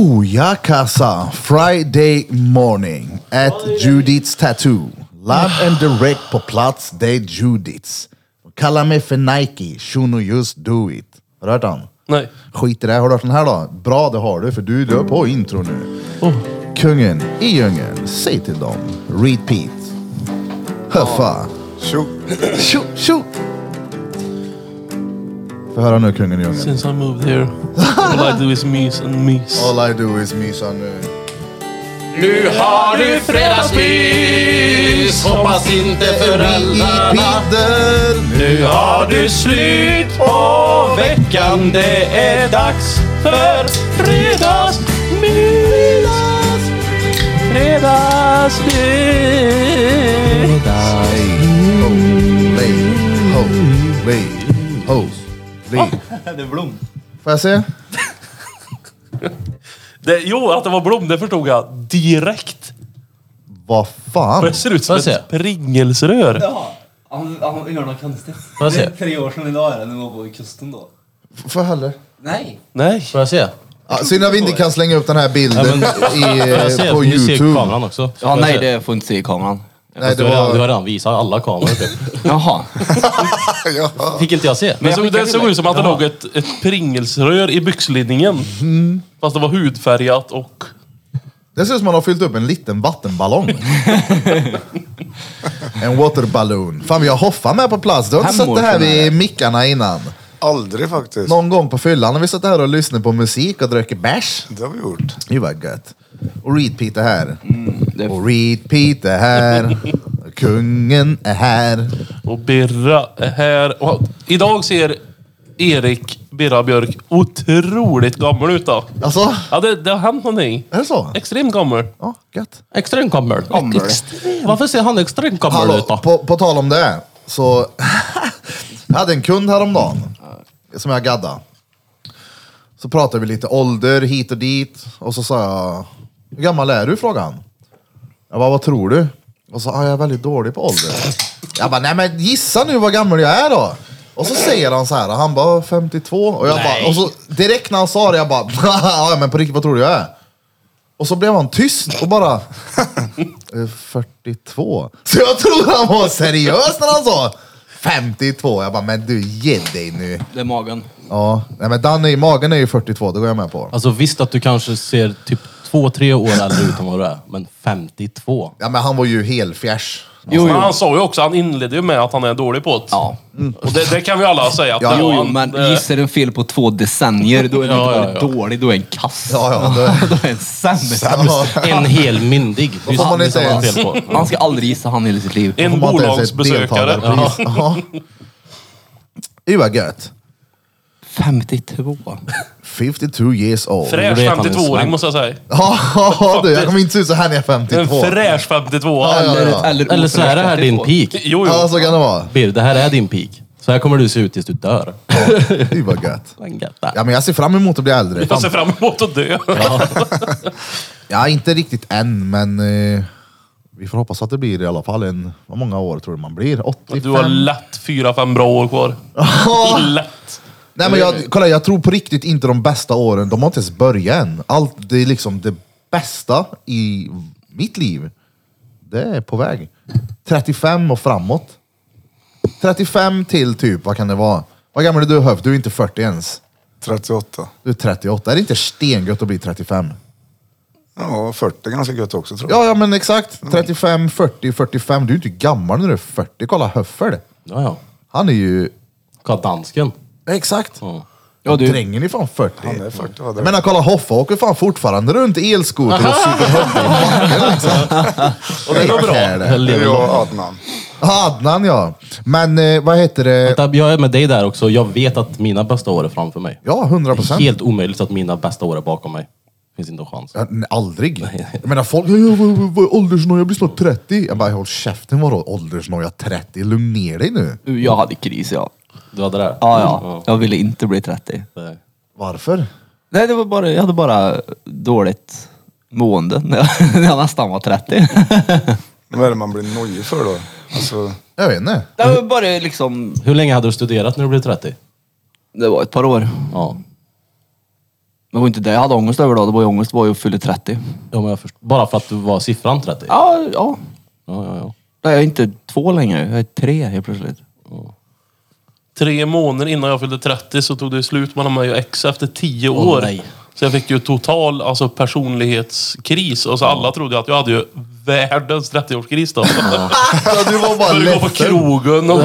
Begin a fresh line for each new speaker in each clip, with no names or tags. Booyakasa Friday morning at Judiths Tattoo. Live and direct på plats, det är Judiths. Kalla mig för Nike, Shuno just do it. Har du hört han?
Nej.
Skit i det, har du hört den här då? Bra det har du, för du är på intro nu. Kungen i djungeln, säg till dem, repeat. Höffa.
Tjo!
Tjo, tjo! Få höra nu kungen i djungeln.
Since I moved here, all I do is mys and mys.
All I do is mysa nu.
Nu har du fredagsmys, hoppas inte föräldrarna.
Pider.
Nu har du slut på veckan, det är dags för fredagsmys. Fredagsmys.
Holy, holy, holy.
Ah.
Det är Blom.
Får jag se?
Det, jo, att det var Blom, det förstod jag direkt.
Vad
Det
fan?
ser ut som
Får jag
ett pringelsrör.
Ja, han, han gör något konstigt.
Får jag
Det
se?
är tre år sedan idag är det när man var på kusten då.
Får jag hellre?
Nej!
Nej.
Får jag se?
Ja, Synd att vi inte kan slänga upp den här
Ja,
bilden
men-
i,
Får jag se?
eh, på
Ni ser ju
Youtube.
kameran också.
Ja, nej det får inte se i kameran.
Nej, det
Du har, redan, du har
var...
redan visat alla kameror. typ.
Jaha.
Fick inte jag se?
Men
jag
så,
skickar
det
till
såg
dig.
ut som att det låg ett, ett pringelsrör i byxlinningen. Fast det var hudfärgat och...
Det ser ut som man har fyllt upp en liten vattenballong. en waterballoon. Fan, vi har Hoffa med på plats. Du har inte sett det här vid mickarna innan.
Aldrig faktiskt.
Någon gång på fyllan har vi suttit här och lyssnat på musik och druckit bärs.
Det har vi gjort.
Det var gött. Och repeat det här. Och repeat det här. Kungen är här.
Och Birra är här. Och, idag ser Erik Birra Björk otroligt gammal ut då.
Alltså,
Ja, det, det har hänt någonting.
är det så?
Extremt gammal.
Ja, gött.
Extremt gammal.
Gammal.
Extrem. Varför ser han extremt gammal
Hallå,
ut då?
på, på tal om det. Så jag hade en kund häromdagen som jag gaddade. Så pratade vi lite ålder hit och dit. Och så sa jag, hur gammal är du? frågade han. Jag bara, vad tror du? Och så sa ah, jag är väldigt dålig på ålder. Jag bara, nej men gissa nu vad gammal jag är då. Och så säger han så här, han bara 52. Och, jag bara, och så direkt när han sa det, jag bara, ja men på riktigt vad tror du jag är? Och så blev han tyst och bara, "Eh, 42. Så jag trodde han var seriös när han sa 52. Jag bara, men du ge dig nu.
Det är magen.
Ja, nej men Danne i magen är ju 42, det går jag med på.
Alltså visst att du kanske ser typ två, tre år äldre ut än vad du är. Men 52.
Ja men han var ju helfjärs.
Jo,
Men
jo.
han sa ju också, han inledde ju med att han är dålig på det.
Ja.
Och det, det kan vi alla säga. Att
Ja.
det Eh,
Jo,
var
jo,
han.
men
Det-
gissar en fel på två decennier, då är du
Ja,
inte
ja,
bara dålig, då är en kass.
Ja, ja, det-
då är en sämst.
Ja.
En hel myndig. Det är ju
får man
det
inte
som han
ens-
fel på.
Han ska aldrig gissa han i hela sitt liv.
En
Om man inte ens är ett
bolagsbesökare.
deltagarpris. Ja. Det var gött.
52.
52 years old.
Fräsch
Det vet han
52-åring
ens.
måste jag säga.
Ja, du, jag kommer inte se ut så här när jag är 52.
En fräsch 52
Ja, ja,
Eller,
ja.
eller,
Eller så är det här din
52.
peak.
Jo,
ja,
jo.
så kan det vara.
Bir, det här är din peak. Så här kommer du se ut tills du dör.
Det var gött.
Vad gött det är.
Ja, men jag ser fram emot att bli äldre.
Jag ser fram emot att dö.
Ja, inte riktigt än, men eh, vi får hoppas att det blir i alla fall en... Vad många år tror du man blir? 85?
Du har lätt fyra fem bra år kvar. Lätt.
Nej, men jag, kolla, jag tror på riktigt inte de bästa åren. De har inte ens börjat än. Allt, det är liksom det bästa i mitt liv. Det är på väg. 35 och framåt. 35 till typ, vad kan det vara? Vad gammal är du Höf? Du är inte 40 ens.
38.
Du är 38. Är det inte stengött att bli 35?
Ja, 40 är ganska gött också tror jag.
Ja, ja men exakt. 35, 40, 45. Du är inte gammal när du är 40. Kolla Höffel.
Ja, ja.
Han är ju...
Kolla dansken.
Exakt.
Ja.
Ja, du.
Drängen är fan 40.
Han är 40, vad det
Jag
är.
menar kolla Hoffa åker fan fortfarande runt i elskoter och super höfter i backen liksom. Och det
går bra.
bra.
Lever
Jag
långt.
och Adnan.
Adnan ja. Men eh, vad heter det?
Vänta, Jag är med dig där också. Jag vet att mina bästa år är framför mig.
Ja, 100 procent.
Helt omöjligt att mina bästa år är bakom mig. Finns inte en chans.
Aldrig. Jag menar folk, "Ja, ja, vad- vad- vad är åldersnoja, jag blir snart 30. Jag bara, håll käften vadå åldersnoja 30? Lugn ner dig nu.
Jag hade kris, ja.
Du hade det? där?
Ja, ja. Jag ville inte bli 30.
Det-
Varför?
Nej, det var bara, jag hade bara dåligt mående när jag, när jag nästan var
Mm.
30.
Vad är det man blir nojig för då? Alltså,
Jag vet inte.
Det var bara liksom,
Hur länge hade du studerat när du blev 30?
det var ett par år.
Ja.
Det var inte det jag hade ångest över då. Det var ju ångest var ju att fylla 30.
Ja, men jag förstår. Bara för att du var siffran 30?
Ja, ja.
ja, ja, ja.
Nej, jag är inte två längre. Jag är tre helt plötsligt.
Tre månader innan jag fyllde 30 så tog det slut mellan mig och ex efter tio
Åh,
år.
nej.
Så jag fick ju total alltså, personlighetskris. Alltså, alla trodde att jag hade ju världens 30-årskris då.
Ja, du var bara
Började gå på
ledsen.
krogen och...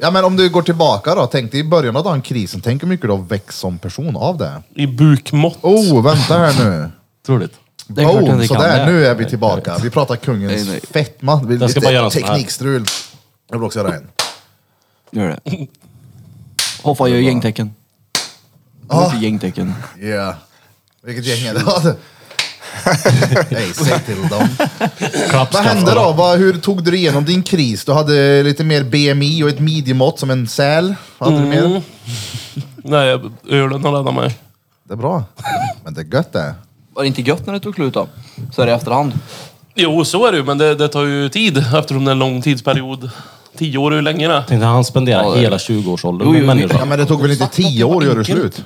Ja, men om du går tillbaka då. Tänk dig i början av den krisen. Tänk hur mycket du har växt som person av det.
I bukmått.
Oh, vänta här nu.
Troligt.
är klart jag
Boom,
inte kan
Oh, sådär.
det.
Nu är vi tillbaka. Vi pratar kungens
Nej, nej.
fetma. Vi-
Jag ska
lite
bara göra en sån här.
Teknikstrul. Jag vill också göra en.
Gör det. Hoffa gör gängtecken. Ah.
Ah.
Inte gängtecken.
Yeah. Vilket gäng är det? Nej, säg till dem. Vad hände då? Vad, hur tog du dig igenom din kris? Du hade lite mer BMI och ett midjemått som en säl. Vad hade du mer?
Nej, ölen har räddat mig.
Det är bra. Men det är gött det.
Var det inte gött när det tog slut då? Så här i efterhand.
Jo, så är det ju, men det, det tar ju tid eftersom det är en lång tidsperiod. Tio år, hur länge är det?
Tänkte han spendera
Ja, det-
hela 20-årsåldern
Jo,
med
jo,
Ja,
människan?
men det tog väl inte tio år att göra slut?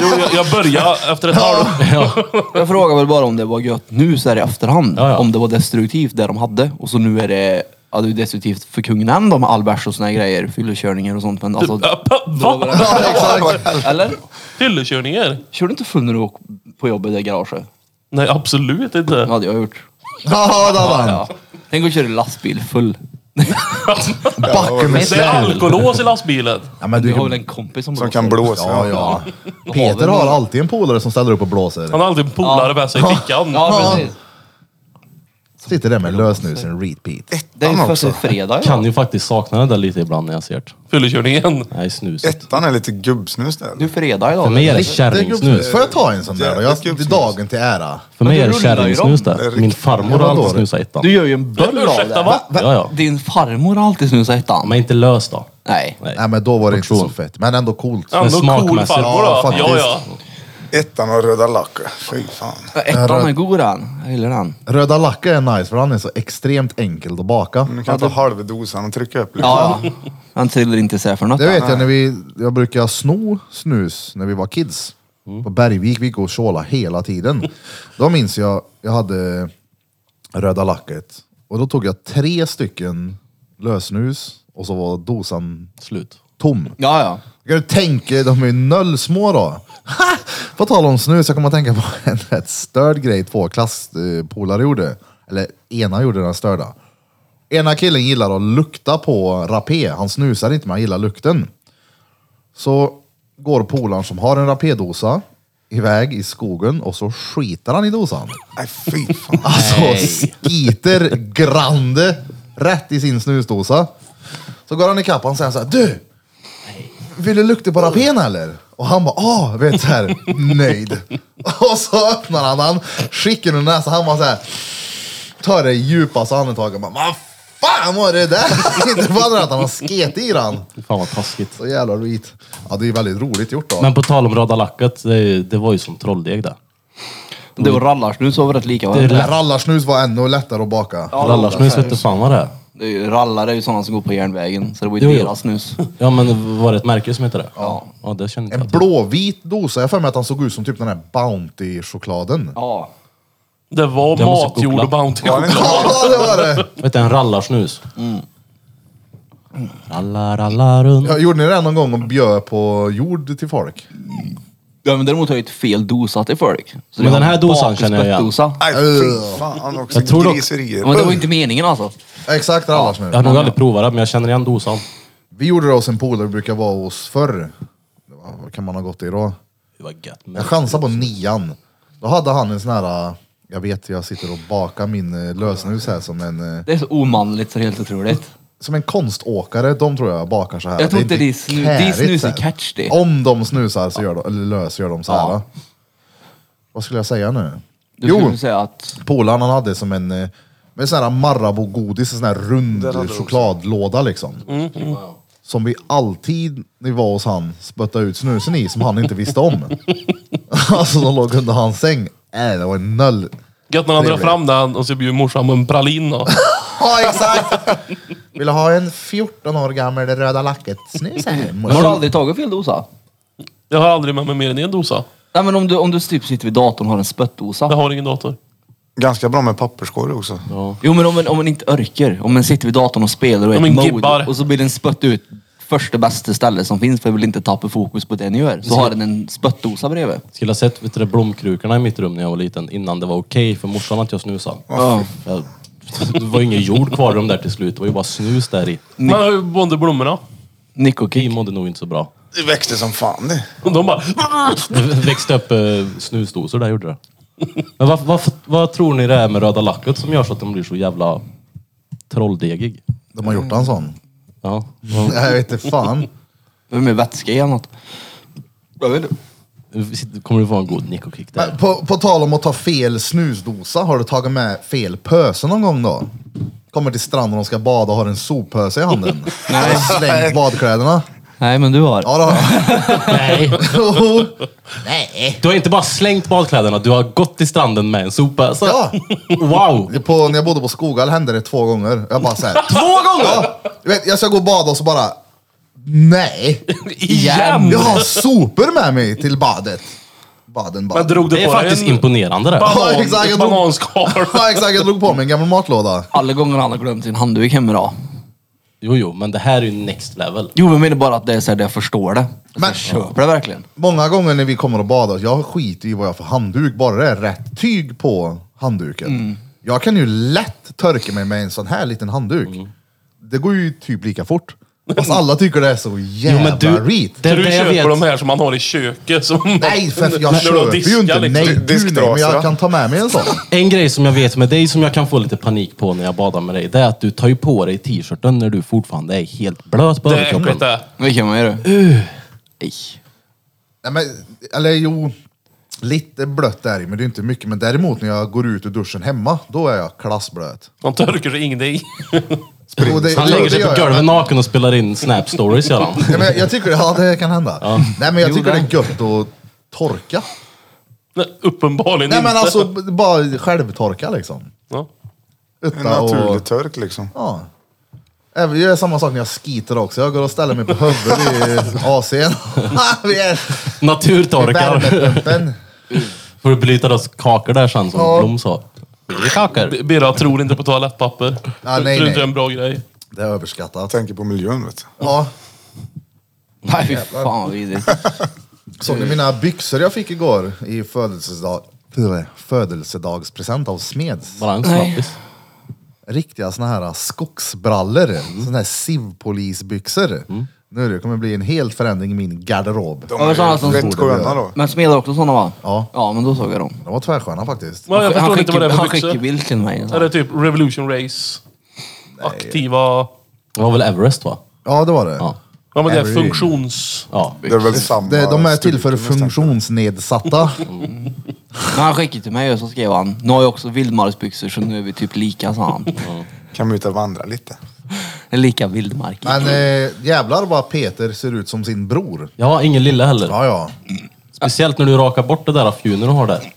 Jo, jag, jag började efter ett halvår.
Ja.
Jag frågar väl bara om det var gött nu så här i efterhand.
Ja, ja.
Om det var destruktivt det de hade. Och så nu är det, ja, det är ju destruktivt för kungen ändå med all bärs och såna här grejer. Fyllekörningar och sånt. Men alltså,
Va?
eller?
Fyllekörningar?
Kör du inte full när du åker på jobbet i garaget?
Nej, absolut inte.
Det hade jag gjort.
Ja, det hade han.
Ja. Tänk att köra lastbil full.
Backen med
Det är
släp.
alkolås i lastbilen.
Ja, men
Du har
du,
väl en kompis som,
Som kan blåsa.
ja, ja. Peter har alltid en polare som ställer upp och blåser.
Han har alltid en polare med sig i fickan.
Ja precis.
Sitter där med lösnusen repeat.
Det är ju
Han
för att
också.
det är fredag. ja.
Kan ju faktiskt sakna det där lite ibland när jag ser det.
Fyllekörningen.
Nej, snuset.
Ettan är lite gubbsnus där.
Det är fredag
För
idag.
mig är det
Gubbsnus.
kärringsnus.
Får jag ta en sån där då? Jag,
Jävligt
det är
gubbsnus.
dagen till ära.
För mig
Men
är det
du rullar ju dem.
kärringsnus där. Min farmor
Ja,
har
vadå
alltid
då?
snusat ettan.
Du gör ju en böll av
Ursäkta,
det.
va?
Ja, ja.
Din farmor har alltid snusat ettan.
Men inte lös då.
Nej.
Nej.
Nej men då var det inte så
Portion.
fett. Men ändå coolt.
Ändå cool
smakmässigt.
farbror
Ja,
då.
faktiskt.
Ja, ja.
Ettan och röda lacket. Fy fan.
Ettan är god den. Jag gillar den.
Röda lacka är nice för han är så extremt enkel att baka.
Du kan ta halva dosan och trycka upp lite.
Ja, ja. Han trillar inte isär för något.
Det vet jag när vi, jag brukade sno snus när vi var kids.
Mm.
På Bergvik, vi gick och tjålade hela tiden. Då minns jag, jag hade röda lacket. Och då tog jag tre stycken lösnus och så var dosan
Slut.
tom.
Ja, ja.
Kan du tänka, de är ju nollsmå då. Ha! På tal om snus, jag kommer att tänka på en rätt störd grej två klasspolare gjorde. Eller ena gjorde den störda. Ena killen gillar att lukta på rapé. Han snusar inte, men han gillar lukten. Så går polaren som har en rapédosa iväg i skogen och så skiter han i dosan.
Nej, fy fan.
Alltså skiter grande rätt i sin snusdosa. Så går han ikapp och säger så här, du! Vill du lukta på rapen eller? Och han bara, ah, vet så här, nöjd. Och så öppnar han han, skickar ur näsan, han bara så här, tar det djupaste andetaget och bara, vad fan var det där? Inte fan att han har sket i den.
Fan vad taskigt.
Så jävla reet. Ja, det är väldigt roligt gjort då.
Men på tal om röda lacket, det, är ju- det var ju som trolldeg där.
Det och rallarsnus var väl rätt lika? Va?
Mm. Det är lätt.
Rallarsnus var ännu lättare att baka.
Rallarsnus vete fan vad det är.
Det är ju, rallare är ju sådana som går på järnvägen, så det var
Jo,
ju
jo.
deras snus.
Ja men var det ett märke som heter det? Ja. Ja det känner inte
En
jag till.
blåvit dosa, jag har för mig att han såg ut som typ den här Bounty-chokladen.
Ja.
Det var
Jag måste
matjord
googla.
och Bounty.
Var det inte?
Ja, det var det.
Vet du, en rallarsnus. Ralla, ralla runt.
Ja, gjorde ni det någon gång och bjöd på jord till folk?
ja, men däremot har jag ju ett fel dosa till folk. Så
Men
det var
den här dosan känner jag igen.
bakspötdosa.
Nej, fy fan också.
Jag tror dock-
Griserier.
Ja, men det var ju inte meningen alltså.
Exakt, alla nu.
Jag har nog aldrig provat det men jag känner igen dosan.
Vi gjorde det hos en polare vi brukar vara hos förr. Det var- Vad kan man ha gått i då?
Det var gött. men-
Jag chansar på nian. Då hade han en sån här, äh, jag vet jag sitter och bakar min äh, lösnus här som en, äh,
Det är så omanligt så det är helt otroligt.
som en konståkare. De tror jag bakar så här.
Jag tror
Det är
inte de snu- de
kärigt
snusar
så här.
catch det.
Om de snusar så gör de, eller lös gör de så här.
Ja.
va? Vad skulle jag säga nu?
Du skulle säga att...
Polaren han hade som en eh, med sån här Marabou-godis, en sån här
Där hade
rund
du också.
chokladlåda liksom. Som vi alltid, när vi var hos han, spöttade ut snusen i som han inte visste om. alltså de låg under hans säng. Äh, det var en noll.
Gött när han drar
Trevligt.
fram den och så bjuder morsan på en pralin då.
Ja exakt! Vill du ha en 14 år gammal röda lacket snus här?
Men har du aldrig tagit fel dosa?
Jag har aldrig med mig mer än en dosa.
Nej men om du, om du typ sitter vid datorn och har en spöttdosa.
Jag har ingen dator.
Ganska bra med papperskorg också.
Jo men om man, om man inte örker. Om man sitter vid datorn och spelar och är
Om
i
man
ett mode
gibbar.
och så blir den spött ut första bästa ställe som finns för jag vill inte tappa fokus på det ni gör. Så har den en spöttdosa bredvid.
Skulle ha sett vet du, det, blomkrukorna i mitt rum när jag var liten innan det var okej för morsan att jag snusade.
Ja.
Jag, det var ju ingen jord kvar i dem där till slut. Det var ju bara snus där i.
Man har ju bonde blommorna.
Nico
Vi
Kim.
mådde nog inte så bra.
Det växte som fan det.
Och de bara...
Det växte upp eh, snusdosor där gjorde det. Men vad, vad, vad tror ni det är med röda lacket som gör så att de blir så jävla trolldegig?
De har gjort en sån.
Ja.
Nej, jag vet inte fan.
Det är mer vätska i eller något. Jag vet inte.
Kommer du få en god Nico-kick där?
Men På, på tal om att ta fel snusdosa, har du tagit med fel pöse någon gång då? Kommer till stranden och ska bada och har en soppöse i handen. Nej. Slängt badkläderna.
Nej men du har.
Ja, det har jag.
Nej!
Jo.
Du har inte bara slängt badkläderna, du har gått till stranden med en sopa. Så...
Ja.
Wow!
På, när jag bodde på Skoghall hände det två gånger. Jag bara såhär.
Två gånger!
Ja, du vet, jag ska gå och bada och så bara, nej.
Igen!
Jag har sopor med mig till badet. Baden,
Men
baden.
drog du
Det är
på dig
faktiskt
en
imponerande det.
Ja,
banan,
exakt,
ett
jag drog-
bananskal?
Ja, exakt, jag drog på mig en gammal matlåda.
Alla gånger han har glömt sin handduk hemma då.
Jo, jo, men det här är ju next level.
Jo men jag menar bara att det är såhär, jag förstår det. Men,
Men-
jag köper det verkligen.
Många gånger när vi kommer och badar, jag skiter i vad jag har för handduk, bara det är rätt tyg på handduken.
Mm.
Jag kan ju lätt törka mig med en sån här liten handduk.
Mm.
Det går ju typ lika fort. Fast alla tycker det är så jävla
men du-
reet.
Det-
Så du
det jag
köper
vet.
de här som man har i köket? Som
Nej, för
När
jag
du har
köper ju inte.
diskat,
Nej,
liksom.
gud, nej, men jag
Disktrasa.
kan ta med mig en sån.
En grej som jag vet med dig som jag kan få lite panik på när jag badar med dig, det är att du tar ju på dig t-shirten när du fortfarande är helt blöt på
Det är äckligt
överkroppen.
det.
Det kan man göra. Uh. Nej.
Nej, men, eller jo, lite blött där i, men det är inte mycket. Men däremot när jag går ut ur duschen hemma, då är jag klassblöt.
De törker sig ingenting.
Och det-
Han
det-
lägger
det
sig
gör
på
jag.
golvet naken och spelar in snap stories gör han.
Ja, men jag tycker, ja det kan hända. Nej men jag
Jo,
tycker det
det.
är gött att torka.
Nej, uppenbarligen
Nej
inte.
men alltså b- bara självtorka liksom.
Ja.
En
Utan
naturlig
och,
törk liksom.
ja. Även, jag gör samma sak när jag skiter också. Jag går och ställer mig på huvudet i AC'n. Vi är i
Naturtorkar.
värmepumpen.
Får du bryta oss kakor där sen som
Ja.
Blom sa. Det är kakor.
B- Birra tror inte på toalettpapper.
Ja,
Tror
nej,
inte
nej.
det är en bra grej.
Det är överskattat.
Tänker på miljön vet du.
Ja.
Nej fy fan vad vidrigt.
Såg ni mina byxor jag fick igår i födelsedag, födelsedagspresent av Smeds?
Bara en snabbis.
riktiga såna här skogsbrallor, såna här civpolisbyxor. Nu det kommer bli en helt förändring i min garderob.
De
Ja, men sådana som-
är rätt sköna då.
Men Smed har också såna va?
Ja.
Ja men då såg jag dem.
De var tvärsköna faktiskt.
Men jag förstår inte vad det är för
Han
byxor.
skickade bild till mig.
Är det typ Revolution Race? Aktiva...
Det var väl Everest va?
Ja, det var det.
Ja.
Ja men det är
Every-
funktions...
Ja.
Det är väl samma.
Det, de är till för
styrka, nästan.
funktionsnedsatta.
Men han skickade till mig och så skrev han, nu har jag också vildmarksbyxor så nu är vi typ lika sa han.
Kan vi ut och vandra lite.
Lika vildmark.
Men eh, jävlar vad Peter ser ut som sin bror.
Jag har ingen lilla heller.
Ja, ja.
Speciellt när du rakar bort det där fjunen du har där.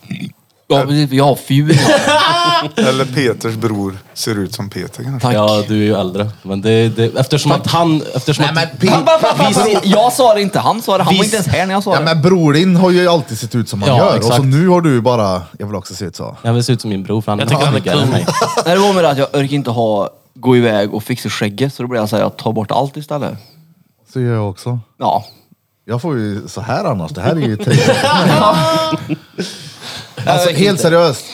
Ja precis, för jag har fjun.
Eller Peters bror ser ut som Peter kanske.
Tack.
Ja, du är ju äldre. Men det, det, eftersom att han... Eftersom
Nej,
att,
men Pete-
Han bara, "Pappa, pappa, Jag sa det inte, han sa det. Han var
Vis-
inte ens här när jag sa
ja,
det.
men bror din har ju alltid sett ut som han
Ja,
gör. Och
exakt.
så nu har du bara, jag vill också se ut så.
Jag vill se ut som min bror för han är
Jag tycker han är
snyggare än
cool.
mig.
Nej, det var med det att jag orkar inte ha, gå iväg och fixa skägget så då blev jag såhär, jag tar bort allt istället.
Så gör jag också.
Ja.
Jag får ju så här annars. Det här är ju tre.
Jag
Alltså
vet
helt
inte.
seriöst.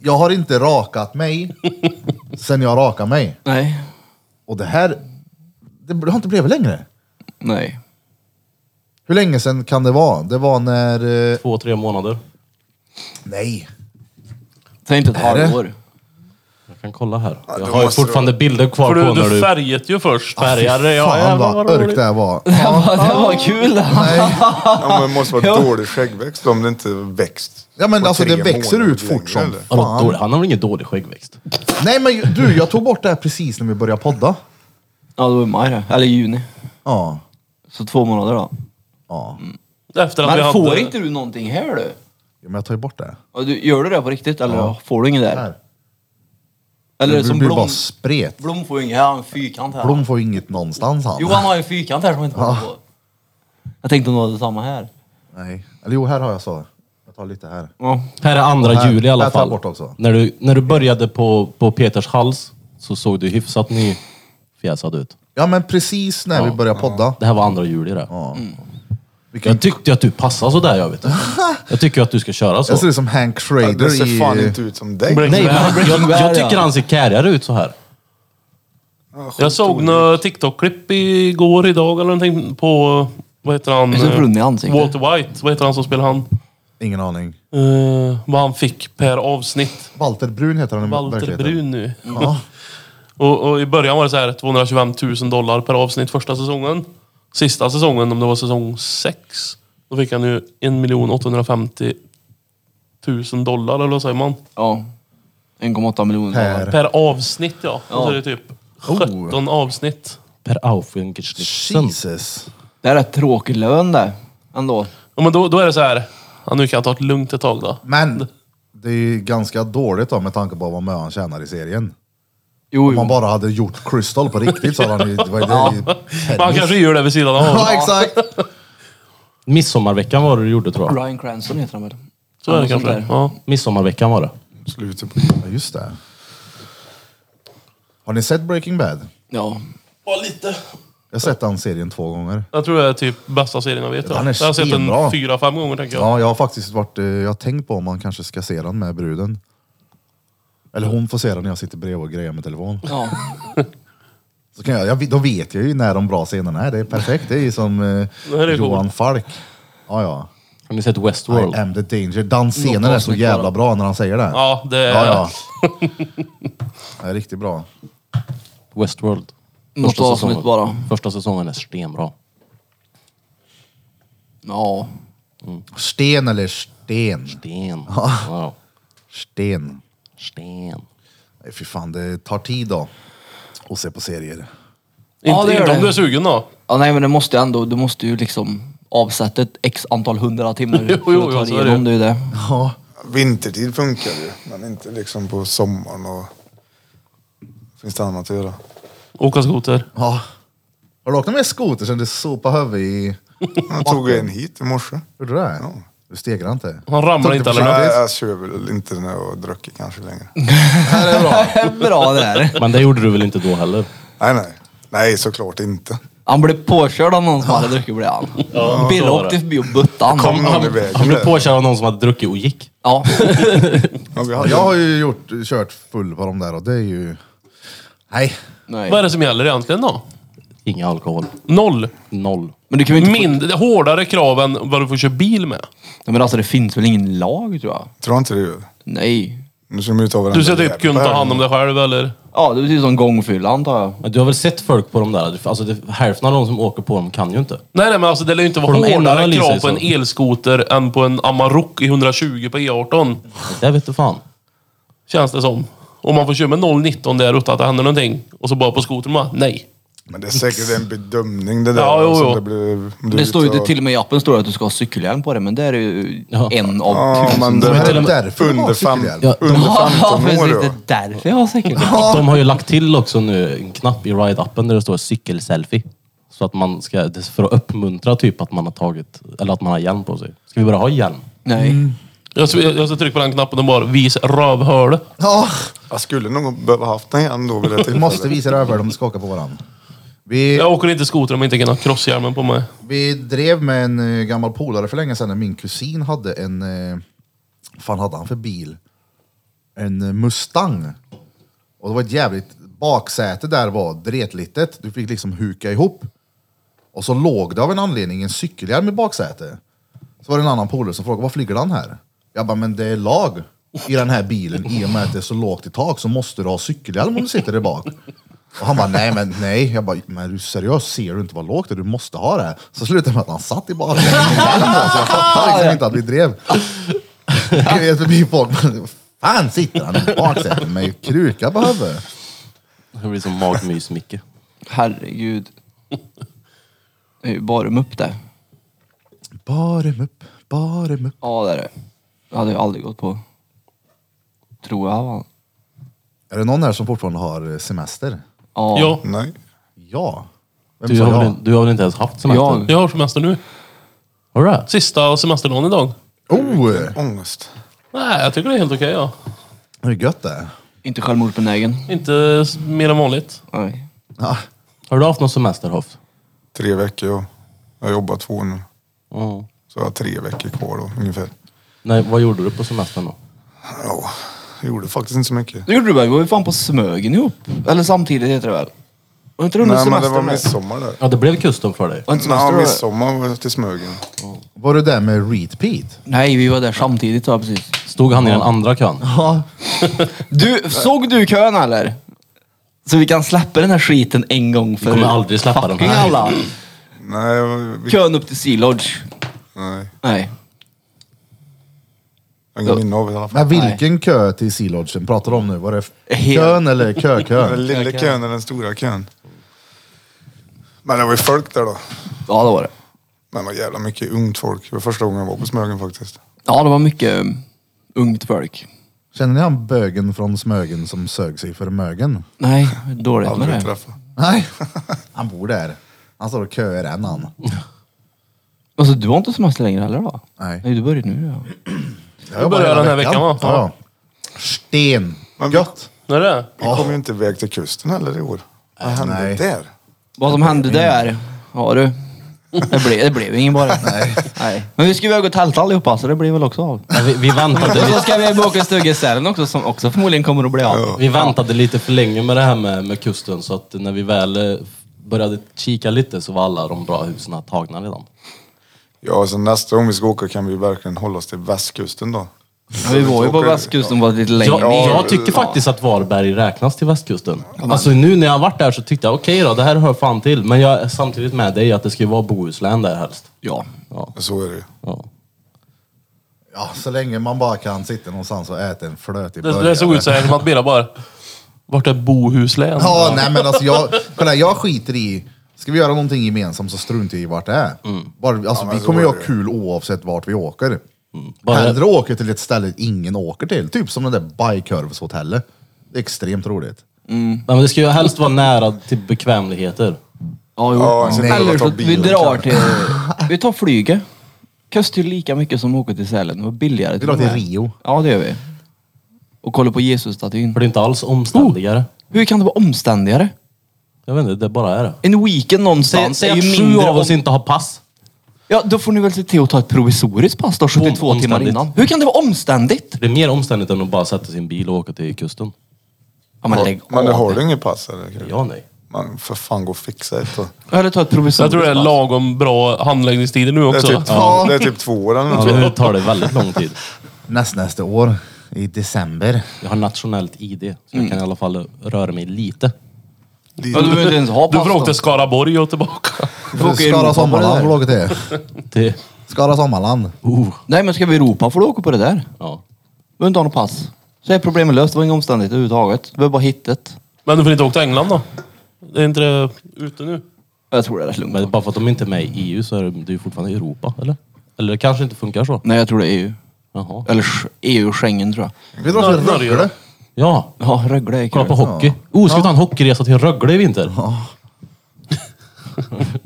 Jag har inte rakat mig sen jag rakade mig.
Nej.
Och det här, det har inte blivit längre.
Nej.
Hur länge sen kan det vara? Det var när... eh,
Två, tre månader.
Nej.
Tänk inte ett
Är det?
halvår.
Jag kan kolla här. Jag
då
har ju
måste du-
fortfarande bilder
För
kvar på
du,
när
du
du...
färget ju först.
Färgade, ja,
Ah, Fan vad
jävlar, vad roligt.
örk det här var.
det var kul det.
Nej.
Ja, men det måste
Ja.
vara dålig skäggväxt om det inte växt.
Ja men
på
alltså det
tre
växer
månader
ut fort
längre,
som
eller?
Vadå dålig?
fan.
Han har väl ingen dålig skäggväxt?
Nej men du, jag tog bort det här precis när vi började podda.
Ja, det var i maj det. Eller i juni.
Ja.
Så två månader då.
Ja.
Efter att vi
Men
hade...
får inte du någonting här du?
Ja, Men jag tar ju bort det.
Ja, du gör du det på riktigt eller får du inget där?
Här.
Eller
Det
som
blir
Blom.
bara spret.
Blom får ju inget, här, han har en fyrkant här.
Blom får ju inget någonstans han.
Jo, han har ju en fyrkant här som han inte kommer på. Jag tänkte om du hade samma här.
Nej. Eller jo, här har jag så. Jag tar lite här.
Ja.
Här är andra
här-
juli i alla
här tar jag
fall.
bort också.
När, du, när du började på, på Peters hals så såg du hyfsat nyfjäsad ut.
Ja, men precis när vi börjar podda.
Det här var andra juli det.
Vilken,
Jag tyckte att du passade sådär jag vet. Jag tycker att du ska köra så.
jag ser ut som Hank
Ja,
Schrader
Det ser fan
i...
inte ut som dig.
Breaking
Nej, men
Bad.
jag, jag, jag tycker han ser kärigare ut så här.
Jag såg några TikTok-klipp igår, idag eller någonting på... Vad heter han?
Är så brun i
eh,
ansiktet.
Walter White. Vad heter han som spelar han?
Ingen aning.
Eh, vad han fick per avsnitt.
Walter Brun heter han i
Walter
Mm, verkligheten.
Brun nu.
Ja.
Och, och i början var det så här 225 000 dollar per avsnitt första säsongen. Sista säsongen, om det var säsong 6, då fick han ju 1 850 000 dollar, eller vad säger man?
ja. 1,8 miljoner
Per.
dollar.
Per avsnitt ja. Och så
Ja.
är det typ 17 avsnitt.
Per Aufengersen.
Jesus.
Det är rätt tråkig lön det. Ändå.
Ja, men då, då är det så här. Ja, nu kan jag ta ett lugnt ett tag då.
Men det är ju ganska dåligt då med tanke på vad Möhan tjänar i serien.
Jo,
Om man
jo.
bara hade gjort Crystal på riktigt så hade han ju... Det var ju det,
Men han kanske gör det vid sidan av.
Ja, exakt.
Midsommarveckan var det du gjorde tror jag.
Ryan Cranston heter han väl?
Så är det
Något sånt
kanske.
där.
Ja.
Midsommarveckan var det.
Slutet på
Ja, just det. Har ni sett Breaking Bad?
Ja.
lite.
Jag har sett den serien två gånger.
Jag tror det är typ bästa serien jag vet. Ja.
Den
Jag
är
har sett
stenbra.
den fyra, fem gånger tänker jag.
Ja, jag har faktiskt varit, eh, jag har tänkt på om man kanske ska se den med bruden. Eller hon får se den när jag sitter bredvid och grejer med telefon.
ja.
Så kan jag, jag, då vet jag ju när de bra scenerna är. Det är perfekt. Det är ju som eh,
här är
Johan Falk. Ja, ja.
Har ni sett Westworld?
I am the danger. Den scenen är så
avsnitt
jävla
bara.
bra när han säger det.
Ja, det är...
ja. ja. Det är riktigt bra.
Westworld.
Något avsnitt
säsongen.
bara.
Första säsongen är stenbra.
Ja.
Sten eller sten?
Sten. Wow.
Sten.
Sten.
Nej, fy fan, det tar tid då. Att se på serier.
Ja,
Inte,
det gör
inte om
det.
du är sugen då.
Ja, nej men det måste ju ändå, du måste ju liksom avsätta ett x antal hundra timmar
Jo, jo,
för
jo,
att
så
ta
är
igenom det. är ju det.
Vintertid funkar ju, men inte liksom på sommaren och... Finns det annat att göra?
Åka skoter.
Ja. Har du åkt med skoter sen du sopade huvudet i...
Jag tog en hit i morse.
Gjorde du det?
Ja.
Du stegrade inte?
Han ramlar inte eller?
Nej,
något?
jag kör väl inte när jag dricker kanske längre.
Det är bra.
Bra det där.
Men det gjorde du väl inte då heller?
Nej, nej. Nej, såklart inte.
Han blev påkörd av någon som hade druckit blev han. Bill
så var
åkte
det.
förbi och bötte han.
Kom någon i vägen
Han blev
där.
påkörd av någon som hade druckit och gick.
Ja.
Ja, vi hade-
Jag har ju gjort, kört full på de där och det är ju... Nej.
Nej.
Vad är det som gäller egentligen då?
Ingen alkohol.
Noll.
Noll.
Men du kan ju inte... Min...
Mind, det är hårdare krav än vad du får köra bil med.
Ja, men alltså det finns väl ingen lag tror jag?
Tror inte det gör.
Nej.
Nu ska de ju ta varandra
Du ska
jävla
typ kunna ta
här.
hand om dig själv eller?
Ja, det betyder som gångfylla antar jag.
Men du har väl sett folk på de där? Alltså, det, hälften av de som åker på dem kan ju inte.
Nej, nej men alltså det lär ju inte vara
Får de
hårdare
ändra sig
krav på
så?
en elskoter än på en Amarok i 120 på E18.
Det vet du fan.
Känns det som. Om man får köra med 019 där utan att det händer någonting. Och så bara på skotern bara, nej.
Men det är säkert en bedömning det där.
Ja, jo,
alltså,
jo.
Det, blir, om du
Det
vill
står ju,
ta-
det, till och med i appen står det att du ska ha cykelhjälm på dig, men det är ju
Ja.
en av
Ja,
tusen.
men det
Men
här
till
är
och med-
därför under, fem,
Ja,
under
Ja,
15
precis.
år.
Det
då.
är därför jag har cykelhjälm.
De har ju lagt till också nu en knapp i ride-appen där det står cykelselfie. Så att man ska, det är för att uppmuntra typ att man har tagit, eller att man har hjälm på sig. Ska vi börja ha hjälm?
Nej.
Jag ska, jag ska trycka på den knappen och bara, vis rövhål.
Ja,
Jag skulle nog behöva haft den igen då vid det
vi
tillfället.
måste visa rövhål om vi ska åka på varandra. Vi,
Jag åker inte skoter om jag inte kan ha crosshjälmen på mig.
vi drev med en eh, gammal polare för länge sedan när min kusin hade en... eh, Vad fan hade han för bil? En eh, Mustang. Och det var ett jävligt... Baksäte där var dretlitet. Du fick liksom huka ihop. Och så låg det av en anledning en cykelhjälm i baksätet. Så var det en annan polare som frågade, varför ligger den här? Jag bara, men det är lag i den här bilen. I och med att det är så lågt i tak så måste du ha cykelhjälm om du sitter där bak. Och han bara, nej men nej. Jag bara, men är du seriös? Ser du inte vad lågt det är? Du måste ha det. här." Så slutade det med att han satt i baksätet med hjälm på sig. Jag fattar liksom inte att vi drev. Jag vet förbi folk, men fan sitter han i baksätet med kruka på huvudet?
Det blir som magmys-Micke.
Herregud. Det är ju bara upp det.
Barem upp, barem upp.
Ja, det är det. Det hade jag aldrig gått på. Tror jag. va?
Är det någon här som fortfarande har semester?
Ja.
Ja,
Nej.
Ja. Vem
Du
sa
har,
ja?
väl, du har väl inte ens haft semester?
Ja.
jag har semester nu.
Har du det?
Sista semesterdagen idag.
Oh,
Ångest.
Nej, jag tycker det är helt okej ja.
det är gött det.
Inte självmordsbenägen.
Inte s- mer än vanligt.
Nej.
Ja.
Har du haft någon semester Hoff?
Tre veckor. ja. Jag har jobbat två nu.
Ja.
Så jag har tre veckor kvar då, ungefär.
Nej, vad gjorde du på semestern då?
Ja, jag gjorde faktiskt inte så mycket.
Det gjorde du väl? Vi var ju fan på Smögen ihop. Eller samtidigt heter det väl? Var inte det under
Nej, men det var
semestern? där?
midsommar där.
Ja, det blev kusten för dig.
Var inte semester
Ja,
då?
midsommar var jag till Smögen.
Var du där med repeat?
Nej, vi var där samtidigt ja, precis.
Stod han i den andra kön?
Ja.
Du, såg du kön eller? Så vi kan släppa den här skiten en gång för
kommer aldrig släppa den
fucking
här.
alla.
Nej, jag var- vi,
Kön upp till Sea Lodge.
nej.
Nej.
Jag har inget minne av det i alla fall.
Men vilken kö till Sea Lodgen pratar du om nu? Var det
Helt-
kön eller
Den
kökön?
lilla kön eller den stora kön? Men det var ju folk där då.
Ja, det var det.
Men det var jävla mycket ungt folk. Det var första gången jag var på Smögen faktiskt.
Ja, det var mycket um, ungt folk.
Känner ni han bögen från Smögen som sög sig för mögen?
Nej, dåligt med
Aldrig
det.
träffat.
Nej, han bor där. Han står och köar än han.
Alltså, du har inte semester längre heller va?
Nej.
Nej, du börjar nu ja.
Jag jobbar
börjar
hela
den här veckan, va?
Ja. Sten.
Men-
Gött.
När är det?
Vi kom ju inte iväg till kusten heller i år. Vad hände
Nej.
där?
Vad som hände där, ja du. Det blev, det blev ingen bara. Nej. Men vi ska iväg och tälta allihopa så det blir väl också av.
Nej, vi, vi,
Och
väntade,
så ska vi boka en stuga i Sälen också som också förmodligen kommer att bli av.
vi väntade lite för länge med det här med, med kusten så att när vi väl eh, började kika lite så var alla de bra husen tagna redan.
Ja, så nästa gång vi ska åka kan vi verkligen hålla oss till västkusten då.
Ja, vi var ju på västkusten bara lite längre
Jag,
ner.
jag tycker faktiskt att Varberg räknas till västkusten. Alltså nu när jag har varit där så tyckte jag okej då, det här hör fan till. Men jag är samtidigt med dig att det ska ju vara Bohuslän där helst.
Ja.
Ja.
Så är det ju.
ja.
Ja, så länge man bara kan sitta någonstans och äta en flötig
Det, det såg ut så här som att Billa bara... Vart är Bohuslän?
Ja, nej men alltså jag, kolla, jag skiter i, ska vi göra någonting gemensamt så struntar jag i vart det är.
Mm.
Bara, alltså,
men
vi
så
kommer ju
är
ha
det ju.
kul oavsett vart vi åker.
Mm.
Bara,
Hellre åker till ett ställe ingen åker till, typ som det där Bajkorvshotellet. Det är extremt roligt.
nej, men det ska ju helst vara nära till bekvämligheter.
Ja, jo.
Ja, så det var
Eller
att ta
så vi
bilen,
drar till... Vi tar flyget. Kostar ju lika mycket som att åka till Sälen. Det var billigare.
Vi drar till
och med.
Rio.
Ja, det gör vi. Och kollar på Jesusstatyn.
För det är inte alls omständigare.
Hur kan det vara omständigare?
Jag vet inte, det bara är det.
En weekend
Säg,
någonstans
säg
är ju
att sju
mindre
av
om...
oss inte har pass.
Ja, då får ni väl se till att ta ett provisoriskt pass då, 72 timmar
omständigt.
innan. Hur kan det vara omständigt?
Det är mer omständigt än att bara sätta sin bil och åka till kusten.
Ja, men lägg
Men det
av.
har du inget pass eller?
Ja, nej.
Man för fan gå och fixa ett då.
Eller ta ett
Jag
provisoriskt
tror det är
pass.
lagom bra handläggningstider nu
Det är
också.
typ,
Ja.
det är typ två år eller
Ja,
något.
nu tar det väldigt lång tid.
Nästnästa år, i december.
Jag har nationellt ID, så jag kan i alla fall röra mig lite.
Ja, du behöver inte ens ha
Du får åka
pass då.
till Skaraborg och tillbaka.
Du får åka
Skara
i Europa på det
Sommarland
där.
får du åka till.
Det,
Skara Sommarland.
oh,
Nej, men ska vi Europa får du åka på det där. Du
ja.
behöver inte ha något pass. Så är problemet löst. Det var inget omständigt överhuvudtaget. Du behöver bara hitta ett.
Men du får inte åka till England då? Det är inte det ute nu?
Jag tror det är rätt lugnt.
Men bara för att de inte är med i EU så är det, det är ju fortfarande Europa, eller? Eller det kanske inte funkar så?
Nej, jag tror det är EU.
Jaha.
Eller Sch- EU och Schengen tror jag.
Vi drar till
Norge.
Rögle.
Ja,
Ja, Rögle är
kolla
kul.
på hockey. Oh, ska vi ta en hockeyresa till Rögle i vinter?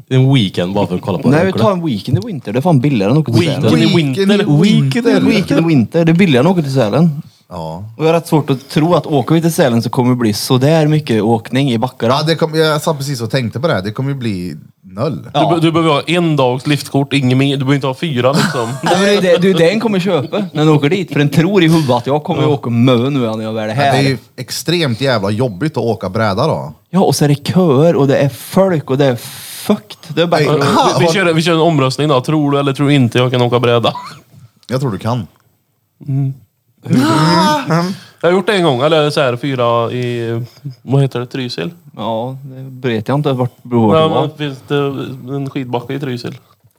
en weekend bara för att kolla på
Nej, vi
Rögle.
tar en weekend i winter. Det är fan billigare än att åka till
Weekend.
Sälen.
i winter.
Weekend i winter.
Weekend i winter. Det är billigare än att åka till Sälen.
Ja.
Och jag har rätt svårt att tro att åker vi till Sälen så kommer det bli sådär mycket åkning i backarna.
Ja, det kom, jag satt precis och tänkte på det. här. Det kommer ju bli noll.
Ja.
Du, be- du behöver ha en dags liftkort, inget mer. Du behöver inte ha fyra liksom.
Nej, men det, är det, det är det en kommer köpa när den åker dit. För den tror i huvudet att jag kommer åka mö nu när jag väl är
Det
här.
är ju extremt jävla jobbigt att åka bräda då.
Ja, och så är det köer och det är folk och det är fukt. Det är
Nej.
bara...
Vi, vi, kör, vi kör en omröstning då. Tror du eller tror du inte jag kan åka bräda?
Jag tror du kan.
Jag har gjort det en gång, eller så här fyra i, vad heter det, Trysil?
Ja, det vet jag inte vart bror
Nej,
det
men
var.
finns det en skidbacke i Trysil?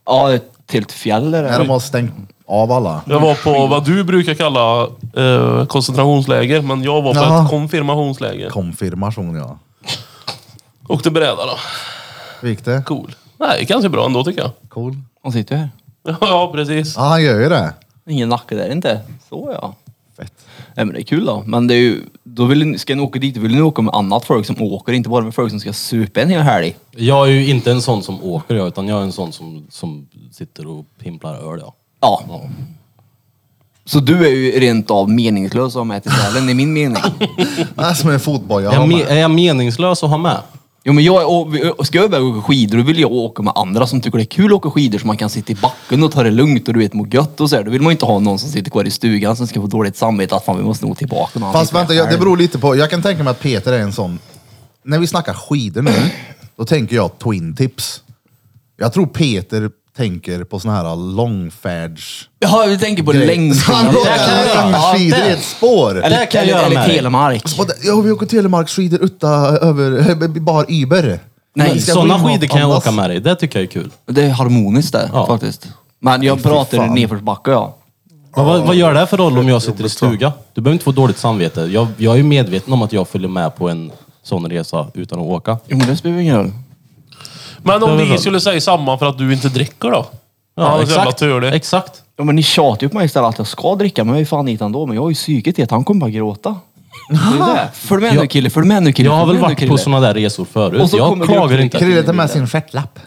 Ja, det är ett helt fjäll är
När de
det.
har stängt av alla.
Jag var på vad du brukar kalla eh, koncentrationsläger, men jag var på
Jaha.
ett konfirmationsläger.
Konfirmation ja.
Åkte bräda då.
Hur gick det?
Cool. Nej, ganska bra ändå tycker jag.
Cool.
Hon sitter ju här.
Ja, precis.
Ja, han gör ju det.
Ingen nacke där inte. Så ja.
Fett.
Nej, men det är kul då. Men det är ju, då vill, ni- ska ni åka dit, vill ni åka med annat folk som åker, inte bara med folk som ska supa en hel helg.
Jag är ju inte en sån som åker jag, utan jag är en sån som, som sitter och pimplar öl ja.
Ja.
ja.
Så du är ju rent av meningslös att ha med till Sälen, i min mening.
Nej, som en fotboja.
Är, jag
har
me-
med.
är jag meningslös att ha med?
Jo men jag, är- och, och ska jag iväg och åka skidor då vill jag åka med andra som tycker det är kul att åka skidor så man kan sitta i backen och ta det lugnt och du vet må gött och så här. Då vill man ju inte ha någon som sitter kvar i stugan som ska få dåligt samvete att fan vi måste nog tillbaka någon
Fast vänta, jag, det beror lite på. Jag kan tänka mig att Peter är en sån. När vi snackar skidor nu, då tänker jag twin tips. Jag tror Peter tänker på såna här långfärds...
Ja, vi tänker på
Han
längdskidor.
det kan jag göra.
långskidor
Ja,
i
det.
ett spår.
Det kan jag göra
eller
med dig.
telemark.
Och Alltså, det- Ja, vi åker telemarksskidor utta över eh, bar Yber.
Nej,
Vi ska
Sådana
gå in och
skidor kan jag
andas.
åka med dig, det tycker jag är kul.
Det är harmoniskt där
Ja.
faktiskt. Men jag pratar nedförsbacke ja.
Men vad, vad gör det för roll om jag sitter i stuga? Du behöver inte få dåligt samvete. Jag, jag är ju medveten om att jag följer med på en sån resa utan att åka.
Jo men det spelar ingen roll.
Men
Det är
om
väl
vi
bra.
skulle säga samma för att du inte dricker då? Ja, exakt. Jävla turlig.
Exakt.
Ja, men ni tjatar ju på mig istället att jag ska dricka, men jag är ju fan hit ändå. Men jag har ju psyket i att han kommer bara gråta. Det är det. Följ med nu kille, följ med nu kille.
Jag har
följ
väl
med nu,
varit
kille.
på såna där resor
Och
förut.
så
Jag
kommer
klagar
gruppen-
inte.
Krille tar med sin stjärtlapp.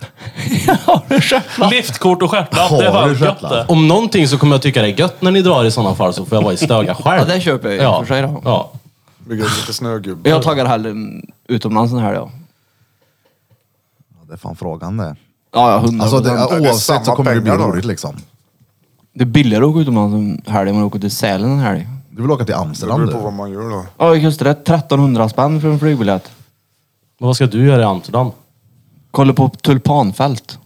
Liftkort och stjärtlapp, det är
Har
fan
du
gött
stjärtlapp?
det.
Om någonting så kommer jag tycka det är gött när ni drar i sådana fall så får jag vara i stöga själv.
Ja, det köper jag ju
ja.
för sig då.
Ja.
Bygga lite snögubbe.
Jag taggar hellre mm, utomlands den här då.
Ja, Det är fan frågan det.
Ja, ja, hundra
Alltså,
procent.
det,
det är samma
oavsett så kommer det bli
pengar då.
roligt liksom.
Det är billigare att åka utomlands en helg än att åka till Sälen en helg.
Du vill åka till
Det
Amsterdam
beror på vad
du?
man gör då.
Ja, det kostar det 1300 spänn för en flygbiljett.
Men vad ska du göra i Amsterdam?
Kolla på tulpanfält.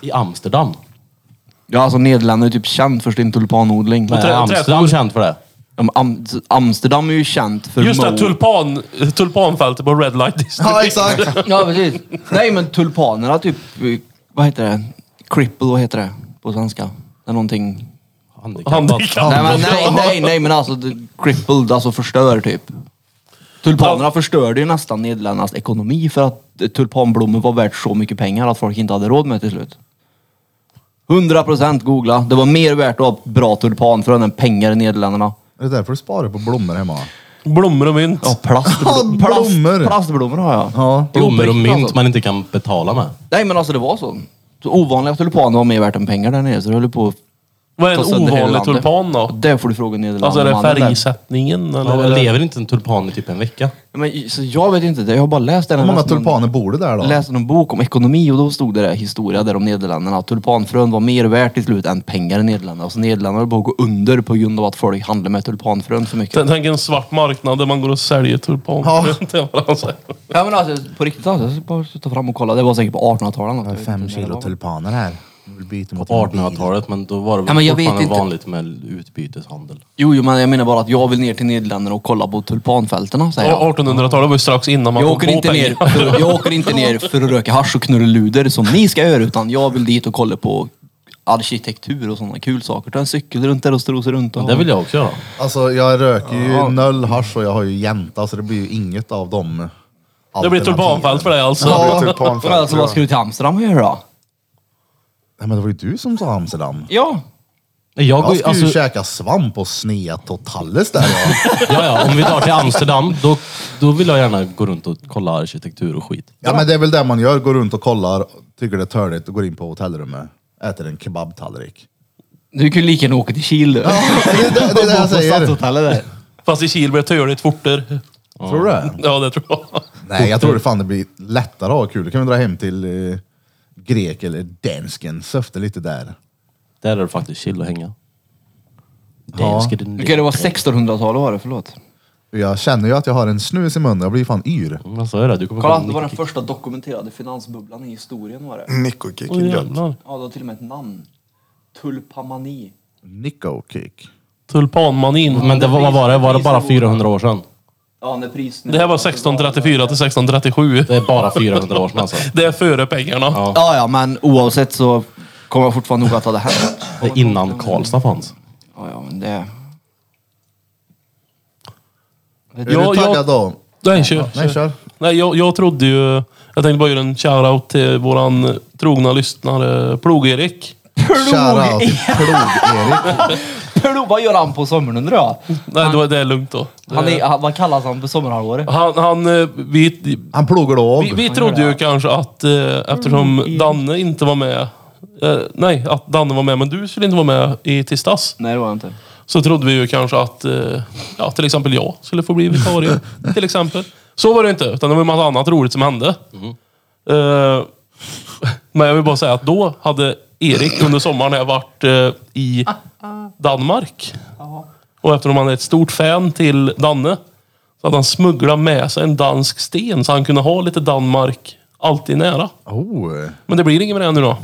I Amsterdam?
Ja, alltså Nederländerna är typ känd för sin tulpanodling.
Men är
trä-
Amsterdam känt för det?
Ja, men Am- Amsterdam är ju känt för
Just det,
mo-
tulpan, tulpanfältet på Red Light District.
Ja, exakt.
Ja, precis. Nej, men tulpanerna typ, eh, vad heter det? Cripple, vad heter det på svenska? Det är någonting...
Handikappad.
Handikapp.
Nej, men, nej, nej, nej, men alltså det- crippled, alltså förstör typ. Tulpanerna förstörde ju nästan Nederländernas ekonomi för att eh, tulpanblommor var värt så mycket pengar att folk inte hade råd med till slut. 100% googla. Det var mer värt att ha bra tulpanfrön än pengar i Nederländerna.
Är det därför du sparar på blommor hemma?
Blommor och mynt.
Ja, plastblommor.
Ja,
Plast,
blommor.
plastblommor har jag.
Ja.
Blommor och
Obrikt,
mynt
alltså.
man inte kan betala med.
Nej men alltså det var så. så ovanliga tulpaner var mer värt än pengar där nere så det höll på att
Vad är en
ta sönder hela
ovanlig
landet.
tulpan
Och
då?
Det får du fråga Nederländerna.
Alltså är det
mannen där.
färgsättningen eller?
Jag
är det-
lever inte en tulpan i typ en vecka.
Men, så jag vet inte, det. jag har bara läst den.
Hur
Jag
många
läste någon-
tulpaner bor det där då?
läste någon bok om ekonomi och då stod det där historia där om Nederländerna. Att tulpanfrön var mer värt till slut än pengar i Nederländerna. Så Nederländerna höll på att gå under på grund av att folk handlade med tulpanfrön för mycket.
Tänk- Tänk en svart marknad där man går och säljer tulpan.
Ja.
Det är vad han säger.
Ja men alltså på riktigt alltså, jag ska bara ta fram och kolla. Det var säkert på 1800-talet.
Jag har
något.
fem kilo tulpaner här. Jag vill byta mot
På 1800-talet, men då var det
Ja,
väl
men jag vet
fortfarande
inte.
vanligt med utbyteshandel.
Jo, jo men jag menar bara att jag vill ner till Nederländerna och kolla på tulpanfältena säger jag.
Ja, 1800-talet var ju strax innan man
Jag
kom
åker,
på
inte
pengar.
ner för, jag åker inte ner för att röka hasch och knulla luder som ni ska göra utan jag vill dit och kolla på arkitektur och sådana kul saker. Ta en cykel runt där och strosa runt. Och
Det vill jag också göra.
Alltså jag röker ju noll hasch och jag har ju jänta så det blir ju inget av dem.
Det blir
alternativen.
tulpanfält för dig alltså.
Det
Ja.
blir typ tulpanfält,
Men alltså vad ska du till Amsterdam och göra då?
Nej, men det var ju du som sa Amsterdam.
Ja.
Nej, Jag, går,
Jag
ju-
ska ju
alltså, ja,
käka svamp och snea totalis där. Ja.
ja, om vi drar till Amsterdam, då, då vill jag gärna gå runt och kolla arkitektur och skit.
ja men det är väl det man gör. Går runt och kollar, tycker det är törligt och går in på hotellrummet. Äter en kebabtallrik.
Du kan ju lika gärna åka till Kiel du.
Ja, det, är det, det är det jag säger.
Stadshotellet där.
Fast i Kil blir det törligt fortare.
Tror du det?
Ja, det tror jag.
Nej, jag tror det fan det blir lättare att ha kul. Då kan vi dra hem till eh, grek eller dansken, söfte lite där.
Där är det faktiskt chill att hänga.
Ja.
ska det-
Okej, det var 1600-talet var det, förlåt.
Jag känner ju att jag har en snus i munnen, jag blir fan yr.
Vad sa jag där? Du kommer
Kolla,
få
det var den
nick-
första dokumenterade finansbubblan i historien var det.
Nico kick
Åh,
är gött.
jävlar.
Ja, det har till och med ett namn. Tulpamani.
Nico kick.
Tulpanmanin.
Men det var, vad var det? Var det bara 400 år sedan?
Ja, när priset...
Det här var 1634 till 1637.
Det är bara 400 år sedan alltså.
Det är före pengarna.
Ja.
Ja, ja, men oavsett så kommer jag fortfarande ihåg att det hade hänt.
Det är innan Karlstad fanns.
Ja, ja, men det...
Är
Ja,
du taggad
jag-
då?
Nej, kör.
Nej, kör.
Nej, jag, jag trodde ju... Jag tänkte bara göra en shoutout till våran trogna lyssnare Plog-Erik.
Shoutout till Plog-Erik.
Vad gör han på sommaren undrar jag?
Nej, då, det är lugnt då.
Han är, han, vad kallas han på sommarhalvåret?
han, han, eh, vi,
Han plogar då av.
Vi, vi trodde ju kanske att eh, eftersom Danne inte var med, eh, nej, att Danne var med men du skulle inte vara med i tisdags.
Nej det var han inte.
Så trodde vi ju kanske att, eh, ja till exempel jag skulle få bli vikarie. till exempel. Så var det inte, utan det var en massa annat roligt som hände. Eh, men jag vill bara säga att då hade Erik under sommaren när jag varit eh, i Danmark. Och eftersom han är ett stort fan till Danne så hade han smugglat med sig en dansk sten så han kunde ha lite Danmark alltid nära.
Oh.
Men det blir inget med det nu då.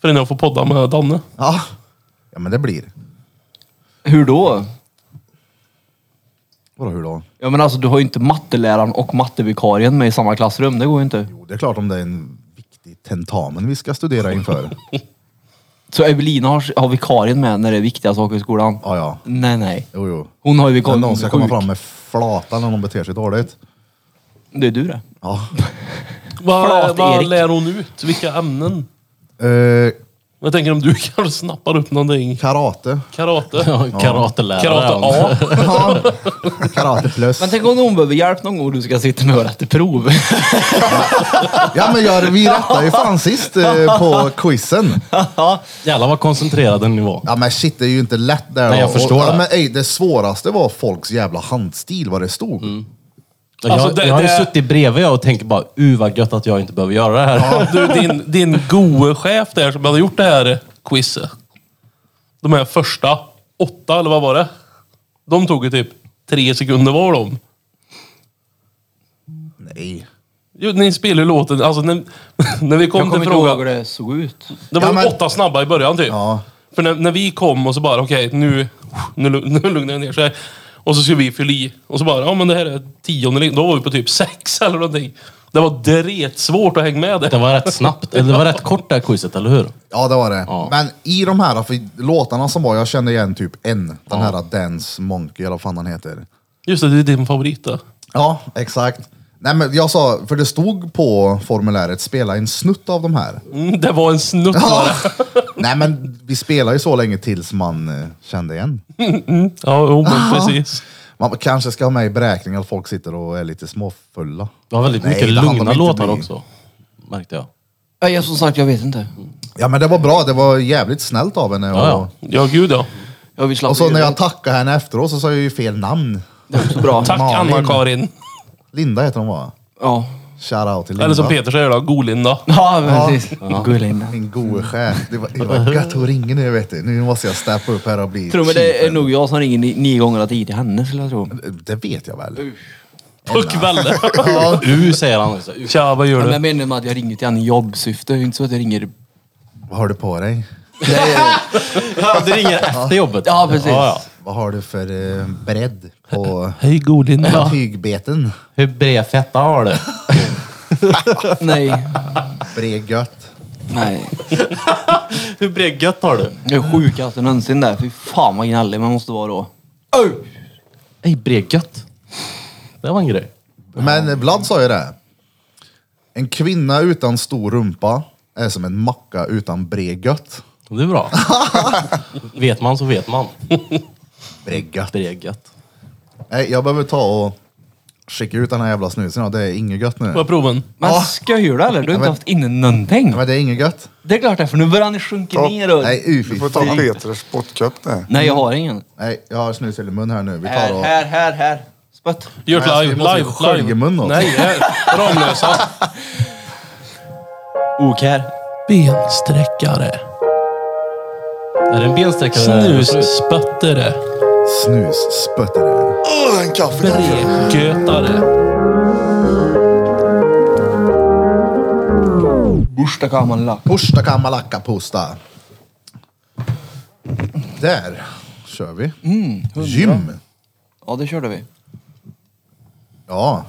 Förrän jag får podda med Danne.
Ja. ja, men det blir.
Hur då?
Vadå hur då?
Ja men alltså du har ju inte matteläraren och mattevikarien med i samma klassrum. Det går ju inte.
Jo, det är klart om det är en viktig tentamen vi ska studera inför.
Så Evelina har, har vikarien med när det är viktiga saker i skolan?
Ja, ja.
Nej nej.
Jo, jo.
Hon har ju
När
vikarien.
någon ska komma
sjuk.
fram med flatan när någon beter sig dåligt.
Det är du det.
Ja.
Vad,
Förlåt,
vad
Erik.
lär hon ut? Vilka ämnen?
Eh,
Jag tänker om du kanske snappar upp någonting.
karate.
Karate.
Ja, Karatelärare.
Karate
han.
A.
Ja. Karate plus.
Men tänk om hon behöver hjälp någon gång och du ska sitta med och rätta prov.
Ja men jag, vi rättade ju fan sist eh, på quizen.
Jävlar vad koncentrerad den nu var.
Ja men shit, det är ju inte lätt där.
Nej, jag
Och-
förstår
ja,
det.
men, ey, det svåraste var folks jävla handstil, vad det stod.
Mm.
Alltså,
jag,
det-
jag har ju
det-
suttit bredvid jag och tänkt bara, uh vad gött att jag inte behöver göra det här.
Du, din, din gode chef där som hade gjort det här quizet. De här första åtta, eller vad var det? De tog ju typ tre sekunder var de.
Nej.
Jo, ni spelade ju låten, alltså när, när vi kom
Jag kommer
till
inte ihåg hur
frågan.
det såg ut.
Det var
Ja,
ju
men-
åtta snabba i början typ.
Ja.
För när, när vi kom och så bara, okej nu, nu, lu- nu lugnar det ner sig. Och så skulle vi fylla i. Och så bara, ja men det här är tionde. Då var vi på typ sex eller någonting. Det var dretsvårt att hänga med
Det
det.
var rätt snabbt, eller det var rätt kort det här quizet, eller hur?
Ja det var det.
Ja.
Men i de här för låtarna som var, jag kände igen typ en. Den här Dance Monkey eller vad fan han heter.
Just det, det är din favorit då.
Ja, exakt. Nej men jag sa, för det stod på formuläret, spela en snutt av de här.
Mm, det var en snutt
Ja.
bara.
Nej men vi spelar ju så länge tills man eh, kände igen.
Ja, jo, men precis.
Man kanske ska ha med i beräkningen att folk sitter och är lite småfulla.
Det var väldigt
Nej,
mycket
det hann de
lugna
inte
låtar
bli.
också. Märkte jag.
Ja, jag, som sagt, jag vet inte.
Ja men det var bra, det var jävligt snällt av henne. Och,
Ja, ja.
Ja, gud ja.
Jag vill slappa
och så
i
när
det.
jag tackade henne efteråt så sa jag ju fel namn.
Det är så bra.
Tack
Malin.
Anna-Karin.
Linda heter hon va?
Ja.
Shoutout till Linda.
Eller som Peter säger då, Golinda.
Ja, men precis. Gullinda.
Min gode chef. Det var, det var gött att ringa nu vet du. Nu måste jag steppa upp här och bli
Tror du det är
chefen.
nog jag som ringer ni- nio gånger av tio till henne skulle jag tro.
Det vet jag väl.
På kvällen.
Ja.
U säger han också. U.
Tja, vad gör
Men
du?
jag menar med att jag ringer till henne i jobbsyfte. Det är inte så att jag ringer...
Vad har du på dig?
Ja, det ringer efter jobbet.
Ja, precis.
Vad har du för eh, bredd på
Hej Golinda.
tygbeten?
Hur bred fetta har du?
Nej.
Bred gött.
Nej.
Hur bred gött har du?
Jag är sjukast någonsin där. Fy fan vad gnällig man måste vara då.
Ej, bred gött. Det var en grej.
Men Vlad sa ju det. En kvinna utan stor rumpa är som en macka utan bred gött.
Det är bra. vet man så vet man.
Bred gött.
Bred gött.
Nej, jag behöver ta och skicka ut den här jävla snusen. Ja, det är inget gött nu.
Vad är proven?
Men
Ja.
skojar du eller? Du har inte
men-
haft inne någonting.
Men det är inget gött.
Det är klart det är, för nu börjar ni sjunka
Ja.
ner och...
Nej, uy, fy
Du får ta
fan.
Peters sportcup där.
Nej, jag har ingen.
Nej, jag har snus i mun här nu. Vi tar
Här,
Äh,
och...
här, här, här. Spött.
Gör
Nej, alltså,
live,
vi måste ju
live,
skölja
live.
mun åt.
Nej, eh, här. Ramlösa.
Ok här.
Bensträckare.
Är det en bensträckare?
Snusspöttare.
Snus spötter det.
Åh, en kaffe, kaffe.
Bregötare.
Borsta kameran lack.
Pusta kamalacka pusta. Där kör vi.
Mm,
Gym.
Ja, det körde vi.
Ja.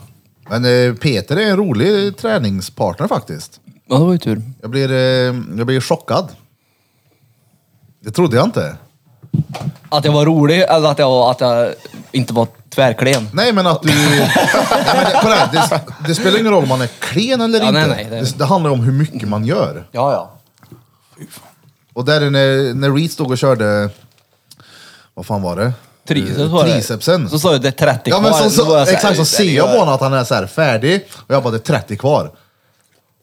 Men eh, Peter är en rolig träningspartner faktiskt.
Ja, det var ju tur.
Jag blir, eh, jag blir chockad. Det trodde jag inte.
Att jag var rolig eller att jag, att jag inte var tvärklen.
Nej men att du... nej, men det, kolla här, det, det spelar ingen roll om man är klen eller
Ja,
inte.
nej, nej, det-
det, det handlar om hur mycket man gör.
Ja, ja.
Och där är när, när Reed stod och körde, Vad fan var det?
Triceps
Eh,
var det.
Tricepsen.
Så sa jag det är 30
Ja men
kvar.
så,
Då var
så,
jag så här,
exakt, så
"Är det
ser jag
gör?"
på honom att han är så här färdig. Och jag bara, det är 30 kvar.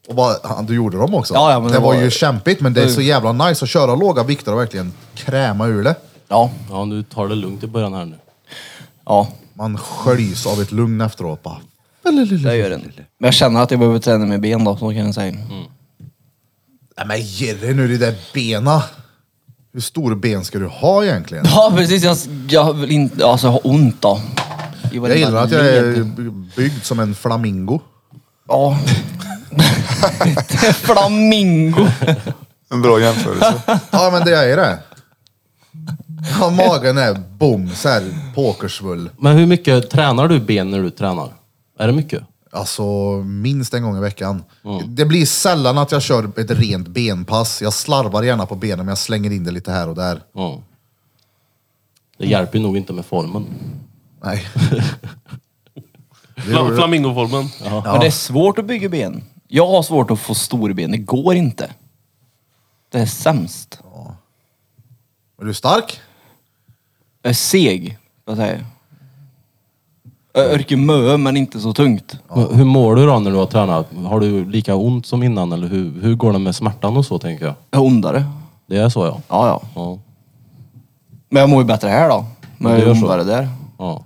Och bara, han, du gjorde dem också.
Ja, ja, men
det,
det
var
var-
ju kämpigt, men det är så jävla nice att köra låga vikter och verkligen kräma ur det.
Ja,
Ja, du tar det lugnt i början här nu.
ja.
Man sköljs av ett lugn efteråt bara.
Det gör den. Men jag känner att jag behöver träna med ben då, så kan jag säga.
Mm. Nej men ge dig nu, det där bena. Hur stora ben ska du ha egentligen?
Ja precis, jag, jag vill inte, alltså jag har ont då. I
Jag
varenda
gillar att jag
led.
är byggd som en flamingo.
Ja. Flamingo.
En bra jämförelse.
Ja men det är det. Ja, magen är bom, så här pokersvull.
Men hur mycket tränar du ben när du tränar? Är det mycket?
Alltså minst en gång i veckan. Det blir sällan att jag kör ett rent benpass. Jag slarvar gärna på benen men jag slänger in det lite här och där.
Ja. Det hjälper ju nog inte med formen.
Nej.
Flam- Flamingoformen.
Men det är svårt att bygga ben. Jag har svårt att få stora ben, det går inte. Det är sämst.
Är du stark?
Jag är seg, vad säger jag. Jag orkar mö men inte så tungt.
Men Hur mår du då när du har tränat? Har du lika ont som innan eller hur, hur går det med smärtan och så tänker jag?
Jag är ondare.
Det är så ja.
Ja, ja.
Ja.
Men jag mår ju bättre här då. Men
Ja, det
jag är
gör så.
ondare där.
ja.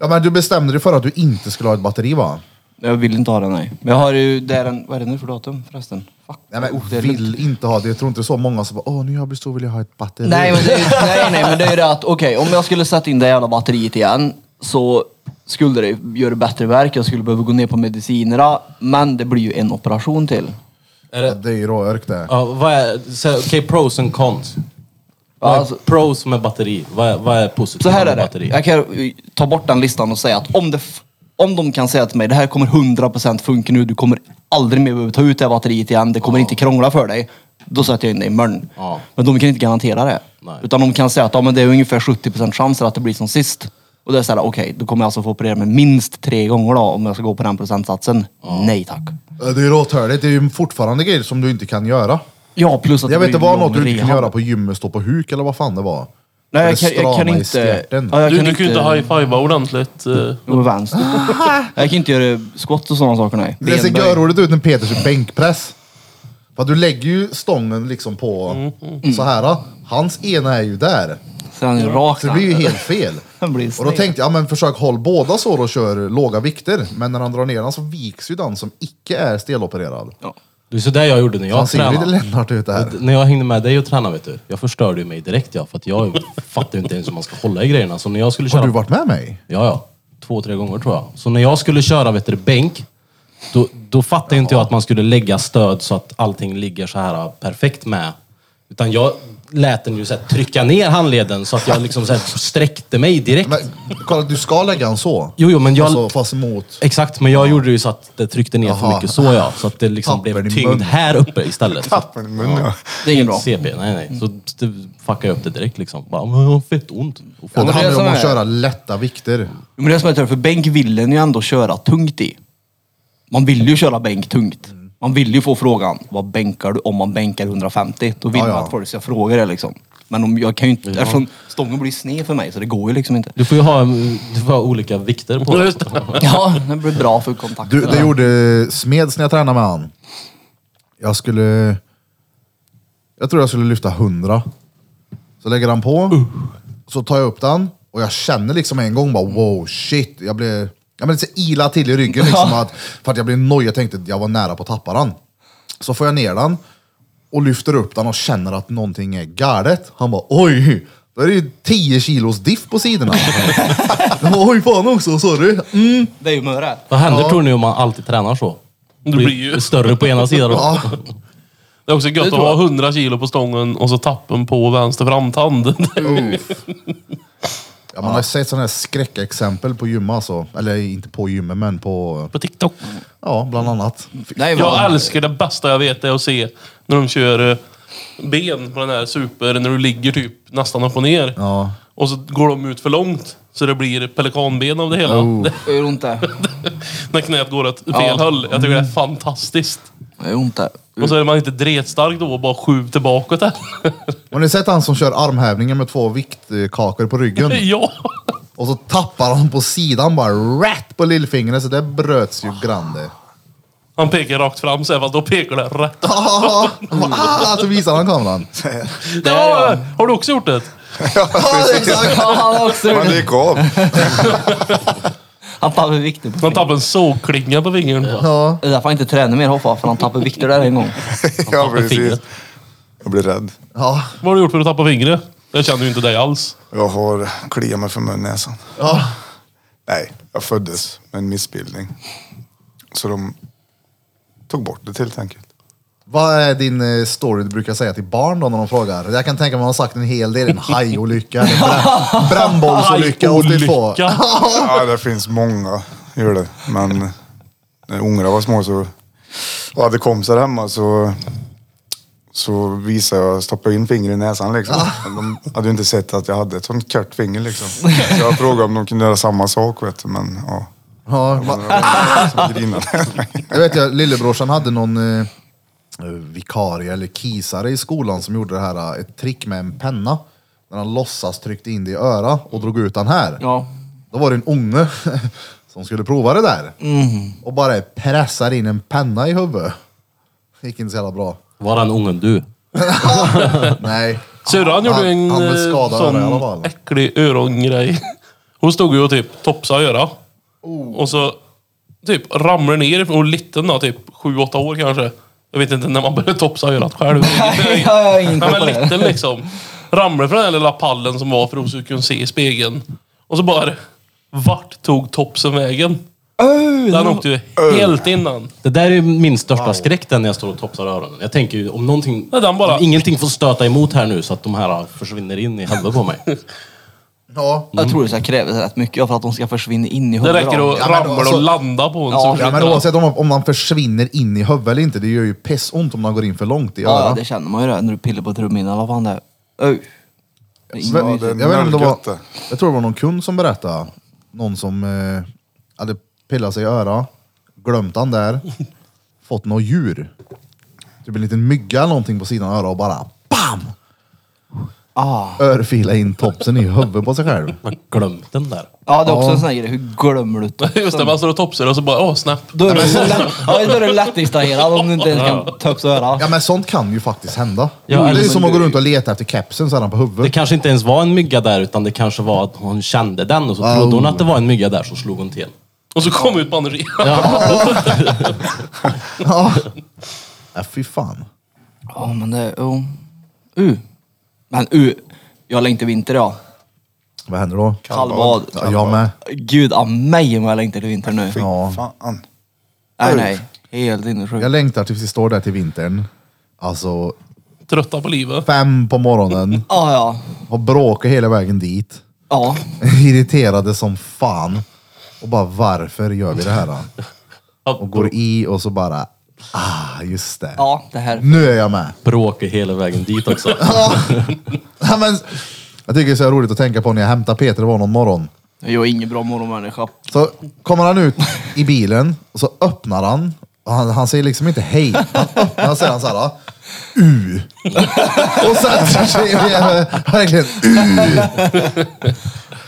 Ja men du bestämde dig för att du inte skulle ha ett batteri va?
Jag vill inte ha den nej. Men jag har ju, det är en, vad är det nu för datum förresten? Fuck.
Nej men
Oh, det är lugnt.
vill inte ha det. Jag tror inte det är så många som bara åh nu har jag blivit stor vill jag ha ett batteri.
Nej, men det är, ju- nej, nej, men det är ju det att okej, om jag skulle sätta in det jävla batteriet igen så skulle det göra bättre verk. Jag skulle behöva gå ner på medicinerna. Men det blir ju en operation till.
Är
Ja,
det,
det är ju råörk det.
ja, vad är, så- okej, pros and cons. Vad är
Alltså,
pros med batteri? Vad är, vad är positivt
så här
med
är det.
batteri?
Jag kan eh, ta bort den listan och säga att om, det f- om de kan säga till mig det här kommer 100% funka nu. Du kommer aldrig mer behöva ta ut det här batteriet igen. Det kommer inte krångla för dig. Då sätter jag in det imorgon.
Ja.
Men de kan inte garantera det.
Nej.
Utan de kan säga att ja, men det är ungefär 70% chanser att det blir som sist. Och det är såhär, okej, då kommer jag alltså få operera mig minst tre gånger då om jag ska gå på den procentsatsen. Nej tack.
Ja, Det är råtörligt. Det är ju fortfarande grejer som du inte kan göra.
Ja, plus att
Jag vet inte
blir
vad
lång
något du inte kan
rehab.
göra på gymmet, stå på huk eller vad fan det var.
Nej,
Eller
jag kan, jag kan
strama i
inte...
stjärten.
Ja, jag
Du,
kan
du kan ju inte high-fivea ordentligt. eh.
Jo, med vänster. jag kan inte göra squat och sådana saker nej.
Det ser
Benböj.
görroligt ut när Peter kör bänkpress. För att du lägger ju stången liksom på
Mm.
så här. Hans ena är ju där.
Så han är rak.
Så det blir ju helt fel.
Han blir
Och då
sned.
tänkte jag, ja, men försök håll båda så och kör låga vikter. Men när han drar ner den så viks ju den som icke är stelopererad.
Det är sådär jag gjorde när
Han
jag
ser ju lite
tränade.
Lennart ut det här.
D- När jag hängde med dig och tränade vet du, jag förstörde ju mig direkt ja, för att jag fattar ju inte ens hur man ska hålla i grejerna. Så när jag skulle
Har
köra
du varit med mig?
Ja, ja. Två, tre gånger tror jag. Så när jag skulle köra vet du, bänk, då, då fattade inte jag att man skulle lägga stöd så att allting ligger så här äh, perfekt med. Utan jag lät den ju så här, trycka ner handleden så att jag liksom så här, sträckte mig direkt.
Men kolla, du ska lägga en så.
Jo, jo, men jag-
Alltså, fast emot.
Exakt, men jag gjorde ju så att det tryckte ner för
Jaha.
mycket så ja. Så att det liksom
Tappen i
blev
mun.
tyngd här uppe istället. Så
Tappen i munnen. Ja.
Det är inget bra.
CP, nej nej.
Mm.
Så det fuckade jag upp det direkt liksom. Bara, men jag har fett ont. Och
Ja, det
men
fan,
det är
handlar
så
om att
här.
köra lätta vikter.
Men det är som jag tror, för bänk vill en ju ändå köra tungt i. Man vill ju köra bänk tungt. Man vill ju få frågan, vad bänkar du om man bänkar 150? Då vill
Ja, ja.
man att folk ska fråga det liksom. Men om jag kan ju inte, eftersom stången blir sned för mig så det går ju liksom inte.
Du får ju ha, du får ha olika vikter på
Just
dig.
det.
Ja, det blir bra för kontakten.
Du, det gjorde Smeds när jag tränade med han. Jag skulle... Jag tror jag skulle lyfta 100. Så lägger han på, så tar jag upp den och jag känner liksom en gång bara wow shit. Jag blev jag blev lite så ila till i ryggen liksom, att, för att jag blev nöjd. Jag tänkte att jag var nära på att tappa den. Så får jag ner den och lyfter upp den och känner att någonting är galet. Han bara oj, då är det ju 10 kilos diff på sidorna. Jag bara, oj fan också, sorry. Mm.
Det är ju möret.
Vad händer tror ni om man alltid tränar så?
Det blir ju-
större på ena sidan. då.
Ja.
Det är också gött att ha 100 kilo på stången och så tappen på vänster framtand.
Mm. Ja, man har ju sett sådana här skräckexempel på gym alltså. Eller inte på gymmet, men på...
på TikTok.
Ja, bland annat.
Nej,
Jag
vad-
älskar det bästa jag vet är att se när de kör eh, ben på den här super, när du ligger typ nästan upp och ner.
Ja.
Och så går de ut för långt. Så det blir pelikanben av det hela. Det,
det gör ont det.
när knät går åt fel
Ja. Mm.
håll. Jag tycker det är fantastiskt.
Det gör ont det.
Och så är man inte dretstark då och bara skjuter tillbaka det.
Har ni sett han som kör armhävningar med två viktkakor på ryggen?
ja!
Och så tappar han på sidan bara rätt på lillfingret så det bröts ju grande.
Han pekar rakt fram så här, fast då pekar det rätt.
Ah, han bara, ah, så visar han kameran.
Ja, har du också gjort det?
Ja, exakt.
Han har också
Man gick av.
Han tappar vikter på
Man
fingret.
tappar en sågklinga på fingern.
Ja.
Det är därför han inte tränar mer hoppa, för han tappar vikter där en gång.
ja,
tappade
precis.
fingret.
Jag blir rädd.
Ja.
Vad har du gjort för att tappa fingret? Jag känner ju inte dig alls.
Jag har kliat mig för mun näsan.
ja.
Nej, jag föddes med en missbildning. Så de tog bort det helt enkelt.
Vad är din eh, story du brukar säga till barn då när de frågar? Jag kan tänka mig att man har sagt en hel del. En hajolycka, en brän- brännbollsolycka. och det får-
Hajolycka.
Ja, det finns många. Gör det. Men när ungarna var små så och hade kompisar hemma så, så visade jag, stoppade in fingret i näsan liksom. De hade ju inte sett att jag hade ett sånt kort finger liksom. Så jag frågade om de kunde göra samma sak vet du, men ja.
Ja, va-
Så grinade
Jag vet jag, lillebrorsan hade någon eh, vikarie eller kisare i skolan som gjorde det här, eh, ett trick med en penna. När han låtsas tryckte in det i öra och drog ut den här.
Ja.
Då var det en unge som skulle prova det där.
Mm.
Och bara pressar in en penna i huvudet. Det gick inte så jävla bra.
Var han ungen du?
Nej.
Syrran gjorde
Han-
en
han blev
eh,
skadad i alla
sån
fall.
äcklig örongrej. Hon stod ju och typ topsade öra.
Oh.
Och så typ ramlade ner och liten då, typ 7-8 år kanske. Jag vet inte när man började topsa örat själv.
Nej, jag har ingen
Nej,
koll på
men
det.
liten liksom. Ramlade från den här lilla pallen som var för att hon skulle kunna se i spegeln. Och så bara, vart tog topsen vägen? Den åkte ju helt innan.
Det där är ju min största skräck den när jag står och topsar öronen. Jag tänker ju om någonting...
Ja, den bara-
Om ingenting får stöta emot här nu så att de här försvinner in i huvudet på mig.
Ja.
Jag tror det så här krävs rätt mycket ja, för att de ska försvinna in i
Det
huvudet.
räcker att
Ja, men då,
ramla och
alltså-
landa på en.
Ja,
så
Ja, men
försvinner den.
oavsett om man, om man försvinner in i huvudet eller inte, det gör ju pissont om man går in för långt i
Ja,
örat.
det känner man ju det när du pillar på trumhinnan. Vad fan det är. Öj. Det är ingen-
Men,
Ja, det är
jag, vet inte om det var,
nölgötte.
jag tror det var någon kund som berättade. Någon som eh, hade pillat sig i öra, glömt han där, fått något djur. Typ en liten mygga eller någonting på sidan av örat och bara BAM!
Ah.
Örfila in topsen i huvudet på sig själv.
Man glömt den där.
Ja, det är också en sån här grej. Hur glömmer du topsen?
Just det, man står och topsar och så bara, åh snap.
Då är du, lätt, ja, då är du lättdistraherad om du inte ens kan topsa öra.
Ja men sånt kan ju faktiskt hända.
Ja,
det är
eller
ju
som
som att gå
du-
runt och leta efter kepsen sedan på
Det
huvudet.
kanske inte ens var en mygga där utan det kanske var att hon kände den och så trodde hon att det var en mygga där så slog hon till.
Och så kom ut på andra sidan.
Ja. ja, fy fan.
Ja, men det... Oh. U. Men U. Jag längtar vinter ja.
Vad händer då?
Kallbad.
Ja, jag med.
Gud av mig om jag längtar till vinter nu.
Ja.
Fan.
Nej, nej. Helt sinnessjukt.
Jag längtar tills vi står där till vintern. Alltså,
Trötta på livet.
fem på morgonen.
Ja, ja.
Har bråkat hela vägen dit.
Ja.
Irriterade som fan. Och bara varför gör vi det här? då? Och går i och så bara, ah just det.
Ja, det här.
Nu är jag med.
Bråkade hela vägen dit också.
Ja, men, jag tycker det är så roligt att tänka på när jag hämtar Peter, det var någon morgon.
Jag är ingen bra morgonmänniska.
Så kommer han ut i bilen och så öppnar han. Och han, han säger liksom inte hej. Han öppnar och säger han så här. U. Och sätter sig bredvid. Verkligen U.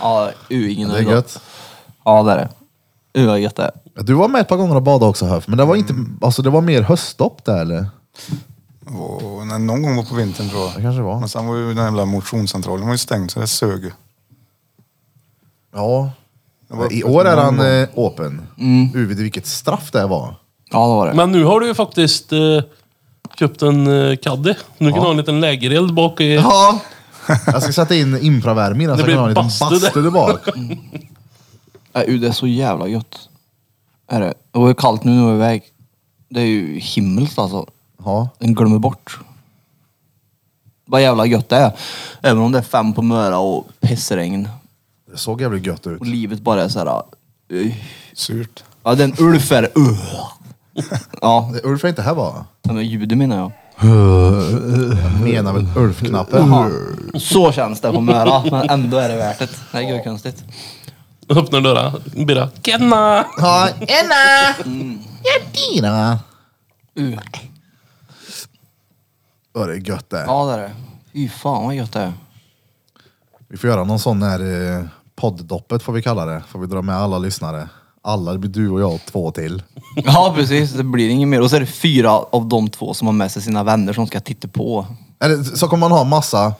Ja, U ingen
Det är gött.
Ja, det är det. U är gött det.
Du var med ett par gånger och badade också Höf, men det var, inte,
Mm.
alltså, det var mer höstdopp där eller?
Och, nej, någon gång var på vintern tror jag.
Det kanske det var.
Men sen var ju den jävla motionscentralen var ju stängd så det sög ju.
Ja.
Det var-
I år är han eh, open.
Mm.
U, vet du vilket straff det var?
Ja, det var det.
Men nu har du ju faktiskt eh, köpt en eh, Caddy. Nu kan du ha en liten lägereld bak i...
Ja. Jag ska sätta in infravärme i den så
Det
jag kan ha en
blir
liten
bastu där.
bastu där bak.
Nej, Äh, U, det är så jävla gött. Är det. Det var ju kallt nu när jag var iväg. Det är ju himmelskt alltså.
Ja.
Den glömmer bort. Vad jävla gött det är. Även om det är fem på Möra och pissregn.
Det såg jävligt gött ut.
Och livet bara är såhär... Uh,
Surt.
ja, den Ulf är... Uh. Ja,
Ulf är inte här va?
men ljudet menar jag.
Menar väl Ulf-knappen?
Ja, så känns det på Möra, men ändå är det värt det. Det är konstigt.
Öppnar dörren. Bira. Kenna!
Ja, Enna! Ja, Dina! Ja, det är gött det.
Ja, det är det. Fy fan vad gött det är.
Vi får göra någon sån här eh, podd-doppet får vi kalla det. Får vi dra med alla lyssnare. Alla, det blir du och jag och två till.
Ja, precis. Det blir inget mer. Och så är det fyra av de två som har med sig sina vänner som ska titta på.
Eller så kommer man ha massa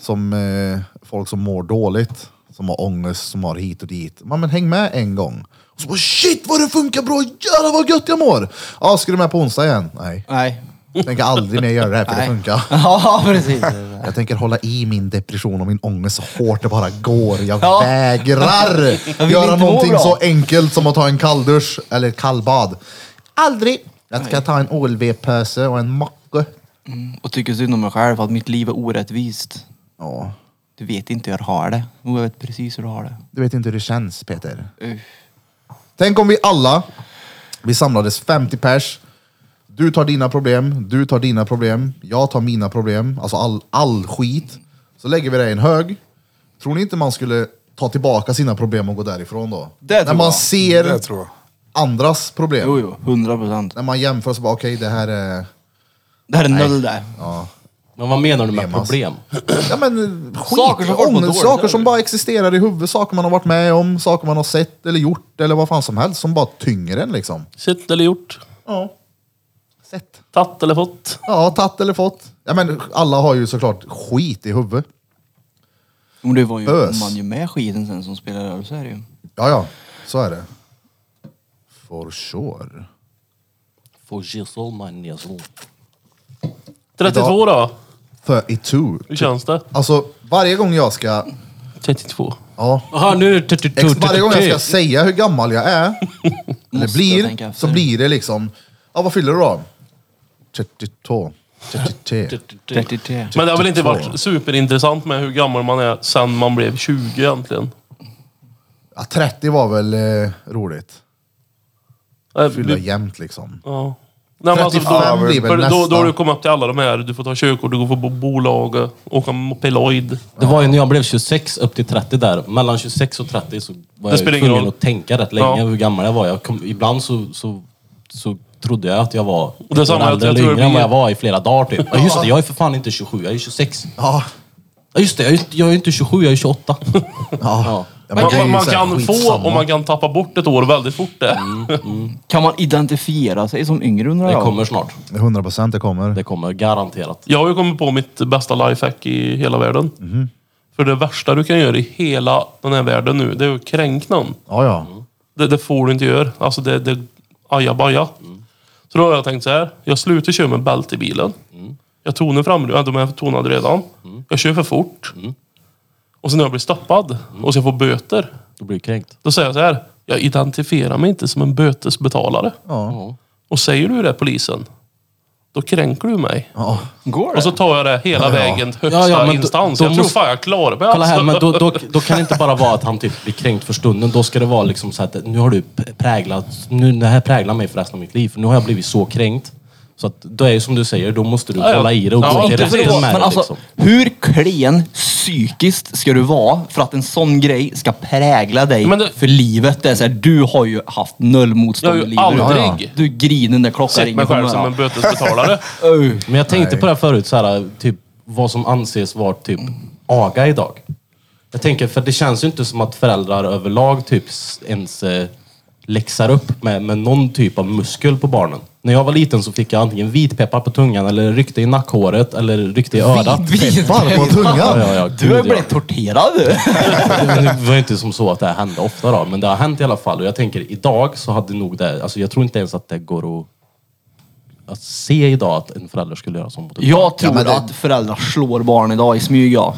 som eh, folk som mår dåligt, som har ångest, som har hit och dit. Man, men häng med en gång. Och så bara shit vad det funkar bra, jävlar vad gött jag mår! Ja, ska du med på onsdag igen? Nej.
Nej.
Jag tänker aldrig mer göra det här för det
Nej.
funkar.
Ja, precis.
Jag tänker hålla i min depression och min ångest så hårt det bara går. Jag
Ja.
vägrar
vill
göra
inte må
någonting
bra.
så enkelt som att ta en kalldusch eller ett kallbad. Aldrig! Jag ska ta en OLV-pöse och en macka.
Och tycker synd om mig själv för att mitt liv är orättvist.
Ja,
Du vet inte hur jag har det. Jo, jag vet precis hur du har det.
du vet inte hur det känns Peter.
Uff.
Tänk om vi alla, vi samlades 50 pers. Du tar dina problem, du tar dina problem, jag tar mina problem. Alltså all, all skit. Så lägger vi det i en hög. Tror ni inte man skulle ta tillbaka sina problem och gå därifrån då?
Det tror
När man
jag.
ser
Det tror jag.
andras problem.
Jo, jo. Hundra procent.
När man jämför så bara, okej det här är...
Det här är noll det.
Ja.
Men vad menar du med
Lemas.
problem?
Ja men skit,
Saker som folk mår
ångest,
dåligt
saker
över.
som bara existerar i huvudet, saker man har varit med om, saker man har sett eller gjort eller vad fan som helst som bara tynger en liksom.
Sett eller gjort.
Ja. Sett.
Tatt eller fått.
Ja, tatt eller fått. Ja, men alla har ju såklart skit i huvudet.
Men det var ju
Ös.
man ju med skiten sen som spelar öl, så är det ju.
Ja, ja, så är det. For sure.
For Jesus man, yes, Lord.
32 då?
32.
Hur känns det?
Alltså, varje gång jag ska...
32.
Ja,
Jaha, nu är det
ex, varje gång jag ska säga hur gammal jag är, eller
Måste jag tänka
blir,
efter.
så blir det liksom... Ja, vad fyller du då? 32. 33.
33.
Men det har väl inte
32.
varit superintressant med hur gammal man är sen man blev 20 egentligen?
Ja, 30 var väl eh, roligt.
Äh,
Fylla
du-
jämnt liksom.
Ja. Nej, men alltså, då,
35 blir väl
för då, då
nästa.
har du kommit upp till alla de här. Du får ta körkort, du får på bolaget, åka mopeloid.
Det var ju när jag blev 26 upp till 30 där. Mellan 26 och 30 så var jag
spelar
ju
ingen
tvungen
roll.
att tänka rätt länge
Ja.
hur gammal jag var. Jag kom, ibland så, så, så trodde jag att jag var
det är samma, jag
äldre
tror
eller
det
yngre än
blir-
vad jag var i flera dagar typ. Ja just det, jag är för fan inte 27, jag är 26.
Ja,
Ja just det, jag är, jag är inte 27, jag är 28.
ja. ja
Man,
det är
man,
ju
man
så här
kan få
skitsamma. Mm.
och man kan tappa bort ett år väldigt fort det.
Kan man identifiera sig som yngre undrar
Det
jag?
kommer snart.
100 procent, det kommer.
Det kommer garanterat.
Jag har ju kommit på mitt bästa lifehack i hela världen.
Mhm.
För det värsta du kan göra i hela den här världen nu, det är att kränka någon.
Ja, ja.
Det, det får du inte göra. Alltså det, det ajabaja. Så då har jag tänkt så här. Jag slutar köra med bälte i bilen. Jag tonar fram, ja, de är tonade redan. Jag kör för fort. Och sen när jag blir stoppad och så jag får böter.
Då blir du kränkt.
Då säger jag så här. Jag identifierar mig inte som en bötesbetalare.
Ja.
Och säger du det polisen, då kränker du mig.
ja.
Går
Och så tar jag det hela vägen till högsta
Ja, ja, men då-
instans.
då
jag tror
måste-
fan jag klarar mig.
Kolla här,
alltså.
men då, då, då kan det inte bara vara att han typ blir kränkt för stunden. Då ska det vara liksom så att nu har du p- präglat, nu det här präglar mig för resten av mitt liv. För nu har jag blivit så kränkt. Så att då är det som du säger, då måste du
Ja, ja.
hålla i det och
Ja,
gå till
precis.
rätten med
Men
det
alltså,
liksom.
hur klen psykiskt ska du vara för att en sån grej ska prägla dig
Men det-
för livet? Det är så här, du har ju haft noll motstånd
Jag har ju
i livet.
aldrig-
Du griner när klockan
Sett
ringer
mig
på
själv som en
morgonen.
bötesbetalare.
Öh,
Men jag tänkte på det här förut, så här, typ, vad som anses vara typ aga idag. Jag tänker, för det känns ju inte som att föräldrar överlag typ s- ens eh, läxar upp med, med någon typ av muskel på barnen. När jag var liten så fick jag antingen vitpeppar på tungan eller ryckte i nackhåret eller ryckte i örat.
Peppar på
Ja,
tungan.
Du
ja, ja,
har ju
gud, ja.
blivit torterad du.
Det var ju inte som så att det här hände ofta då, men det har hänt i alla fall. Och jag tänker idag så hade nog det, alltså jag tror inte ens att det går att, att se idag att en förälder skulle göra sånt mot ett barn.
Jag tror
men det-
att föräldrar slår barn idag i smyg ja.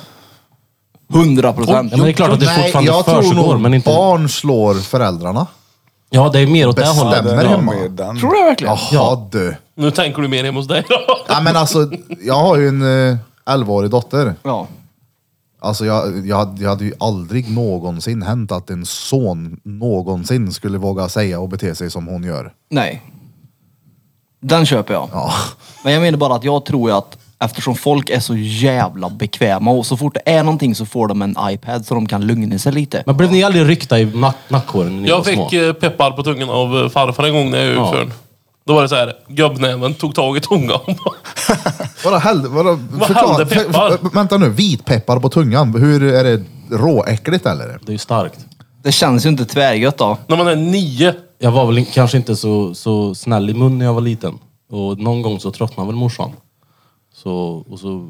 100 procent.
Ja, men det är klart att det fortfarande
jag tror
försiggår,
nog
men inte...
barn slår föräldrarna.
Ja, det är mer åt det
Bestämmer.
hållet.
Stämmer
Den har
hemma.
med den.
Tror du det verkligen?
Jaha
Ja.
du.
Nu tänker du mer hemma hos dig då.
Ja, men alltså, jag har ju en eh, 11-årig dotter.
Ja.
Alltså, jag, jag, hade- jag hade ju aldrig någonsin hänt att en son någonsin skulle våga säga och bete sig som hon gör.
Nej. Den köper jag.
Ja,
Men jag menar bara att jag tror ju att eftersom folk är så jävla bekväma och så fort det är någonting så får de en iPad så de kan lugna sig lite.
Men blev ni aldrig ryckta i nack nackhåren när ni var
Jag
små?
fick eh, peppar på tungan av eh, farfar en gång när jag var
Ja.
utförd. Då var det så här, gubbnäven tog tag i tungan.
Vadå, häll, vadå, förklara,
hällde peppar?
för- för- vänta nu, vitpeppar på tungan. Hur är det råäckligt eller?
Det är ju starkt.
Det känns ju inte tvärgött då.
När man är nio.
Jag var väl in- kanske inte så, så snäll i mun när jag var liten. Och någon gång så tröttnade väl morsan. Så, och så,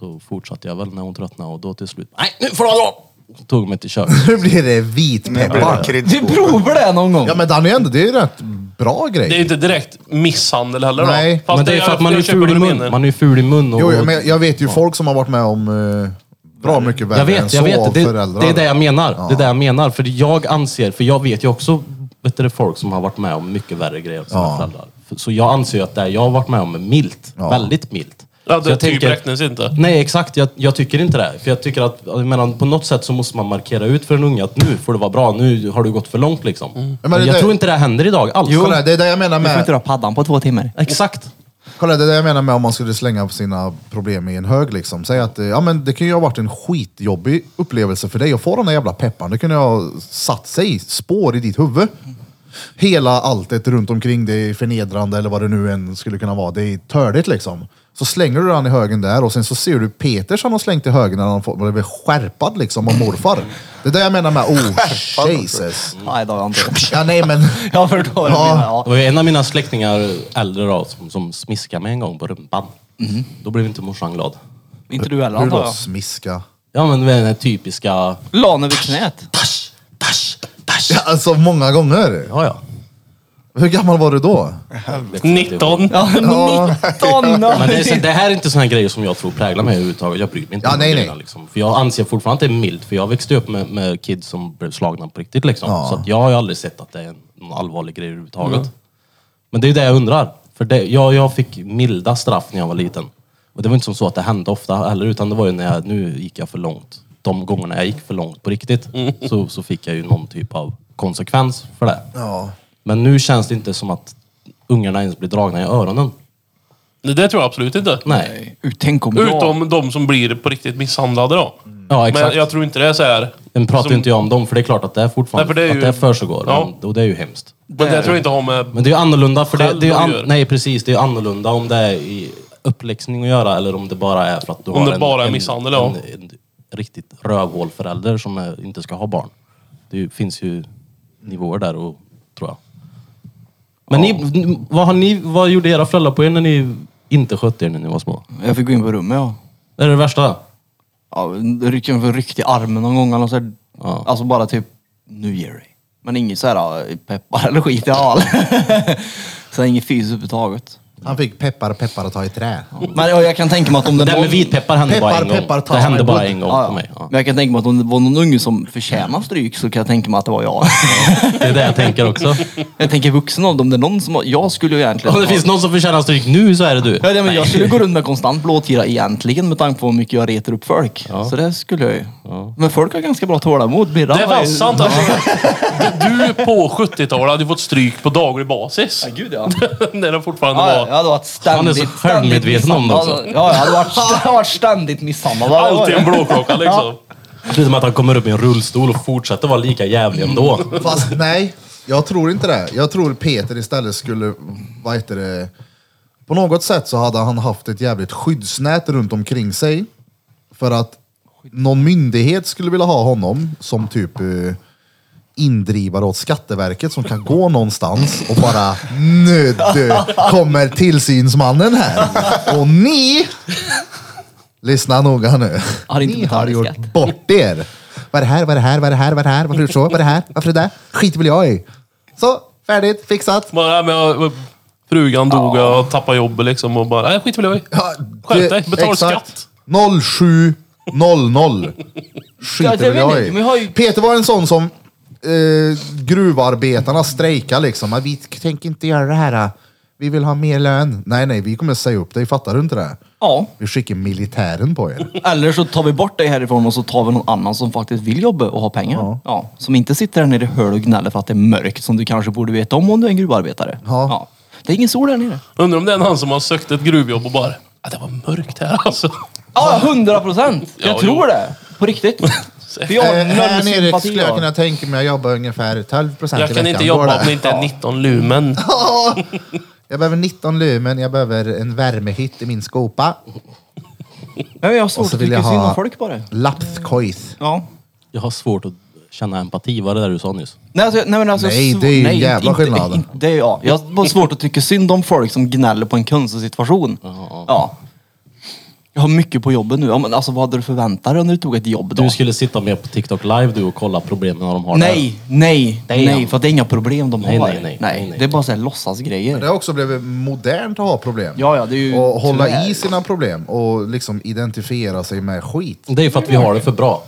så fortsatte jag väl när hon tröttnade och då till slut, nej nu får du dra! Så tog hon mig till köket.
Hur blir det
Det blir bara
vitpeppar?
Vi
kryddskåp.
provar det någon gång.
Ja men Danny ändå, det är ju rätt bra grej.
Det är ju inte direkt misshandel heller
Nej.
då. Fast
Men det är för
jag-
att man är
jag
ju
köper
ful i
vad du
mun.
menar.
Man är ju ful i mun. Och,
Jo, jag, men jag vet ju folk som har varit med om eh, bra mycket värre
jag
än
vet,
så
jag vet.
av
Det,
föräldrar.
det är det jag menar. Det är det jag menar. För jag anser, för jag vet ju också vet du, folk som har varit med om mycket värre grejer än sina
Ja.
föräldrar. För- Så jag anser ju att det jag har varit med om är milt.
Ja.
Väldigt milt.
Ja,
Så
det
jag
typ
tänker-
räknas inte.
Nej, exakt. Jag, jag tycker inte det. För jag tycker att, jag menar, på något sätt så måste man markera ut för en unge att nu får det vara bra. Nu har du gått för långt liksom.
Mm.
Ja, men
Men
det
jag
där-
tror inte det händer idag alls.
Kolla, här, det är det jag menar
Du får inte
med,
dra paddan på två timmar.
Exakt.
kolla, det är det jag menar med om man skulle slänga sina problem i en hög liksom. Säg att eh, ja, men det kan ju ha varit en skitjobbig upplevelse för dig att få den där jävla pepparn. Det kunde ju ha satt sig spår i ditt huvud. Hela alltet runt omkring det är förnedrande eller vad det nu än skulle kunna vara. Det är tördigt liksom. Så slänger du den i högen där och sen så ser du Peter som har slängt i högen när han får- blev skärpad liksom av morfar. Det är det jag menar med oh Jesus.
Nej, det har jag inte.
Ja, nej men.
Jag förstår. vad du
Ja.
menar, Ja.
Det var ju en av mina släktingar, äldre då, som, som smiskade mig en gång på rumpan.
Mhm.
Då blev inte morsan glad.
Inte du heller
Hur
antar
då?
jag.
Smiska.
Ja men den här typiska...
Lan över knät.
Ja, alltså många gånger.
Ja ja.
Hur gammal var du då?
19.
Ja, 19!
Men det, är, så- det här är inte såna här grejer som jag tror präglar mig överhuvudtaget. Jag bryr mig inte
Ja,
om
nej,
de
nej.
grejerna, Liksom. För jag anser fortfarande att det är milt. För jag växte upp med, med kids som blev slagna på riktigt. Liksom.
Ja.
Så att jag har ju aldrig sett att det är någon allvarlig grej överhuvudtaget. Men det är ju det jag undrar. För det, jag, jag fick milda straff när jag var liten. Och det var inte som så att det hände ofta heller. Utan det var ju när jag, nu gick jag för långt. De gångerna jag gick för långt på riktigt. Så, så fick jag ju någon typ av konsekvens för det.
Mm. Ja.
Men nu känns det inte som att ungarna ens blir dragna i öronen.
Det, det tror jag absolut inte.
Nej.
Tänk om jag...
Utom de som blir på riktigt misshandlade då.
Ja, exakt.
Men jag tror inte det är så här.
Den pratar
som-
ju inte jag om dem, för det är klart att det är
Nej,
fortfarande
för det är
att
ju-
det försiggår.
Ja.
men- Och det är ju hemskt.
Men det tror jag inte har med...
Men det är ju annorlunda, för det,
Själv
det är ju
de
an...
gör.
Nej precis, det är ju annorlunda om det är i uppläxning att göra eller om det bara är för att du
Om
har
det
en,
bara är
en,
misshandel,
en,
ja.
en, riktigt rövhålförälder som är, inte ska ha barn. Det är ju- finns ju nivåer där, och, tror jag. Men ni, vad, har ni, vad gjorde era föräldrar på er när ni inte skötte er när ni var små?
jag fick gå in på rummet ja.
Det är det värsta.
ja ryckte jag ryckte i armen någon gång. Eller så här.
Ja.
Alltså bara typ, nu ger du dig. Men inget så här äh, peppar eller skit i all. så inget fys överhuvudtaget.
Han fick peppar, peppar och ta i trä.
Men ja, jag kan tänka mig att om det
Det där
var...
med vitpeppar hände bara en
Peppar,
gång.
peppar, ta
det hände
mig
bara
blod.
en gång
Ja,
för
ja.
mig. Ja.
Men jag kan tänka mig att om det var någon unge som förtjänar stryk så kan jag tänka mig att det var jag.
Det är det jag tänker också.
jag tänker vuxen av dem, det är någon som har... Jag skulle ju egentligen...
Om det finns någon som förtjänar stryk nu så är det du.
Ja, nej, men jag skulle gå runt med konstant blåtira egentligen med tanke på hur mycket jag retar upp folk. Så det skulle jag ju. Men folk har ganska bra tålamod. Birra
Det är
var ju-
fan sant alltså. Du på 70-talet hade ju fått stryk på daglig basis.
Ja, gud ja.
När det fortfarande
Ja,
var...
ja, jag hade varit ständigt...
Han är så
ständigt
självmedveten
misshandlad.
om det också.
Ja, jag hade varit, jag hade varit ständigt misshandlad. Vad var
Alltid
det?
en blåklocka liksom.
Precis som att han kommer upp i en rullstol och fortsätter vara lika jävlig
Mm.
ändå.
Fast nej, jag tror inte det. Jag tror Peter istället skulle, vad heter det, på något sätt så hade han haft ett jävligt skyddsnät runt omkring sig. För att någon myndighet skulle vilja ha honom som typ eh, indrivare åt Skatteverket som kan gå någonstans och bara nu du, kommer tillsynsmannen här. Och ni, lyssna noga nu.
Har inte
ni har
betalat
gjort
skatt.
bort er. Vad är det här, vad är det här, vad är det här, vad är det här, varför är det så, vad är det här, varför är det där? Skit vill jag i. Så, färdigt, fixat.
Bara, nej, men jag, frugan dog och jag tappade jobbet liksom och bara, nej skit väl jag i.
Ja,
Skärp dig, betala skatt.
07.00.
Ja,
Skiter
det
väl
vet
jag
jag inte, men jag har ju-
i. Peter var en sån som eh, gruvarbetarna strejkade liksom. "Ah, Vi tänker inte göra det här. ah. Vi vill ha mer lön. Nej, nej, vi kommer säga upp dig. Fattar du inte det?
Ja.
Vi skickar militären på er.
Eller så tar vi bort dig härifrån och så tar vi någon annan som faktiskt vill jobba och ha pengar. Ja. Som inte sitter där nere i höl och gnäller för att det är mörkt som du kanske borde veta om om du är en gruvarbetare.
Ja.
Det är ingen sol där nere.
Undrar om det är någon som har sökt ett gruvjobb och bara, ah, det var mörkt här alltså.
Ja, hundra procent! Jag
Ja,
tror det. På riktigt. För jag har
Eh, här
noll
nere
sympati.
skulle jag
jag.
kunna tänka mig att jobba ungefär 12 procent i
Jag
veckan.
kan inte
Går
jobba
det?
om det inte är 19 lumen.
Jag behöver 19 lumen, jag behöver en värmehytt i min skopa.
Nej, jag har
Och
svårt
så
att
Alltså, vill
tycka
jag
synd om
ha
folk bara.
lapskojs.
Ja.
Jag har svårt att känna empati. Vad är det där du sa nyss?
Nej, alltså, nej, men alltså,
Nej,
sv-
det är ju
nej,
jävla
inte-
skillnad.
Inte, det är jag. Jag har bara svårt att tycka synd om folk som gnäller på en konstig situation. Ja. Jag har mycket på jobbet nu. Ja, men alltså, vad hade du förväntat dig när du tog ett jobb då?
Du skulle sitta med på TikTok live du och kolla problemen de har
Nej, nej,
Damn.
nej. För att det är inga problem de
Nej,
har.
nej, nej, nej, nej.
Det är bara så här låtsasgrejer.
Det har också blivit modernt att ha problem.
Ja, ja, det är ju
och hålla
tyvärr.
i sina problem och liksom identifiera sig med skit.
där. Det är ju för att vi har det för bra.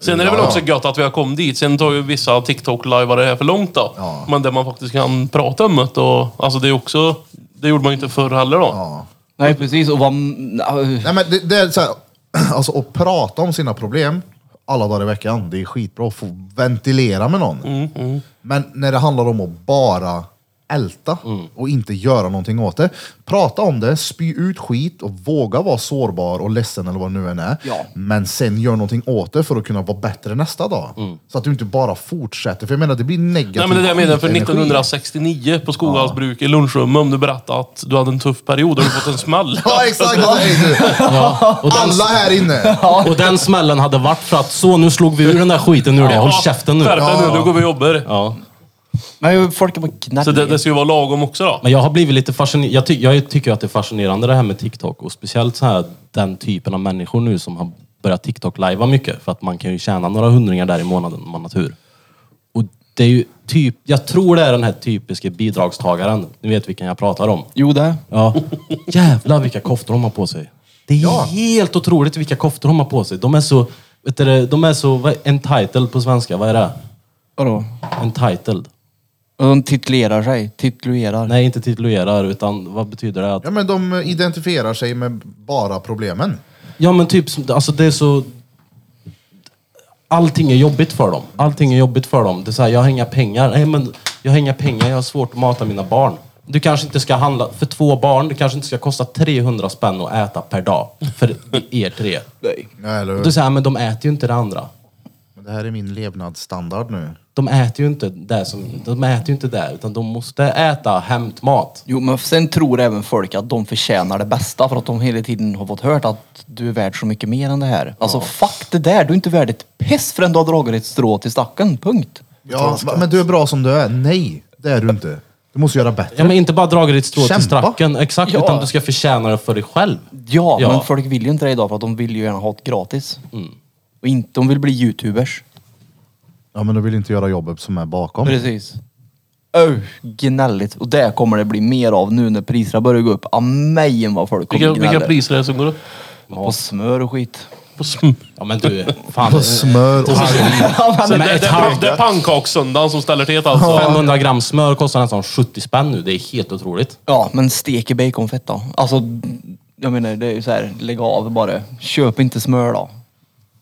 Sen är det väl
Ja.
också gött att vi har kommit dit. Sen tar ju vissa TikTok-lajvar det här för långt då.
Ja.
Men där man faktiskt kan prata om det. Och, alltså det är också... Det gjorde man ju inte förr heller då.
Ja.
Nej, precis. Och vad...
Nej, men det, det är så här, alltså att prata om sina problem alla dagar i veckan, det är skitbra att få ventilera med någon.
Mm,
Men när det handlar om att bara älta
Mm.
och inte göra någonting åt det. Prata om det, spy ut skit och våga vara sårbar och ledsen eller vad det nu än är.
Ja.
Men sen gör någonting åt det för att kunna vara bättre nästa dag. Så att du inte bara fortsätter. För jag menar, det blir negativt.
Mm. Nej men det är det jag menar. För
skitenergi.
1969 på Skoghals bruk i lunchrummet om du berättade att du hade en tuff period och du fått en smäll.
Ja exakt! Nej, du.
Och den,
Alla här inne!
och den smällen hade varit för att så nu slog vi ur den där skiten nu det. Håll käften nu.
Skärp dig nu, nu går vi och jobbar.
Ja.
Nej, folk är bara gnälliga.
Så det, det ska ju vara lagom också då.
Men jag har blivit lite fascinerad. Jag, ty- jag tycker att det är fascinerande det här med TikTok och speciellt så här den typen av människor nu som har börjat TikTok-lajva mycket för att man kan ju tjäna några hundringar där i månaden om man har tur. Och det är ju typ, jag tror det är den här typiska bidragstagaren. Ni vet vilken jag pratar om.
Jo, det.
Ja. Jävlar vilka koftor de har på sig. Det är helt otroligt vilka koftor de har på sig. De är så, vet du, det, de är så vad, entitled på svenska. Vad är det?
Vadå?
Entitled.
Och de titulerar sig. Titulerar.
Nej, inte titulerar utan vad betyder det? Att
Ja men de identifierar sig med bara problemen.
Ja men typ, som- alltså det är så... Allting är jobbigt för dem. Allting är jobbigt för dem. Det är så här, jag har inga pengar. Nej men, jag har inga pengar, jag har svårt att mata mina barn. Du kanske inte ska handla, för två barn, det kanske inte ska kosta 300 spänn att äta per dag. För er tre.
Nej.
Ja, eller
Och
hur?
det är så här, men de äter ju inte det andra.
Men Det här är min levnadsstandard nu.
De äter ju inte det som, de äter ju inte det, utan de måste äta hämtmat.
Jo, men sen tror även folk att de förtjänar det bästa för att de hela tiden har fått hört att du är värd så mycket mer än det här. Alltså fuck det där, du är inte värd ett piss förrän du har dragit ett strå till stacken. Punkt.
Ja, men du är bra som du är. Nej, det är du inte. Du måste göra bättre.
Ja men inte bara dragit ditt strå
Kämpa.
till stracken, exakt,
Ja.
utan du ska förtjäna det för dig själv.
Ja,
Ja.
men folk vill ju inte det idag för att de vill ju gärna ha det gratis. Och inte, de vill bli youtubers.
Ja, men du vill inte göra jobbet som är bakom.
Precis. Öh, gnälligt. Och det kommer det bli mer av nu när priserna börjar gå upp. Amen vad folk kommer
Vilka,
gnälla.
vilka priser är det som går upp?
På smör och skit.
På sm-
Ja men du, fan.
På smör och
Så det,
Men
det,
ett
det,
halvt-
det är pannkakssöndagen som ställer till det alltså.
500 gram smör kostar nästan 70 spänn nu. Det är helt otroligt.
Ja, men stek i baconfett då. Alltså, jag menar det är ju så här, lägg av bara. Köp inte smör då.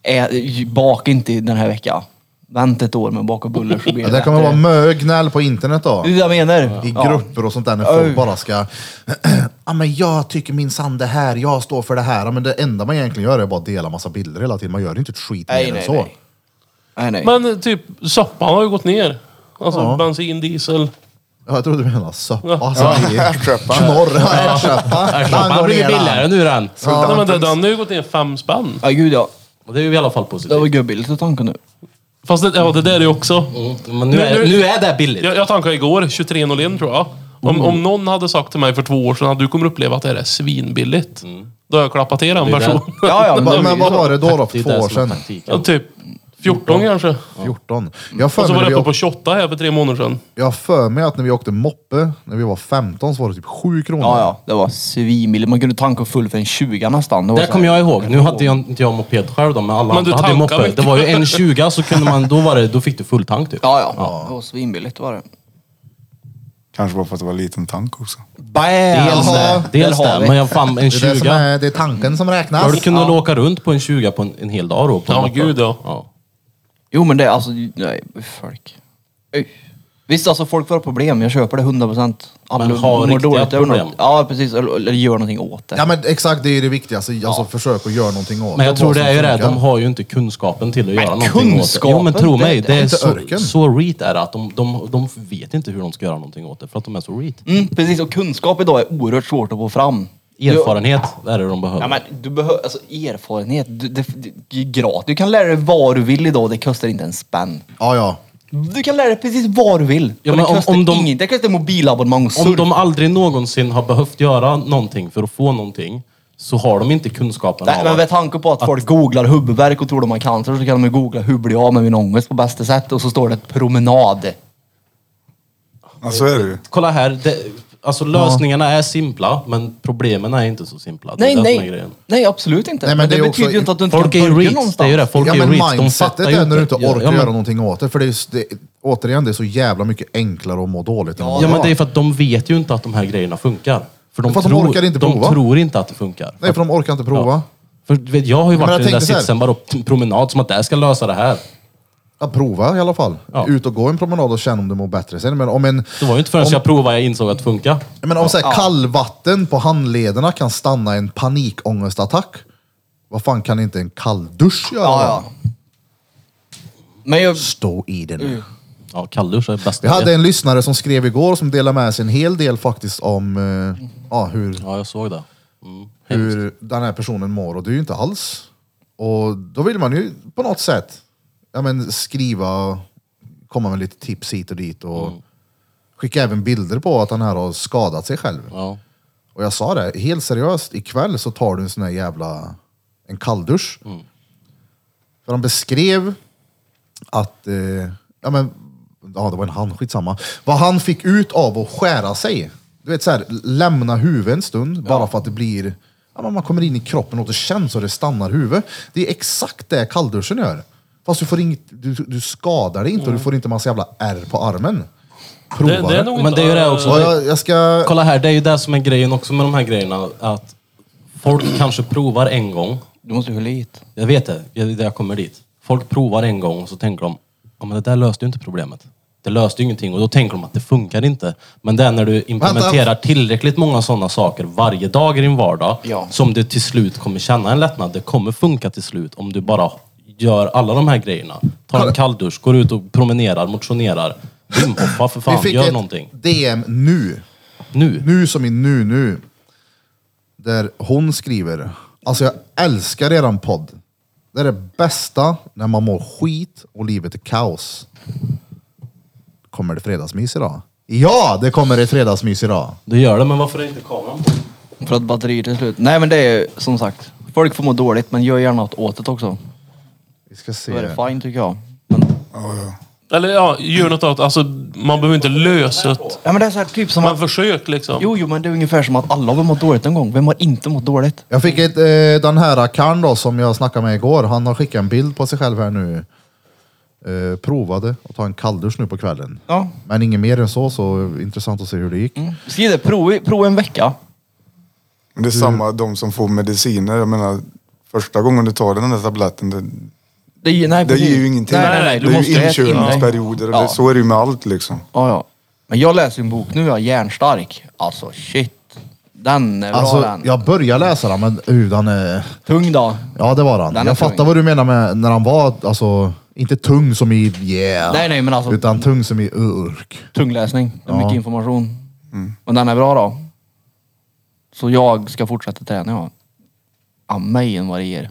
Ä, bak inte den här veckan. Vänta ett år med att baka bullar så blir
Ja,
det
det kommer
bättre.
vara mycket gnäll på internet då.
Det är det jag menar.
I
Ja.
grupper och sånt där när folk
Oj.
bara ska... ja, men jag tycker minsann det här, jag står för det här. Ja, men det enda man egentligen gör är bara att dela massa bilder hela tiden. Man gör inte ett skit
Nej,
mer än
nej,
så.
nej. Nej, nej.
Men eh, typ soppan har ju gått ner. Alltså
Ja.
bensin, diesel.
Ja, jag trodde du menade soppa. Alltså, Knorr. Ja, ärtsoppa. Den
Han
går
blir
ner, den.
billigare nu den.
Nej, men det, den har ju gått ner fem spänn.
Ja, gud ja.
Och det är ju i alla fall
Det var
positivt.
gubbilligt att tanka nu.
Fast det, ja, det där är ju också.
Mm. Men nu är, nu är det billigt.
Jag, jag tankade igår, 23.01 tror jag.
Mm.
Om, om någon hade sagt till mig för två år sedan att du kommer uppleva att det här är svinbilligt. Då har jag klappat till den
Mm. Det är
personen.
Ja, ja.
Men, men vad var det då, då
Det
för
är
två
det
år
som är Mm.
sedan?
Ja,
taktiken.
typ 14 kanske.
14. Jag har för
Och så
mig
var
när
det
vi åkte-
uppe på 28 här för tre månader sedan.
Jag har för mig att när vi åkte moppe, när vi var 15, så var det typ 7 kronor.
Ja, ja. Det var svinbilligt. Man kunde tanka full för en 20 nästan.
Det kommer jag ihåg. Nu hade jag inte jag moped själv då, men alla
Men du
andra hade ju
tankar
moppe.
mycket.
Det var ju en 20 så kunde man, då var det, då fick du full tank typ.
Ja, ja. Det var svinbilligt var det.
Kanske bara för att det var en liten tank också.
Bam!
Dels
Jaha,
det, dels
där har
det.
vi.
Men jag fan, en
Det är, det, som
20.
är, det är tanken som räknas.
Har du kunnat åka runt på en 20 på en, en hel dag då? På en
Ja,
moppe?
gud, ja.
Jo men det är alltså, nej folk. Usch. Visst, alltså folk får problem. Jag köper det 100%. Alla
Men har
mår
riktiga
dåligt över något.
problem.
Ja, precis. Eller, eller gör någonting åt det.
Ja men exakt, det är det viktigaste. Alltså försök att göra någonting åt
Men jag
det,
tror
vad
det
som
är ju det,
funkar.
de har ju inte kunskapen till att göra någonting åt det.
kunskapen,
Jo men tro
det-
mig, det,
det är
är
inte
så,
örken.
så reat är det att de, de, de vet inte hur de ska göra någonting åt det för att de är så reat.
Mm, precis, och kunskap idag är oerhört svårt att få fram.
Erfarenhet är det de behöver.
Ja, men du behöver, alltså erfarenhet, du, det, det, det är gratis. Du kan lära dig vad du vill idag, det kostar inte en spänn.
Ja, ja.
Du kan lära dig precis vad du vill.
Ja,
och
men
det
om-
kostar
om de-
inget, det kostar mobilabonnemang och surf.
Om de aldrig någonsin har behövt göra någonting för att få någonting så har de inte kunskapen
Nej,
av
men
att-
med tanke på att, folk googlar huvudvärk och tror de har cancer så kan de ju googla hur blir jag av med min ångest på bästa sätt och så står det promenad.
Ja, så är det ju.
Kolla här, det, alltså lösningarna är simpla men problemen är inte så simpla. Det är
Nej,
det som är
nej.
grejen.
Nej, absolut inte.
Nej, men
men det,
det är
betyder
också-
ju inte att du inte
Folk är
kan
ju
börja
reats, det är
någonstans.
ju det. Folk
ja
är
men
ju reats, de
mindsetet
fattar ju
är när du inte orkar
ja,
göra
men,
någonting åt det. För det är, just- det, återigen, det är så jävla mycket enklare att må dåligt. än att må
Ja men
bra.
det är för att de vet ju inte att de här grejerna funkar. För de,
För att de
tror,
orkar inte
de
prova.
tror inte att det funkar.
Nej, för de orkar inte prova.
Ja. För du vet, jag har ju
Men jag
varit i den där
tänkte så här.
sitsen bara och t- promenad som att det här ska lösa det här.
Ja, prova i alla fall.
Ja.
Ut och gå en promenad och känn om du mår bättre sen. Men om en,
Det var ju inte förrän jag provade jag insåg att det funkar.
men om så här, kallvatten på handlederna kan stanna en panikångestattack. Vad fan kan inte en kalldusch göra?
Ja, ja. Men jag...
Stå i den.
Ja, kalldusch är bäst.
Vi hade en lyssnare som skrev igår som delade med sig en hel del faktiskt om eh, ja, hur,
Ja, jag såg det. Mm.
hur den här personen mår och det är ju inte alls. Och då vill man ju på något sätt ja, men skriva, komma med lite tips hit och dit och skicka även bilder på att han här har skadat sig själv.
Ja.
Och jag sa det, helt seriöst, ikväll så tar du en sån här jävla en kalldusch. För han beskrev att, eh, ja men, ja det var en han, skitsamma. Vad han fick ut av att skära sig. Du vet så här, lämna huvudet en stund bara för att det blir, ja men man kommer in i kroppen och det känns och det stannar huvudet. Det är exakt det kallduschen gör. Fast du får inget, du, du skadar dig inte och du får inte massa jävla ärr på armen. Prova det.
Det, det är nog
Men det är ju det också.
Och jag, jag ska...
Kolla här, det är ju det som är grejen också med de här grejerna. Att folk kanske provar en gång.
Du måste ju hålla hit.
Jag vet det, jag- det är där jag kommer dit. Folk provar en gång och så tänker de, ja men det där löste ju inte problemet. Det löste ju ingenting och då tänker de att det funkar inte. Men det är när du implementerar tillräckligt många sådana saker varje dag i din vardag
Ja.
som du till slut kommer känna en lättnad. Det kommer funka till slut om du bara gör alla de här grejerna. Tar en kalldusch, går ut och promenerar, motionerar. Dimhoppa för fan,
Vi fick
gör
ett
någonting.
DM nu.
Nu.
Nu som i nu nu. Där hon skriver, alltså jag älskar eran podd. Det är det bästa när man mår skit och livet är kaos. Kommer det fredagsmys idag? Ja, det kommer ett fredagsmys idag.
Du gör det, men varför är inte kameran på?
För att batteriet är slut. Nej men det är ju som sagt, folk får må dåligt men gör gärna något åt det också.
Vi ska se.
Då är det fine tycker jag.
Eller ja, gör något annat. Alltså, man behöver inte lösa det.
Ja men det är så här, typ som
Man
att...
försök liksom.
Jo, jo men det är ungefär som att alla har mått dåligt en gång. Vem har inte mått dåligt?
Jag fick ett, eh, den här Karn då som jag snackade med igår. Han har skickat en bild på sig själv här nu. Eh, provade att ta en kalldusch nu på kvällen.
Ja.
Men inget mer än så, så intressant att se hur det gick.
Skriv det, prova i- prova en vecka.
Men
Mm.
Det är samma de som får mediciner. Jag menar, första gången du tar den där tabletten, det,
Det, ger- nej,
det
precis.
ger ju ingenting.
Nej, nej, nej. Du
det är
måste
ju
rätt in dig.
inkörningsperioder.
Ja.
Ja. Så är det ju med allt liksom.
Ja, ja. Men jag läser en bok nu, jag är järnstark. Alltså shit. Den är bra
Alltså,
den.
jag började läsa den, men uh, den är...
Tung då.
Ja, det var han.
Den är
jag
tung.
fattar vad du menar med när han var, alltså, inte tung som i yeah.
Nej, nej, men alltså-
Utan tung som i urk.
Tung läsning. Det är
Ja.
mycket information.
Mm.
Men den är bra då. Så jag ska fortsätta träna ja. Amen vad det ger.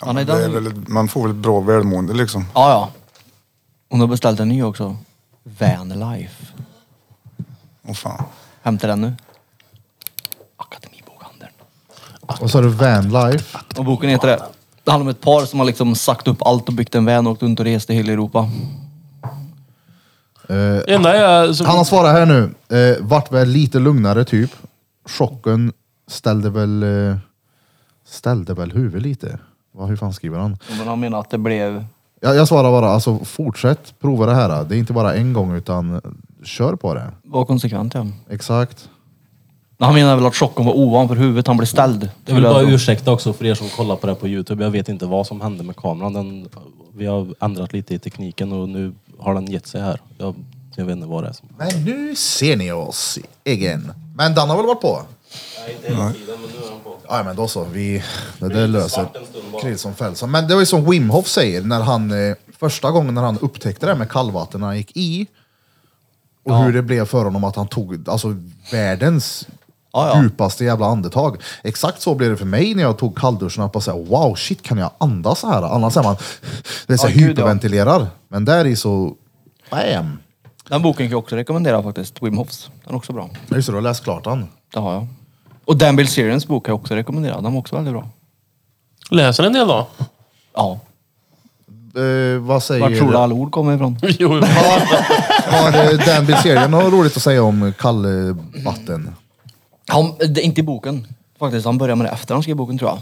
Ja, nej,
Det
den...
är väl, ett- man får väl ett bra välmående liksom.
ja, ja. Hon har beställt en ny också. Vanlife.
Åh fan.
Hämtar den nu. Akademibokhandeln.
Och så är det vanlife.
Och boken heter det. Det handlar om ett par som har liksom sagt upp allt och byggt en van och åkt runt och rest i hela Europa.
Eh,
Det enda är... Som,
han har svarat här nu. Eh, vart väl lite lugnare typ. Chocken ställde väl, eh, ställde väl huvudet lite. Va, hur fan skriver han?
Men han menar att det blev...
Jag, jag svarar bara, alltså fortsätt prova det här. Det är inte bara en gång utan kör på det.
Var konsekvent ja.
Exakt.
Han menar väl att chocken var ovanför huvudet, han blev ställd.
Jag vill bara ursäkta också för er som kollar på det här på Youtube. Jag vet inte vad som hände med kameran. Den, vi har ändrat lite i tekniken och nu har den gett sig här. Jag, jag vet inte vad det är som...
Men nu ser ni oss igen. Men Dan har väl varit på?
Nej, inte hela tiden, men nu är han på.
Ja, men då så. Vi, det där löser
Svart en stund bara.
Krilson Fältson. Men det var ju som Wim Hof säger, när han, eh, första gången när han upptäckte det här med kallvatten när han gick i. Och hur det blev för honom att han tog alltså, världens
Ja, ja.
djupaste jävla andetag. Exakt så blev det för mig när jag tog kallduschen. Att bara säga, wow, shit kan jag andas så här? Annars är man, det är så
Ja,
här
gud, ja.
hyperventilerar. Men där är så, bam!
Den boken kan jag också rekommendera faktiskt. Wim Hofs. Den är också bra.
Just det, du har läst klart den.
Det har jag. Och Dan Bill Serians bok kan jag också rekommendera. Den var också väldigt bra.
Läser en del då?
Ja.
Eh, vad säger
Vart tror du alla ord kommer ifrån?
Jo, jo.
Har eh, Dan Bilzerian något roligt att säga om kallvatten?
Han, det, inte i boken faktiskt. Han började med det efter han skrev boken tror jag.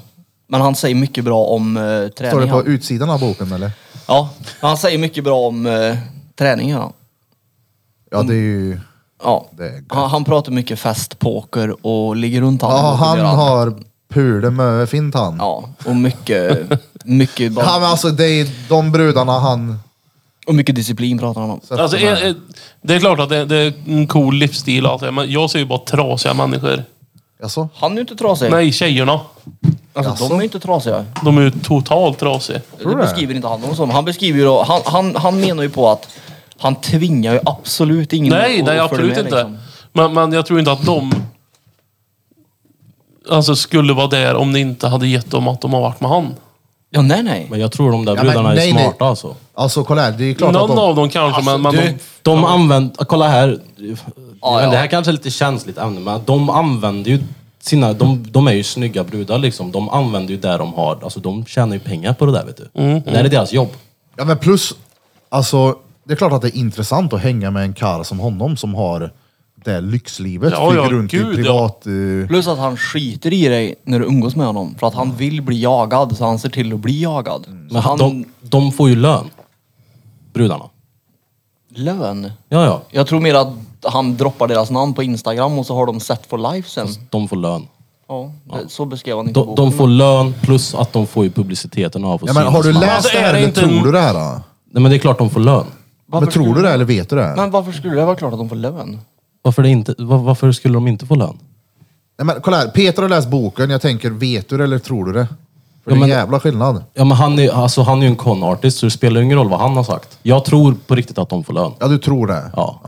Men han säger mycket bra om eh, träning.
Står det på
han.
utsidan av boken eller?
Ja, han säger mycket bra om eh, träning. gör han.
Ja, det är ju...
Ja.
Det är gött.
Han, han pratar mycket fest, poker och ligger runt han.
Ja, han
gör
har pule med fint han. Ja,
Ja, och mycket, mycket, bara,
men alltså det är de brudarna han...
och mycket disciplin pratar han om.
sätter
Alltså,
med.
eh, eh, det är klart att det, det är en cool livsstil och allt det, men jag ser ju bara trasiga människor.
Jaså?
Han är ju inte trasig.
Nej, tjejerna.
Alltså, de är ju inte trasiga.
De är ju totalt trasiga.
Tror
Det
du det?
beskriver inte han dem som. Han beskriver ju då, han, han, han menar ju på att han tvingar ju absolut ingen
Nej,
att
nej
att följa
absolut
med,
inte.
liksom.
Men, men jag tror inte att de alltså, skulle vara där om det inte hade gett dem att de har varit med han.
Ja, nej, nej.
Men jag tror de där
Ja, men
brudarna är
nej, nej.
smarta alltså.
Alltså kolla här, det är klart
Någon
att de...
av dem kanske, men,
Alltså,
men
Du,
de...
de använder, kolla här, men det
ja.
här kanske är lite känsligt ämne, men de använder ju sina, de, de är ju snygga brudar liksom. De använder ju det de har, alltså de tjänar ju pengar på det där vet du. Det där är deras jobb.
Ja, men plus... Alltså, det är klart att det är intressant att hänga med en karl som honom som har det lyxlivet.
Ja,
flyger
ja,
runt i
gud, ja.
privat... eh,
Plus att han skiter i dig när du umgås med honom. För att han vill bli jagad, så han ser till att bli jagad. Så
Men
han...
de, de får ju lön. Brudarna.
Lön?
Ja, ja.
Jag tror mer att han droppar deras namn på Instagram och så har de set for life sen.
De får lön.
Ja, det- så beskrev han inte
De, de får lön plus att de får ju publiciteten av att
Ja, men
synas.
har du läst
Alltså,
det
är
här
det
eller
inte
tror
en-
du det här? Då?
Nej men det är klart de får lön.
Men tror du det eller vet du det?
Men varför skulle det vara klart att de får lön?
Varför, det inte, var, varför skulle de inte få lön?
Nej, men kolla här, Peter har läst boken. Jag tänker, vet du det eller tror du det? För det är
men-
jävla skillnad.
Ja men han är, alltså, han är ju en con-artist så det spelar ju ingen roll vad han har sagt. Jag tror på riktigt att de får lön.
Ja, du tror det?
Ja.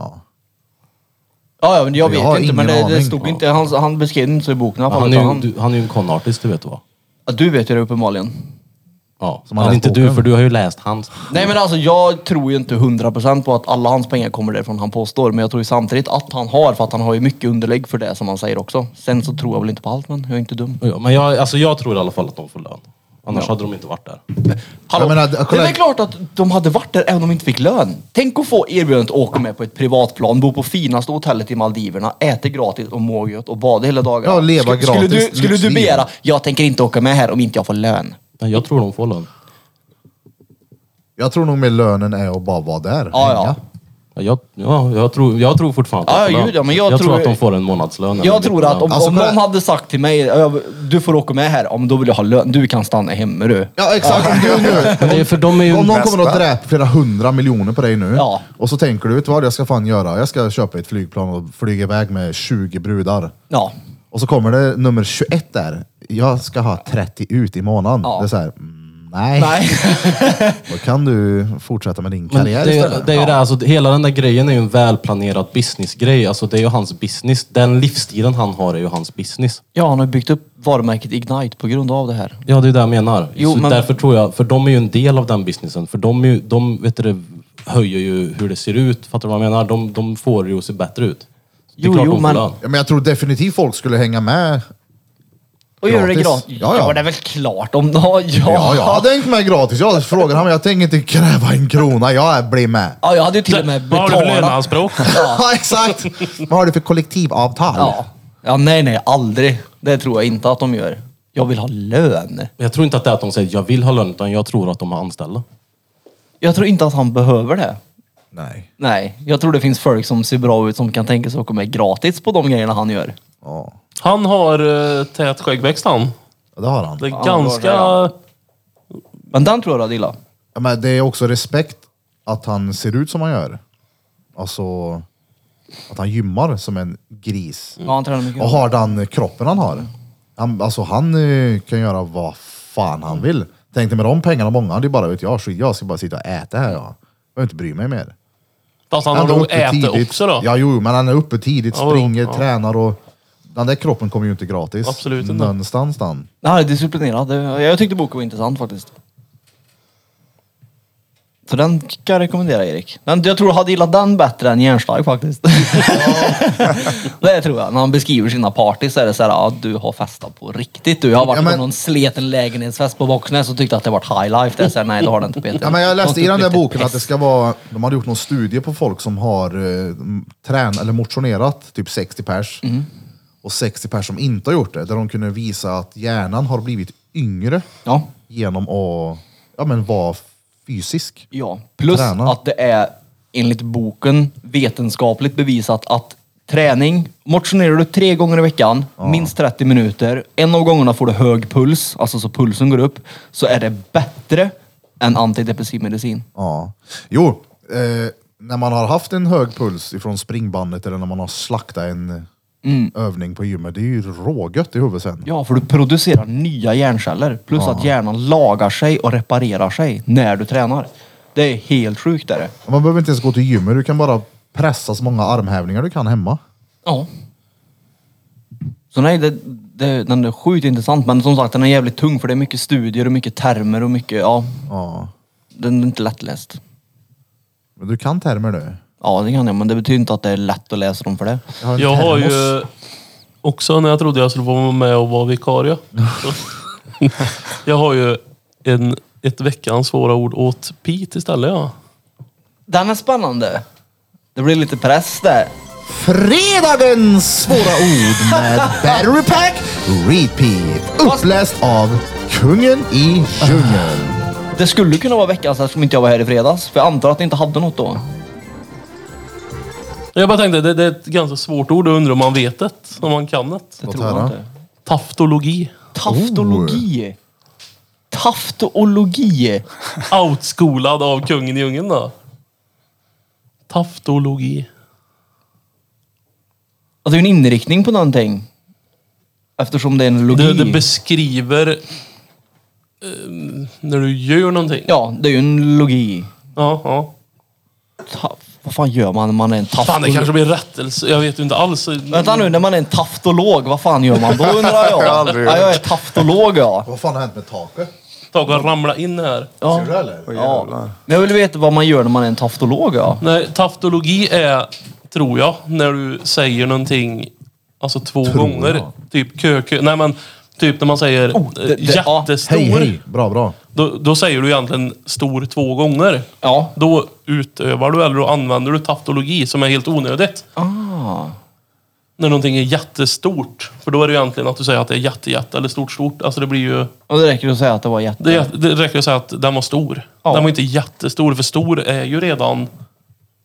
Ja, ja men jag
Jag
vet
har
inte. Men
ingen
det, det
aning.
stod inte. Han, han beskrev det inte så i boken i alla
Men
fall.
han, är
utan
ju, du, han är ju en con-artist, du vet vad.
ja, du vet ju det uppenbarligen.
Ja.
har
men
läst
inte du,
boken.
för du har ju läst hans.
Nej men alltså jag tror ju inte 100% på att alla hans pengar kommer därifrån han påstår. Men jag tror ju samtidigt att han har, för att han har ju mycket underlägg för det som han säger också. Sen så tror jag väl inte på allt men jag är inte dum.
Ja, men jag, alltså, jag tror i alla fall att de får lön. Annars hade de inte varit där.
Hallå,
Jag menar,
det är
kolla-
väl klart att de hade varit där även om de inte fick lön. Tänk att få erbjudandet att åka med på ett privatplan, bo på finaste hotellet i Maldiverna, äta gratis och må gött och bada hela dagarna.
Ja, leva
Sk- skulle,
gratis,
du, skulle du
lyxliv.
begära, jag tänker inte åka med här om inte jag får lön.
Men jag tror de får lön.
Jag tror nog mer lönen är att bara vara där.
Ja,
hänga.
ja.
Ja, jag, ja, jag, tror, jag tror fortfarande
Ja,
att de får
ja,
lön.
gud, ja, men jag
tror,
tror-
att de får en månadslön. eller
Jag
lite
tror att om,
Alltså,
om
kolla-
någon hade sagt till mig, "Ö, du får åka med här, ja, men då vill jag ha lön. Du kan stanna hemma du.
Ja, exakt. Om, du
Men det är för de är ju...
nu, om någon
Bästa.
kommer att dräpa flera hundra miljoner på dig nu
Ja.
och så tänker du, vet du vad jag ska fan göra? Jag ska köpa ett flygplan och flyga iväg med 20 brudar.
Ja.
Och så kommer det nummer 21 där. Jag ska ha 30 ut i månaden.
Ja.
Det är så här, mm, nej.
Nej.
Då kan du fortsätta med din
Men
karriär
det, är-
istället.
det är ju det, alltså, hela den där grejen är ju en välplanerad businessgrej. Alltså det är ju hans business. Den livsstilen han har är ju hans business.
ja, han har byggt upp varumärket Ignite på grund av det här.
Ja, det är det jag menar.
Jo,
så
men-
Därför tror jag, för de är ju en del av den businessen. För de, är ju, de vet du, det, höjer ju hur det ser ut. Fattar du vad jag menar? De, de får det ju att se bättre ut. Det är
Jo,
klart
jo,
de får
men-
lön.
Ja, men jag tror definitivt folk skulle hänga med.
Och gör det
Gratis.
gratis.
Ja, ja.
det är väl klart om... Ja,
Ja, jag hade hängt med gratis. Jag frågar honom, jag tänker inte kräva en krona. Jag blir med.
Ja, jag hade ju till och med
Vad har du för
betalat.
löneanspråk?
Ja, exakt. Vad har du för kollektivavtal?
Ja. ja, nej, nej, aldrig. Det tror jag inte att de gör. Jag vill ha lön.
Men Jag tror inte att det är att de säger jag vill ha lön, utan jag tror att de har anställda.
Jag tror inte att han behöver det.
Nej.
Nej, jag tror det finns folk som ser bra ut som kan tänka sig att åka med gratis på de grejerna han gör.
Ja.
Han har uh, tät skäggväxt han.
Ja, det har han.
Det är
Ja,
ganska...
bra, Men den tror jag du hade gillat.
Ja, men det är också respekt att han ser ut som han gör. Alltså, att han gymmar som en gris.
Ja, han tränar mycket.
Och har den kroppen han har. Han, alltså han eh, kan göra vad fan han vill. Tänkte med de pengarna många, det är bara vet jag, skit, jag ska bara sitta och äta här jag. Jag behöver inte bry mig mer.
Fast han har
Ändå
nog
uppe
ätit
tidigt.
också då.
Ja, jo, jo, men han är uppe tidigt,
Ja, jo,
springer,
ja.
tränar och... Den där kroppen kommer ju inte gratis.
Absolut inte.
Någonstans den.
Det här är disciplinerat. Det- Jag tyckte boken var intressant faktiskt. Så den kan jag rekommendera Erik. Den, jag tror du hade gillat den bättre än Järnstark faktiskt. det tror jag. När han beskriver sina party så är det så här, ja, du har festat på riktigt du. Jag har varit
Ja, men-
på någon sleten lägenhetsfest på Voxnäs och tyckte att det var high life. Det är så här, nej det har det inte Peter.
Ja, men jag läste i den där
Riktigt
boken att det
pest.
ska vara... De hade gjort någon studie på folk som har eh, trän eller motionerat, typ 60 pers.
Mm.
Och 60 pers som inte har gjort det. Där de kunde visa att hjärnan har blivit yngre
Ja.
genom att ja, men vara fysisk.
Ja, plus
Träna.
att det är enligt boken vetenskapligt bevisat att träning, motionerar du tre gånger i veckan, minst 30 minuter, en av gångerna får du hög puls, alltså så pulsen går upp, så är det bättre än antidepressiv medicin.
Ja. Jo, eh, när man har haft en hög puls ifrån springbandet eller när man har slaktat en övning på gymmet, det är ju rågött i huvudet sen.
Ja, för du producerar nya hjärnceller, plus att hjärnan lagar sig och reparerar sig när du tränar. Det är helt sjukt är det.
Man behöver inte ens gå till gymmet, du kan bara pressa så många armhävningar du kan hemma.
Ja. Så nej, det, det, den är sjukt intressant. Men som sagt, den är jävligt tung för det är mycket studier och mycket termer och mycket, ja.
Ja.
Den är inte lättläst.
Men du kan termer du.
Ja, det kan jag, men det betyder inte att det är lätt att läsa dem för det.
har en
Jag har
termos.
ju också, när jag trodde jag skulle få vara med och vara vikarie. så- jag har ju en, ett veckans svåra ord åt Pete istället. Ja.
Den är spännande. Det blir lite press där.
Fredagens svåra ord med Battery Pack Repeat. Uppläst av kungen i djungeln.
Det skulle kunna vara veckans eftersom inte jag var här i fredags. För jag antar att ni inte hade något då.
Jag bara tänkte, det, det är ett ganska svårt ord. Jag undrar om man vet det, om man kan det.
Det
Låt
tror jag
höra.
inte.
Taftologi.
Taftologi. Taftologi. Alltså,
Outskolad av kungen i djungeln då. Taftologi.
Alltså, det är ju en inriktning på någonting. Eftersom det är en logi.
Det, det beskriver eh, när du gör någonting.
Ja, det är ju en logi.
ja, ja.
Ta- vad fan gör man när man är en
Fan, det
taftolog?
kanske blir rättelse. Jag vet ju inte alls.
Vänta nu, när man är en taftolog, vad fan gör man då undrar jag?
har aldrig
ja, jag är
gjort.
taftolog ja.
Vad fan har hänt med taket?
Tag och ramla in här.
ja.
Ser du det, eller?
Åh,
Ja.
jävlar.
Men jag vill veta vad man gör när man är en taftolog ja.
Nej, taftologi är, tror jag, när du säger någonting alltså två gånger. Typ kö, kö. Nej men, typ när man säger
Oh, det-
eh,
det- ja.
jättestor.
Hej, hej. Bra, bra.
Då, då säger du egentligen stor två gånger.
Ja.
Då utövar du eller då använder du taftologi som är helt onödigt.
Ah.
När någonting är jättestort. För då är det ju egentligen att du säger att det är jätte, jätte eller stort, stort. Alltså det blir ju...
Och det räcker att säga att det var jätte...
Det, är- det räcker att säga att den var stor.
Ja.
Den var inte jättestor, för stor är ju redan...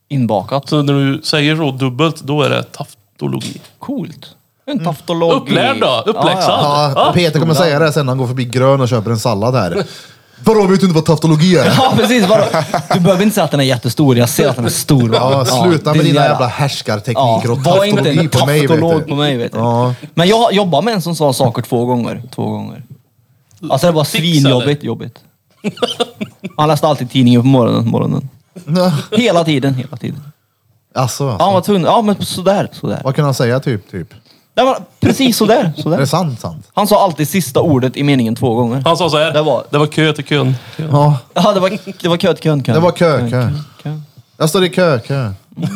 Inbakat.
Så när du säger så dubbelt, då är det taftologi.
Coolt. En taftolog.
Mm. Upplärd då, uppläxad.
Ja,
Ah,
Peter kommer säga det sen när han går förbi grön och köper en sallad här. Vadå, vet du inte vad taftologi är?
Ja precis, vadå? Du behöver inte säga att den är jättestor, jag ser att den är stor. va?
Ja, sluta med
din
dina jävla härskartekniker och
var inte
taftologi
en
på mig. Vet
taftolog på
du.
mig vet du.
Ja.
Men jag jobbar med en som sa saker två gånger. Två gånger. Alltså det var
Fixade.
svinjobbigt. Jobbigt. Han läste alltid tidningen på morgonen. morgonen.
Nå,
Hela tiden, hela tiden.
Alltså,
Ja, Han var tvungen. Ja men sådär, sådär.
vad kan han säga typ? typ?
Det var precis sådär,
Är det
sådär.
sant? sant?
Han sa alltid sista ordet i meningen två gånger.
Han sa så här.
Det var-
det var kö till kön. kön.
Ja,
Ja det var, det var kö till kön, kön.
det var kö, kö.
kö.
Jag står i kö, kö. Jag
Nej,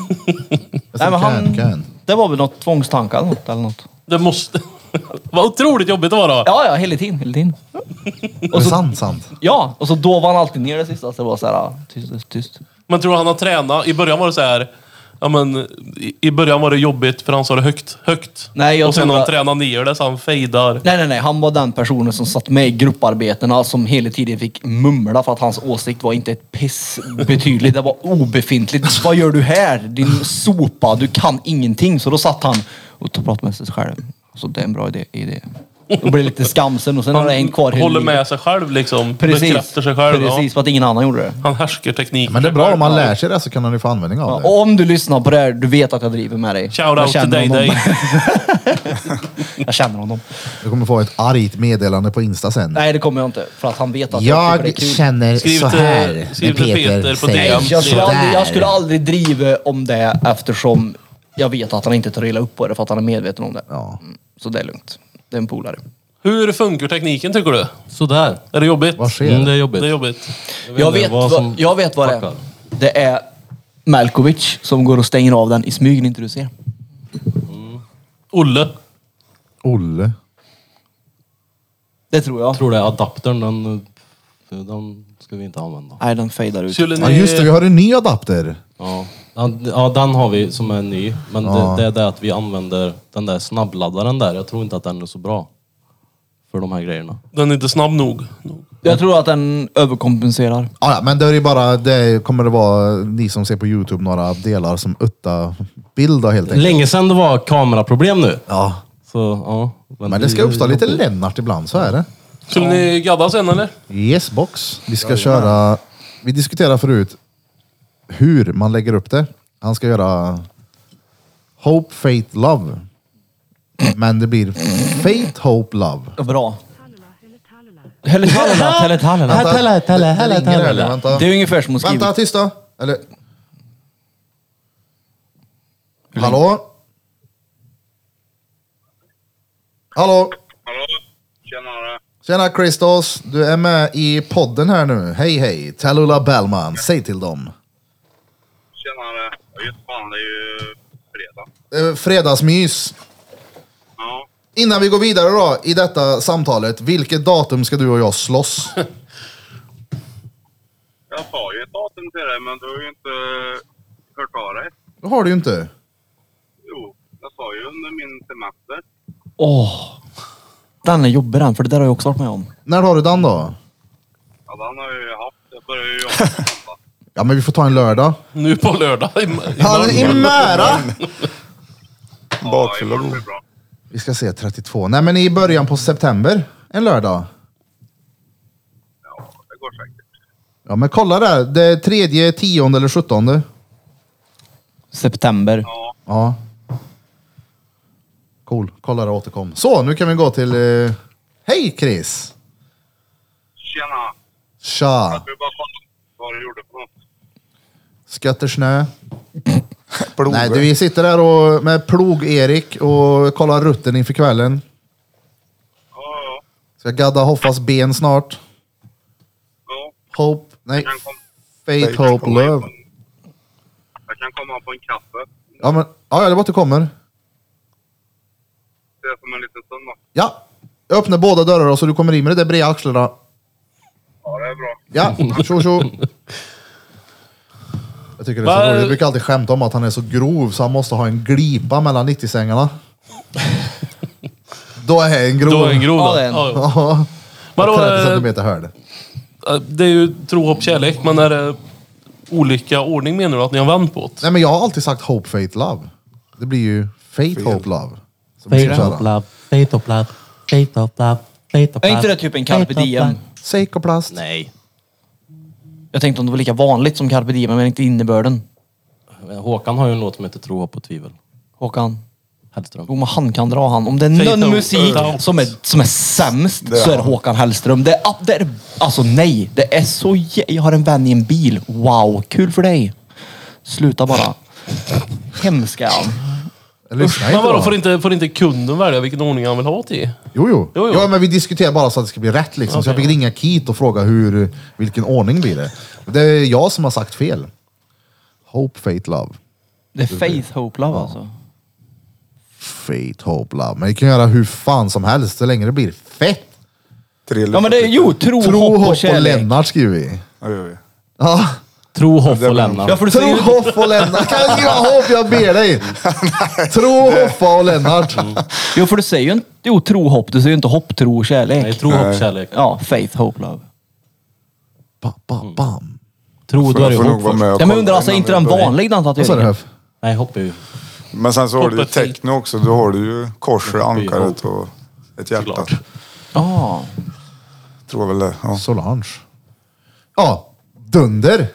står
men
i
han,
kön, kön.
det var väl något tvångstankar eller något, eller något.
Det måste... Vad otroligt jobbigt det var då.
Ja, ja, hela tiden, hela tiden.
Är det sant? sant?
Ja, och så då var han alltid ner det sista, så det var såhär, ja, tyst, tyst, tyst.
Men tror du han har tränat? I början var det så här... Ja, men, i, I början var det jobbigt för han sa det högt. Högt.
Nej, jag
och sen
tror
har han
att-
tränat ner det så han fejdar.
Nej, nej, nej, han var den personen som satt med i grupparbetena som hela tiden fick mumla för att hans åsikt var inte ett piss betydligt, det var obefintligt. Vad gör du här? Din sopa, du kan ingenting. Så då satt han och tog prat med sig själv. Så det är en bra idé. idé. Och blir lite skamsen och sen har det hängt kvar hela
håller
livet.
med sig själv liksom.
Precis,
Bekräftar sig själv.
precis för att ingen annan gjorde det.
Ja. Han härskar teknik.
Men det är bra, om man lär sig det så kan man ju få användning av det.
Och om du lyssnar på det här, du vet att jag driver med dig.
Shout
jag
out till
känner
dig,
honom.
dig.
Jag känner honom.
Du kommer få ett argt meddelande på Insta sen.
Nej, det kommer jag inte. För att han vet att jag, tycker
Jag
det är kul.
känner
Skriv
så
till-
här
skriv till Peter på
säger
DM.
Jag skulle,
sådär.
aldrig, jag skulle aldrig driva om det eftersom jag vet att han inte tar illa upp på det för att han är medveten om det.
Ja.
Mm, Så det är lugnt. Det är en polare.
Hur funkar tekniken tycker du?
Sådär.
Är det jobbigt?
Vad sker?
Mm, det är jobbigt.
Det är jobbigt.
Jag vet,
vad som
vad, jag vet vad det är.
fuckar.
Det är Malkovic som går och stänger av den i smyg när inte du ser.
Olle.
Olle.
Det tror jag.
Jag tror det är adaptern, den, den ska vi inte använda.
Nej, den fejdar ut.
Skulle ni...
Ja just det, vi har en ny adapter.
Ja. Den- Ja, den har vi som är ny. Men det, det är det att vi använder den där snabbladdaren där. Jag tror inte att den är så bra. För de här grejerna.
Den är inte snabb nog. nog.
Jag tror att den överkompenserar.
Ah, Ja, ja, men det är ju bara, det kommer det vara ni som ser på Youtube, några delar som utta bilder helt enkelt.
Länge sedan det var kameraproblem nu.
Ja.
Så, ja.
Men det ska
är
uppstå lite
jobbigt.
Lennart ibland, så är det.
Skulle ni gadda sen eller?
Yes box. Vi ska köra, vi diskuterade förut hur man lägger upp det. Han ska göra Hope, Faith, Love. Men det blir Faith, Hope, Love.
Bra. Helle tallena, helle tallena.
Vänta.
tala, tala,
Det-
hela
det ringer,
tala.
eller? Vänta.
Det är ungefär som att
Vänta,
skriva...
tysta. Eller... Hallå? Hallå?
Hallå? Tjenare.
Tjena Christos, du är med i podden här nu. Hej hej, Talula Bellman, säg till dem.
Tjenare. Ja, just fan, det är ju fredag.
Eh, Fredagsmys.
Ja.
Innan vi går vidare då i detta samtalet, vilket datum ska du och jag slåss?
Jag sa ju ett datum till dig, men du har ju inte hört av dig.
Det har du ju inte.
Jo, jag sa ju under min semester.
Åh! Den är jobbig den, för det där har jag också varit med om.
När har du den då?
Ja, den har jag ju haft. Jag började ju jobba på söndag.
Ja men vi får ta en lördag.
Nu på lördag. i- i-
Han i Mära!
Ja,
Bakfulla
imorgon
god.
blir bra.
Vi ska se 32. Nej men i början på september. En lördag.
Ja, det går säkert.
Ja men kolla där. Det är tredje, tionde eller sjuttonde.
September.
Ja,
Ja. Cool. Kolla där återkom. Så nu kan vi gå till... eh, Hej Chris!
tjena.
Tja!
Jag vill bara kolla vad du gjorde för något.
Sköttersnö. Nej, du,
Plogar.
vi sitter där och, med Plog-Erik och kollar rutten inför kvällen.
Ja, ja.
Ska gadda Hoffas ben snart.
ja.
Hope, nej,
Jag kan komma.
Faith, Hope, Love.
Jag kan komma på en kaffe.
Ja, men, ja, ja, det var att du kommer.
Ses om en liten stund då.
Ja, jag öppnar båda dörrar och så du kommer in med det där breda axlarna.
Ja, det är bra.
Ja, tjo tjo. Jag tycker det är så
Vad-
roligt. Vi brukar alltid skämta om att han är så grov så han måste ha en glipa mellan 90-sängarna. Då är jag en grov.
Då är en grov
Ja,
då.
det är en.
Ja, ja.
Ja,
Vadå,
30
eh,
centimeter hörd.
Eh, Det är ju tro, hopp, kärlek. Men är det olika ordning menar du att ni har vänt på? det?
Nej men jag har alltid sagt Hope, Faith, Love. Det blir ju Faith, Hope, Love. Som vi ska
Faith
köra.
of love, faith of love, faith of love, faith of
Är
love.
inte det typ en carpe
faith of
diem?
love.
Seikoplast.
Nej.
Jag tänkte om det var lika vanligt som carpe diem, men inte innebörden.
Håkan har ju en låt som heter Tro, hopp och tvivel.
Håkan.
Hellström.
Jo, men han kan dra han. Om det
Take
är
out,
någon musik
out.
som är, som är sämst
Det är
så är det
han.
Håkan Hellström. Det är, ah, det är, alltså nej, det är så jä- Jag har en vän i en bil. Wow, kul för dig. Sluta bara. Hemska han.
Lyssna
Men
inte
vadå,
då.
får inte, får inte kunden välja vilken ordning han vill ha till?
Jo, jo.
Jo, jo.
Ja, men vi diskuterar bara så att det ska bli rätt liksom. så jag fick ringa Keith och fråga hur, vilken ordning blir det. Det är jag som har sagt fel. Hope, faith, love.
Det är faith, hope, love alltså.
Faith, hope, love. Men vi kan göra hur fan som helst så länge det blir fett.
Tre
Ja men det är jo, tro,
Tro,
Oh, hopp och
hopp och
kärlek.
Lennart skriver vi.
Ja, gör vi.
Ja.
Tro, hopp
Det är
och
väl-
lämna.
Ja, för du säger
Tro,
ju-
hopp och Lennart. Kan jag skriva hopp? Jag ber dig. Tro, hoppa och Lennart.
Mm. Jo, för du säger ju inte jo, tro, hopp. Du säger ju inte hopp, tro,
Nej,
kärlek.
tro, hopp, kärlek.
Ja, faith, hope, love.
Ba, ba,
Mm.
bam.
Tro, då är
Jag
det
får nog
hopp
vara
först.
med och
Ja, men
kolla
undrar alltså
innan
inte
vi
den
börjar.
vanliga den
Vad sa du
tatueringen?
Höf?
Nej, hopp är ju...
Men sen så har du ju
Hoppet till.
techno också. Då har du ju korset, ankaret och Ett hjärta.
Såklart.
Ja.
Tror väl det. Ja.
Solange. Ja, Dunder.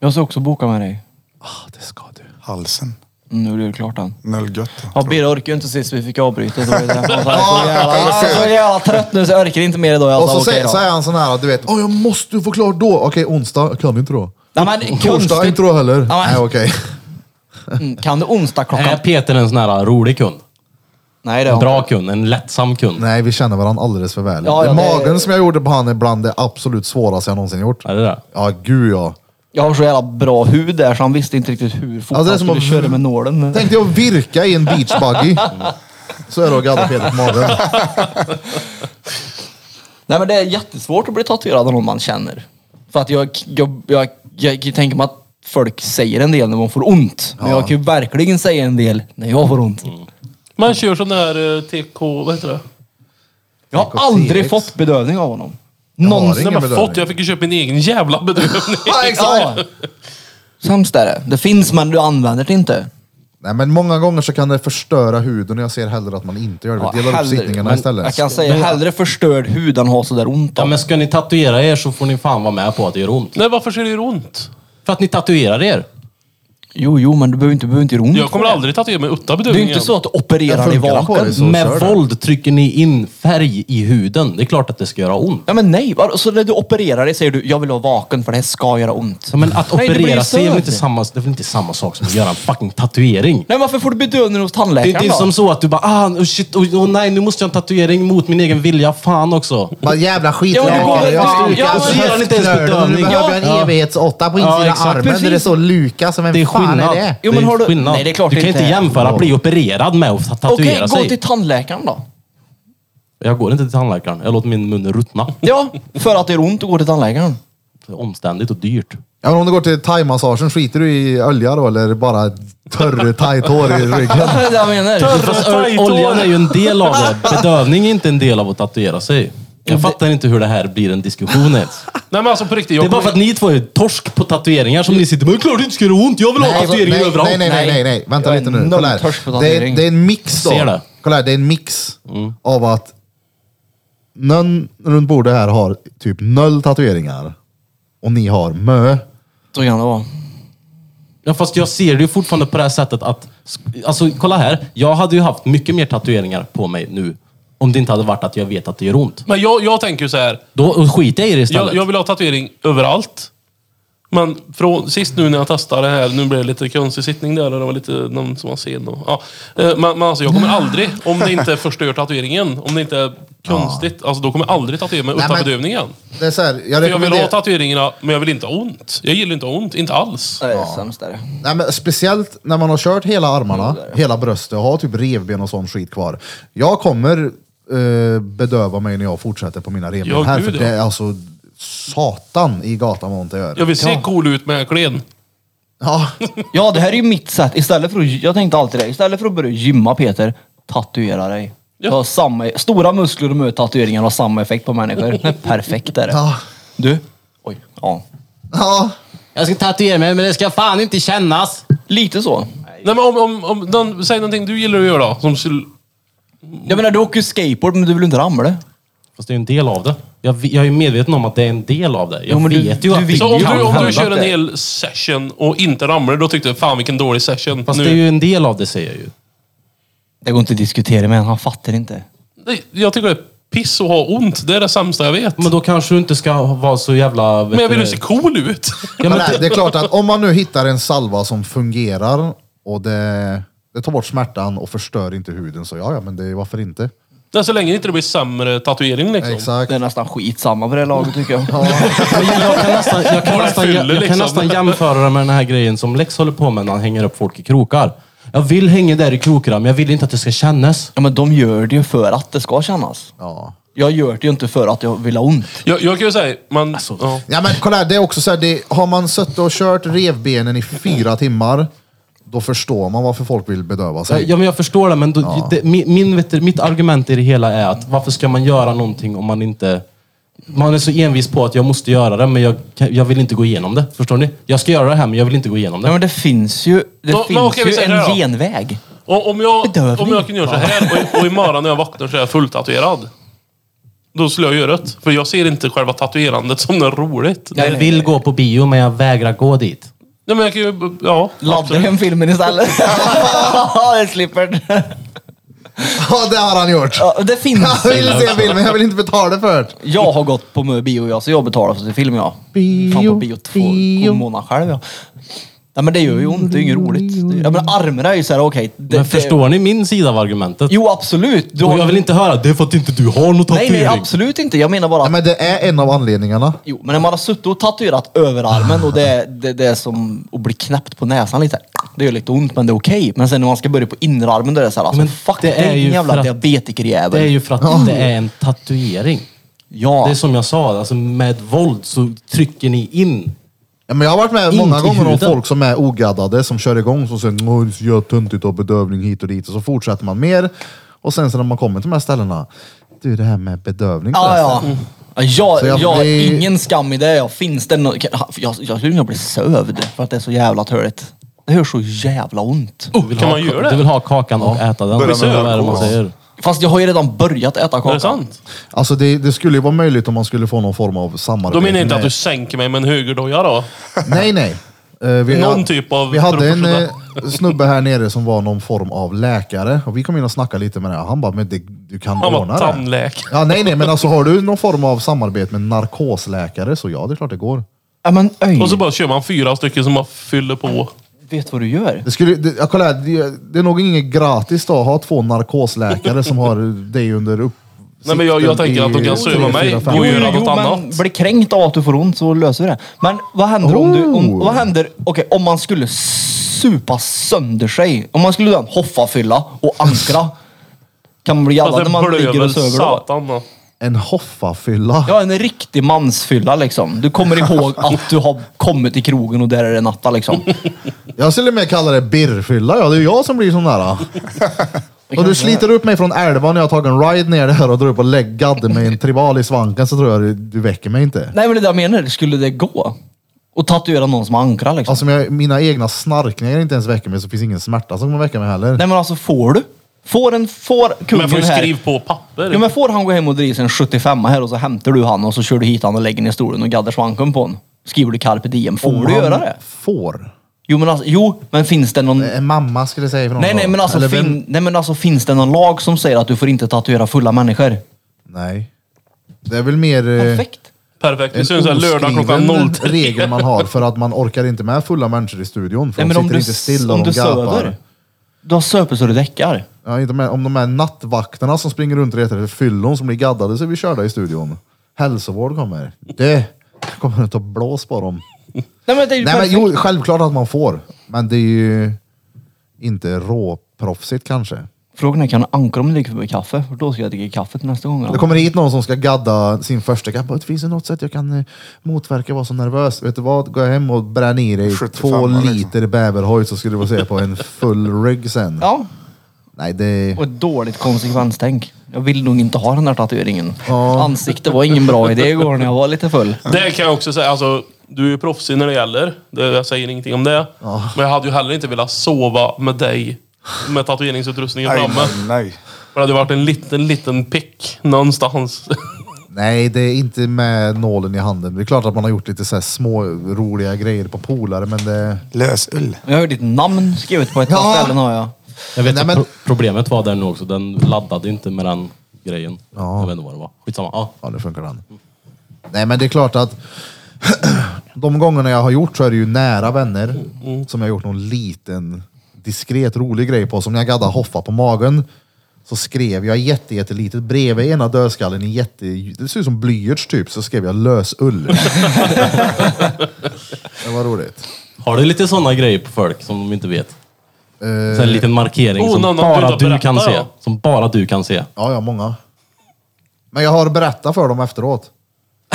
Jag ska också boka med dig.
Ah,
Mm,
Det ska du.
Halsen.
Nu blir det klart än.
Nölgött.
Ja, Birre orkar ju inte sist vi fick avbryta. Så det var ju därför han sa, jag är så jävla- jag är så jävla trött nu så jag orkar inte mer idag. Jag
Ah, Och
sa,
så
okej
säger,
då.
säger han sån här, du vet, oh, jag måste ju få klart då. Okej, onsdag, jag kan inte då.
Nej, men
Torsdag,
konstigt.
inte då heller.
Ja, men-
Nej, okej.
Mm, Kan du onsdag
Är
klockan?
Peter en sån här rolig kund?
Nej det
En
har
bra kund? En lättsam kund?
Nej, vi känner varandra alldeles för väl.
Ja, ja,
det,
det-
magen som jag gjorde på han är bland det absolut svåraste jag någonsin gjort.
Är det det?
Ja, gud ja.
Jag har så jävla bra hud där så han visste inte riktigt hur fort
Ja, Alltså, det är
han
som
skulle
att-
köra med nålen.
Tänkte jag virka i en beachbuggy. Så är det att gadda Peter på magen.
Nej men det är jättesvårt att bli tatuerad av någon man känner. För att jag, jag, jag, jag, jag tänker mig att folk säger en del när man får ont. Men jag kan ju verkligen säga en del när jag får ont.
Mm.
Man kör sån där eh, TK, vad heter det?
Jag har aldrig
Typ
fått bedövning av honom.
har
Någonsin.
ingen
Nej men
bedövning.
fått, jag fick ju köpa min egen jävla bedövning.
Ja,
Ja.
exakt.
Sämst är det. Det finns men du använder det inte.
Nej, men många gånger så kan det förstöra huden och jag ser hellre att man inte gör det.
Ja,
Vi delar upp
hellre.
sittningarna
Men
istället.
Jag kan säga hellre förstörd hud än ha sådär ont
Ja,
av.
men ska ni tatuera er så får ni fan vara med på att det gör ont.
Nej varför ser det ont?
För att ni tatuerar er.
Jo, jo, men du behöver inte, du behöver inte göra ont.
Jag kommer aldrig tatuera mig utan
det är ju
bedövning
inte
igen.
så att du opererar
funkar
i
den på
vaken.
dig så
med
kör det.
våld trycker ni in färg i huden. Det är klart att det ska göra ont.
Ja, men nej, vadå? så när du opererar dig säger du jag vill vara vaken för det här ska göra ont.
Ja, men att
Nej, det blir
operera sig är väl
söt.
inte samma, det är väl inte samma sak som att göra en fucking tatuering?
Nej, varför får du bedövning hos
Det
tandläkaren
är inte
då?
som så att du bara ah, oh shit, oh, oh, nej nu måste jag ha en tatuering mot min egen vilja. Fan också.
Vad jävla skit
Ja, men det går väl-
Jag
ja,
stukar
ja,
alltså
så
gör han inte ens
höftknölen och Nu
bedömning.
behöver jag
Ja.
en evighetsåtta på
Ja,
insidan
exakt.
av armen där det
Precis.
står Luka. Som vem
Det är
fan
skillnad.
är det?
Jo, men
Det är
har du-
skillnad.
Nej, det är klart
du kan
inte.
inte jämföra att bli opererad med att tatuera
Okej, gå
sig.
till tandläkaren då.
Jag går inte till tandläkaren. Jag låter min mun ruttna.
Ja, för att det är ont att gå till tandläkaren.
Det är omständigt och dyrt.
Ja, men om du går till thaimassagen, skiter du i olja då eller bara törre thai-tår i ryggen?
Det är det jag menar.
Fast ö- oljan är ju en del av det. Bedövning är inte en del av att tatuera sig. Jag fattar inte hur det här blir en diskussion ens.
Nej men alltså på riktigt.
Det
Jag
är bara för att ni två är torsk på tatueringar som ni sitter med. Klart det inte ska göra ont. Jag vill ha
Nej, alltså,
tatueringar
nej,
överallt.
nej, nej, nej, nej, nej. Vänta
Jag är
lite nu.
noll
Kolla här.
törst på
Det är,
tatuering.
det är en mix då.
Ser det. Mm.
Kolla här, det är en mix av att någon runt bordet här har typ noll tatueringar och ni har mö.
Så kan det vara.
Ja, fast jag ser det ju fortfarande på det här sättet att... Alltså, kolla här. Jag hade ju haft mycket mer tatueringar på mig nu. Om det inte hade varit att jag vet att det gör ont.
Men jag, jag tänker ju så här.
Då skiter jag i det istället.
Jag, jag vill ha tatuering överallt. Men från sist nu när jag testade det här, nu blev det lite konstig sittning där och det var lite någon som var sen. Och, ja. Eh, men, men alltså jag kommer aldrig, om det inte förstör tatueringen, om det inte är konstigt, alltså då kommer jag aldrig tatuera mig
Nej,
utan
men-
bedövningen.
Det är så här, jag
För jag vill ha
rekommenderar...
tatueringarna, men jag vill inte ha ont. Jag gillar inte ont, inte alls.
Det är sämst är det.
Nej, men speciellt när man har kört hela armarna, hela bröstet och har typ revben och sån skit kvar. Jag kommer eh, bedöva mig när jag fortsätter på mina revben
Ja,
här,
gud,
för
ja.
det är alltså satan i gatan vad ont det gör.
Jag vill se cool ut med klen.
Ja,
Ja, det här är ju mitt sätt. Istället för att, jag tänkte alltid det. Istället för att börja gymma Peter, tatuera dig.
Ja.
Du har samma, stora muskler och med tatueringar har samma effekt på människor. Perfekt är det.
Ja.
Du? Oj. Ja.
ja.
Jag ska tatuera mig, men det ska fan inte kännas.
Lite så.
Nej men om, om, om någon, säg någonting du gillar att göra då, som skulle...
Jag menar, du åker ju skateboard men du vill inte ramla.
Fast det är ju en del av det. Jag, vi- jag är ju medveten om att det är en del av det. Jag
Jo, men du-
vet ju
du
att
vill
Så om
det
du,
kan
om du
hända.
kör en
det.
hel session och inte ramlar, då tyckte jag fan vilken dålig session.
Fast
Nu-
det är ju en del av det, säger jag ju.
Det går inte att diskutera med han fattar inte.
Nej, Jag tycker det är piss att ha ont. Det är det sämsta jag vet.
Men
Men,
då kanske du inte ska vara så jävla... vet
jag vill ju
du-
se cool ut.
Ja, men
Men nej, det är klart att om man nu hittar en salva som fungerar och det, det tar bort smärtan och förstör inte huden så ja, ja, men det, varför inte?
Men så länge det inte blir sämre tatuering liksom.
Exakt.
Det är nästan skitsamma på det här laget tycker jag.
Men jag, jag kan, nästan, jag, kan
Bara
nästan,
fyller,
jag, jag kan
liksom.
nästan jämföra det med den här grejen som Lex håller på med när han hänger upp folk i krokar. Jag vill hänga där i krokarna, men jag vill inte att det ska kännas.
Ja men de gör det ju för att det ska kännas.
Ja.
Jag gör det ju inte för att jag vill ha ont.
Jag, jag kan ju säga, man...
Alltså,
ja.
Ja men kolla här, det är också så här, det, har man suttit och kört revbenen i fyra timmar, då förstår man varför folk vill bedöva sig.
Ja, men jag förstår det, men då, det, min, min, vet du, mitt argument i det hela är att varför ska man göra någonting om man inte... Man är så envis på att jag måste göra det, men jag, kan- jag vill inte gå igenom det. Förstår ni? Jag ska göra det här, men jag vill inte gå igenom
Ja
det.
men det finns ju, det
Då- men
finns
okej, vi
ju
säger det
en
då.
genväg.
Och om jag,
Bedövning.
om jag kunde göra så här och, och imorgon när jag vaknar så är jag fulltatuerad. Då skulle jag göra det. För jag ser inte själva tatuerandet som något roligt.
Jag
nej,
vill gå på bio, men jag vägrar gå dit.
Nej men jag kan ju... Ja.
Ladda
absolut.
hem filmen istället. det slipper den.
Ja, det har han gjort.
ja, Det finns.
Jag vill se filmen, jag vill inte betala för det.
Jag har gått på mö- bio jag, så jag betalar för film jag. Bio, Fan på bio två
bio.
månader själv jag. Nej men det gör ju ont, det är ju inget roligt. Det- Ja men armarna är ju såhär okej. det- det-
Men förstår ni min sida av argumentet?
Jo absolut. Du
Och jag vill inte höra, det är för att inte du har någon
Nej
tatuering.
nej absolut inte. Jag menar bara
Ja,
att
men det är en av anledningarna.
Jo, men när man har suttit och tatuerat överarmen och det, det, det är som att bli knäppt på näsan lite. Det gör lite ont men det är okej. Men sen när man ska börja på innerarmen då är det såhär, alltså,
Men
fuck
det
det
är
är
ju
en
för
jävla
att-
diabetikerjävel.
Det är ju för att det är en tatuering.
ja.
Det är som jag sa, alltså med våld så trycker ni in.
Ja, men jag har varit med många
Inte
gånger om
huden.
folk som är ogaddade, som kör igång, som säger "Åh, det är så jävla töntigt och bedövning hit och dit. Och så fortsätter man mer. Och sen så när man kommer till de här ställena, du det här med bedövning
Ja,
förresten."
ja. Ja, Jag,
Alltså. Så jag
jag, har
blir-
ingen skam i det. Jag, finns det no... jag, jag skulle nog bli sövd för att det är så jävla töligt. Det gör så jävla ont.
Du vill
Kan
ha,
man göra
Du
det?
vill ha kakan och äta den.
Börja
Vad
med
är det man
ögonen.
säger?
Fast jag har ju redan börjat äta
Är det
kakan.
sant?
Alltså det, det skulle ju vara möjligt om man skulle få någon form av samarbete.
Då menar jag inte att
med-
du sänker mig med en högerdoja då.
Nej, nej. Eh, vi,
Någon typ av
Vi hade en
professionell-
eh, snubbe här nere som var någon form av läkare. Och vi kom in och snackade lite med det. Han bara, men det, du kan
Han var
ordna det.
tandläkare.
Ja, nej, nej, men alltså har du någon form av samarbete med narkosläkare så ja, det är klart det går.
Ja, men öj.
Och så bara kör man fyra stycken som man fyller på.
Vet vad du gör?
Det, skulle, det, ja, kolla här, det, det är nog inget gratis då, att ha två narkosläkare som har dig under upp.
Nej, men jag- jag
sikten
tänker att de kan
tre,
söva mig.
fyra, fem
Jo,
år.
jo. göra något
men
annat.
bli kränkt av att du får ont så löser vi det. Men vad händer om du... Om,
Oh.
vad händer okej, om man skulle supa sönder sig? Om man skulle göra en hoffafylla och ankra. Kan man bli
Fast
jallad
det
när man ligger
Alltså, blöder
och söver då?
satan då.
En hoffafylla.
Ja, en riktig mansfylla liksom. Du kommer ihåg att du har kommit till krogen och där är det natta liksom.
Jag skulle mer kalla det birrfylla. Ja, det är jag som blir sån där. då. Och du sliter upp mig från älvan när jag har tagit en ride ner där och drar upp och lägger gadde med en tribal i svanken så tror jag du, du väcker mig inte.
Nej, men det där jag menar, skulle det gå? Och tatuera någon som ankrar liksom?
Alltså om jag, mina egna snarkningar inte ens väcker mig så finns ingen smärta som kan väcka mig heller.
Nej men alltså får du? Får en, får
Men jag får
kungen
ju
här...
skriv på papper.
Ja, men får han gå hem och driva sin 75 här och så hämtar du han och så kör du hit han och lägger ner stolen och gaddar svanken på honom. Skriver du carpe diem. Får
Om
du
han
göra det?
Får.
Jo men, alltså, jo, men finns det någon...
En mamma skulle säga för någon
Nej, nej,
dag.
men alltså,
Eller vem-
fin... nej men alltså finns det någon lag som säger att du får inte tatuera fulla
Eh.
människor?
Nej. Det är väl mer... eh,
Perfekt.
Perfekt. Det
En
syns en lördag klockan
oskriven
03.
regel man har för att man orkar inte med fulla människor i studion. För
Nej, men
de
om
sitter
du,
inte stilla
om
och de
du
gapar.
söver. Du har söper så du däckar.
Ja, inte med, om de här nattvakterna som springer runt och letar efter fyllon som blir gaddade så är vi körda i studion. Hälsovård kommer. Det kommer att ta blås på dem.
Nej men det är ju
Nej men
perfekt.
jo, självklart att man får. Men det är ju inte råproffsigt kanske.
Frågan är, kan ankra om du dricker för mycket kaffe? För då ska jag dricka kaffe till nästa gång.
Det kommer hit någon som ska gadda sin första kapp. Det finns det något sätt jag kan eh, motverka att vara så nervös? Vet du vad? Gå hem och bränn i dig
75
två
liksom.
liter bäverhoj så skulle du få se på en full rygg sen.
Ja,
Nej, det...
och ett dåligt konsekvenstänk. Jag vill nog inte ha den här tatueringen.
Ja.
Ansikte var ingen bra idé igår när jag var lite full.
Det kan jag också säga. Alltså, du är ju proffsig när det gäller. Det, jag säger ingenting om det. Men jag hade ju heller inte velat sova med dig med tatueringsutrustningen
Nej,
framme.
nej, nej.
För det hade varit en liten, liten pick någonstans.
Nej, det är inte med nålen i handen. Det är klart att man har gjort lite så här små roliga grejer på polare, men det...
Lösull.
Jag har ju ditt namn skrivet på ett
Ja.
par ställen har jag.
Jag vet
Nej,
att
men-
pro problemet var där nu också. Den laddade inte med den grejen.
Ja.
Jag vet inte vad det var. Skitsamma. Ja.
Ja, nu funkar den. Nej, men det är klart att de gångerna jag har gjort så är det ju nära vänner som jag har gjort någon liten diskret rolig grej på. Som när jag gaddade Hoffa på magen så skrev jag jätte, jättelitet bredvid ena dödskallen i jätte... Det ser ut som blyerts typ, så skrev jag lösull. det var roligt.
Har du lite sådana grejer på folk som de inte vet?
Eh,
Så en liten markering
Oh,
som
någon- någon
bara
du inte har
du kan
berättat,
se.
ja.
Som bara du kan se.
Ja, ja, många. Men jag har berättat för dem efteråt.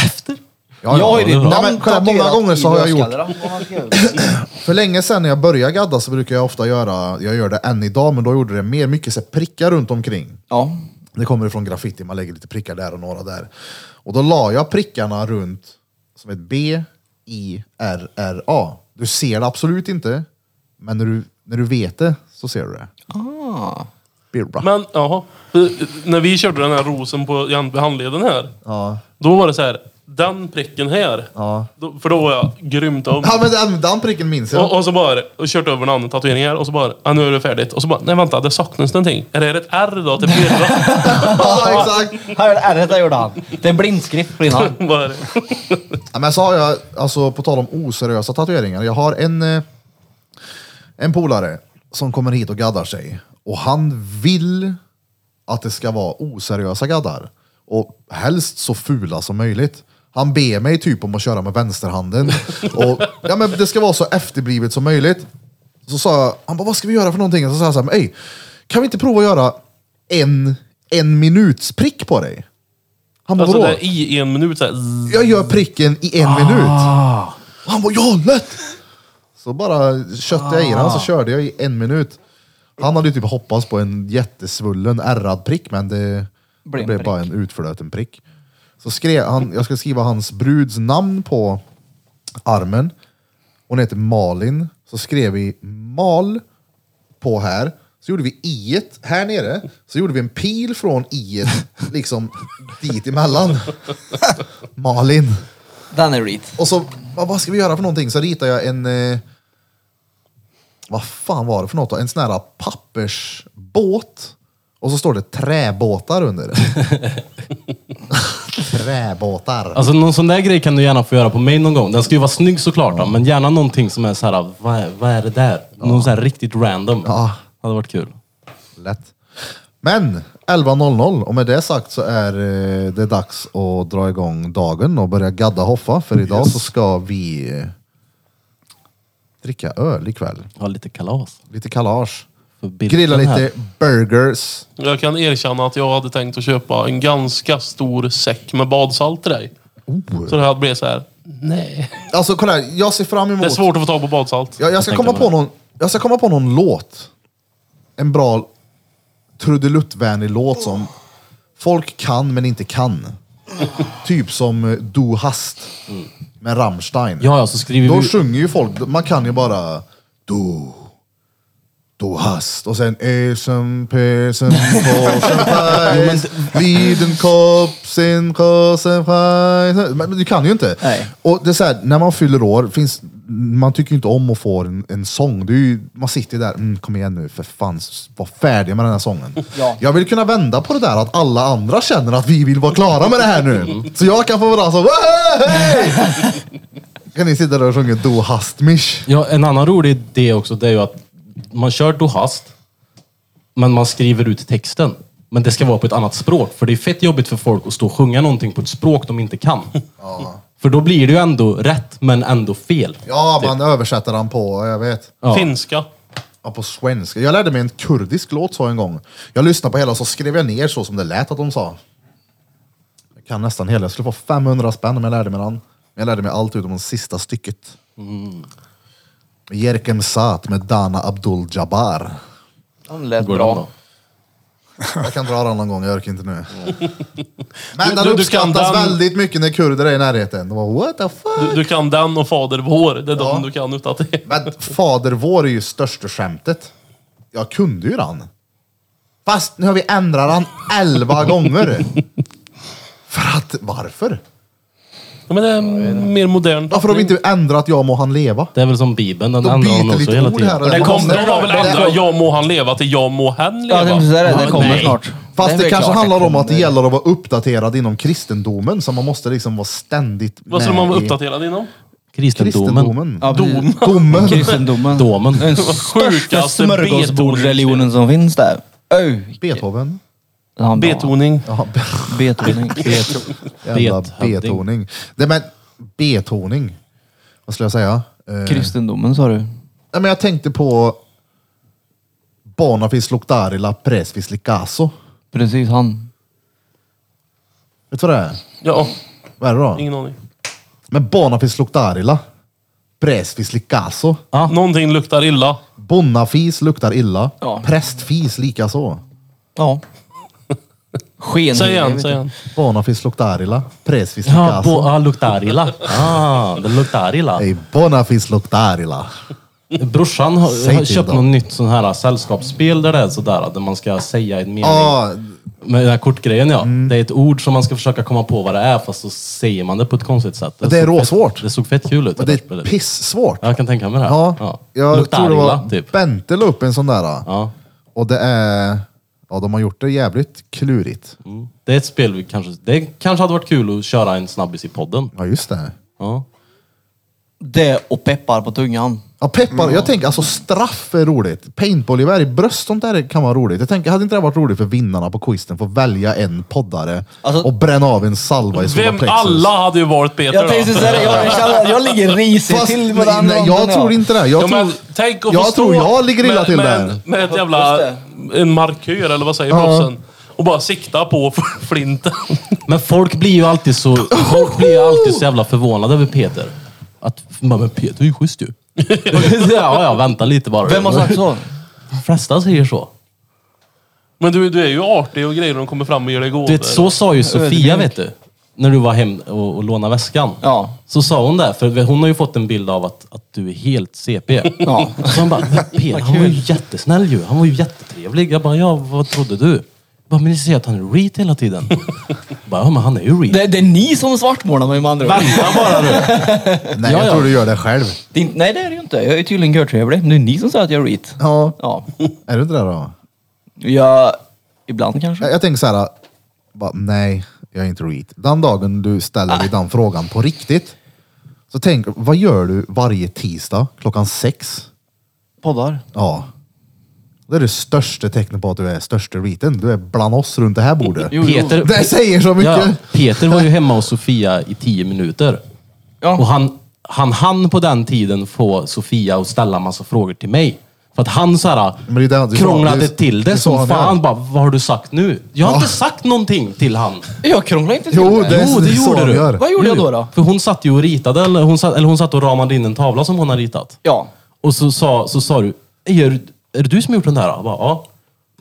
Efter?
Ja,
jag har ju
ja. Nej,
ditt namn
men kolla, Många
tatuerat
gånger
i
så har jag gjort...
bröstskallarna. Vad har han skrivit?
För länge sedan när jag började gadda så brukar jag ofta göra, jag gör det än idag, men då gjorde det mer mycket så här prickar runt omkring.
Ja.
Det kommer ifrån graffiti, man lägger lite prickar där och några där. Och då la jag prickarna runt som ett B, I, R, R, A. Du ser det absolut inte, men när du, när du vet det så ser du det.
Ah.
Birra.
Men jaha, Eh, när vi körde den här rosen på i hand- vid handleden här.
Ja,
Då var det så här, den pricken här.
ja.
Då, för då var jag grymt om.
Ja men den, den pricken minns jag.
Och, och så bara, och kört över en annan tatuering här och så bara, ja, nu är det färdigt. Och så bara, nej vänta, det saknas någonting. Är det ett R då till Birra?
Ja, exakt.
Här är ärret jag gjorde han. Det är en blindskrift på din hand.
Vad är det?
Ja, men så har jag, alltså på tal om oseriösa tatueringar. Jag har en, eh, en polare som kommer hit och gaddar sig. Och han vill att det ska vara oseriösa gaddar. Och helst så fula som möjligt. Han ber mig typ om att köra med vänsterhanden. Och, ja, men det ska vara så efterblivet som möjligt. Så sa jag, han bara, vad ska vi göra för någonting? Och så sa jag så här, "Men, ey, kan vi inte prova att göra en, en minuts prick på dig? Han bara,
Alltså
vadå?
det är i en minut så här, zzz.
jag gör pricken i en minut.
Ah.
Och han bara, ja lätt! Så bara köttade jag i
Ah.
den, så körde jag i en minut. Han hade ju typ hoppats på en jättesvullen ärrad prick, men det det
Blev
blev,
en prick.
bara en utflöten prick. Så skrev han, jag ska skriva hans bruds namn på armen. Hon heter Malin. Så skrev vi mal på här. Så gjorde vi i här nere. Så gjorde vi en pil från i liksom dit emellan. Malin.
Den är reet.
Och så, vad, vad ska vi göra för någonting? Så ritar jag en... Eh, vad fan var det för något då? En sån här pappersbåt. Och så står det träbåtar under det. träbåtar.
Alltså någon sån där grej kan du gärna få göra på mig någon gång. Den ska ju vara snygg såklart, då, men gärna någonting som är så här, vad är, vad är det där? Någon så här riktigt random.
Ja.
Hade varit kul.
Lätt. Men 11.00 och med det sagt så är eh, det dags att dra igång dagen och börja gadda hoffa. För idag så ska vi eh, dricka öl ikväll.
Ha lite kalas.
Lite kalas.
För bilden
Grilla
här.
lite burgers.
Jag kan erkänna att jag hade tänkt att köpa en ganska stor säck med badsalt till dig. Så det här blev så här, nej.
Alltså kolla här, jag ser fram
Det är
emot...
svårt att få tag på badsalt.
Jag, jag, ska
Jag
komma
tänker
på någon, jag ska komma på någon låt. En bra trudeluttvänlig låt som folk kan men inte kan. typ som eh, Du hast med Rammstein.
Ja, ja, så skriver
Då
vi...
sjunger ju folk, man kan ju bara Du, du hast och sen Ösen, pösen, påsen, fejs Liden, kopsen, kåsen, fejs Men du kan ju inte.
Nej.
Och det är så här, när man fyller år, finns, man tycker ju inte om att få en, en sång. Det är ju, man sitter ju där, mm, kom igen nu för fan, s- var färdig med den här sången.
Ja.
Jag vill kunna vända på det där att alla andra känner att vi vill vara klara med det här nu. Så jag kan få vara så, "Wahey!" kan ni sitta där och sjunga Do Hastmish?
Ja, en annan rolig idé också, det är ju att man kör Du hast, men man skriver ut texten. Men det ska vara på ett annat språk, för det är fett jobbigt för folk att stå och sjunga någonting på ett språk de inte kan. För då blir det ju ändå rätt, men ändå fel.
Ja, man översätter den på, jag vet.
Ja.
Finska.
Ja, på svenska. Jag lärde mig en kurdisk låt så en gång. Jag lyssnade på hela så skrev jag ner så som det lät att de sa. Jag kan nästan hela. Jag skulle få 500 spänn om jag lärde mig den. Men jag lärde mig allt utom det sista stycket. Jerkem Saat med Dana Abdul Jabbar.
Den lät
Går
bra.
den då?
Jag kan dra den någon gång, jag orkar inte nu. Men den
Du- du- du kan
uppskattas
den.
väldigt mycket när kurder är i närheten. De bara, what the fuck?
Du, du kan den och Fader vår. Det är de du kan utan det.
Men Fader vår är ju största skämtet. Jag kunde ju den. Fast nu har vi ändrat den elva gånger. För att, varför?
Ja, men det är mer modernt.
Varför har vi inte ändrat Jag må han leva?
Det är väl som Bibeln, den
De
ändrar de
byter
också
lite
hela
ord här
tiden.
och
Det
där.
kom,
Måste-
det var väl
det-
ändra jag må han leva till jag må hen
Ja, jag tänkte
leva.
säga det. Det kommer
nej.
snart.
Fast
är
det,
väl
kanske
klart,
handlar om att det
kommer.
gäller att vara uppdaterad inom kristendomen, så man måste liksom vara ständigt
Vad skulle man vara
i
uppdaterad inom?
Kristendomen.
kristendomen.
Ja, precis.
Domen.
Kristendomen.
Domen.
Den största
sjukaste
smörgåsbordsreligionen som finns där. Öj.
Beethoven.
Ja, bra.
Betoning.
Ja, be-
Betoning.
jävla
Bethövding.
betoning. Nej men, betoning. Vad skulle jag säga? Eh,
Kristendomen sa du.
Nej, men jag tänkte på Bona finns loktari la pres vis likaso.
Precis, han.
Vet du vad det är?
Ja,
Vad är det då?
ingen aning.
Men Bona finns loktari la pres vis likaso.
Ja.
Någonting luktar illa.
Bonnafis luktar illa.
Ja.
Prästfis likaså.
Ja. Sken.
Säg igen,
jag vet
säg
inte.
igen.
Bona finns loktari la pres vis
Ja,
likaso.
bo, ah, luktar illa. Ah, det luktar illa.
Ey, Bona finns loktari la.
Brorsan har,
Säg
har
till
köpt
dem.
något nytt sån här äh, sällskapsspel där det är sådär, där man ska säga en mening.
Ja, Mm.
Med den här kortgrejen ja. Det är ett ord som man ska försöka komma på vad det är, fast så säger man det på ett konstigt sätt.
Det är
såg fett-
råsvårt.
Det såg fett kul ut.
men
där
det är
spelet.
pissvårt.
Ja, Jag kan tänka mig det.
Ja, jag
Luktar
tror det var
illa, typ.
Bente la upp en sån där.
Ja.
Och det är... Ja, de har gjort det jävligt klurigt.
Mm. Det är ett spel vi kanske... Det kanske hade varit kul att köra en snabbis i podden.
Ja, just det.
Ja.
Det och peppar på tungan.
Ja, peppar. Jag tänker alltså straff är roligt. Paintballgevär i bröst, sånt där kan vara roligt. Jag tänker, hade inte det varit roligt för vinnarna på quizen? Få välja en poddare
Alltså-
och bränna av en salva i
Vem,
solarplexus.
alla hade ju valt Peter
Jag tänkte
då.
säga det, jag, jag, känner- jag ligger risigt
Fast,
till med den
nej, jag tror inte det. Jag
Ja,
tror,
men, alltså, tänk att
jag,
få stå
tror jag ligger illa
med,
till
med,
där.
Med ett jävla...
Just
En markör eller vad säger
Ja.
proffsen? Och bara sikta på flinten.
Men folk blir ju alltid så, folk blir ju alltid så jävla förvånade över Peter. Att, "Men, men Peter är ju schysst ju. ja, ja, vänta lite bara.
Vem har sagt så?
De flesta säger så.
Men du, du är ju artig och grejer när de kommer fram och gör dig gåvor.
Du vet, så sa ju Sofia, vet du. När du var hem och, och lånade väskan.
Ja.
Så sa hon det, för hon har ju fått en bild av att, att du är helt CP.
Ja.
Så han bara, "Men Peter, han var ju jättesnäll ju. Han var ju jättetrevlig. Jag bara, ja, vad trodde du? Jag bara, men ni säger att han är reet hela tiden. Jag bara, ja, men han är ju reet.
Det, det är ni som svartmålar mig med andra ord.
Nej,
Ja,
jag
ja.
tror du gör det själv.
Det är inte- Nej det är det ju inte. Jag är tydligen görtrevlig. Det är ni som säger att jag är reet.
Ja,
Ja.
är du inte det då?
Jag... Ibland kanske.
Jag, jag tänker så här, bara, nej, jag är inte reet. Den dagen du ställer dig den frågan på riktigt, så tänk, vad gör du varje tisdag klockan sex?
Poddar.
Ja. Det är det största tecknet på att du är största reeten. Du är bland oss runt det här bordet.
Peter,
Det säger så mycket.
Ja, Peter var ju hemma hos Sofia i tio minuter.
Ja.
Och han, han hann på den tiden få Sofia att ställa massa frågor till mig. För att han så här,
Men det är det- det är så-
krånglade
det är-
till
det är
det
så
som
han gör.
fan. Bara, vad har du sagt nu? Jag har inte sagt någonting till han.
Jag krånglar inte till
Jo,
det.
det är
Jo,
det
det
är så
gjorde
han
du.
gör.
Vad gjorde jag då då?
För hon satt ju och ritade, eller hon satt, eller hon satt och ramade in en tavla som hon har ritat.
Ja.
Och så sa, så sa du, "Ey, är, det- är det du som har gjort den där? Jag bara, ja.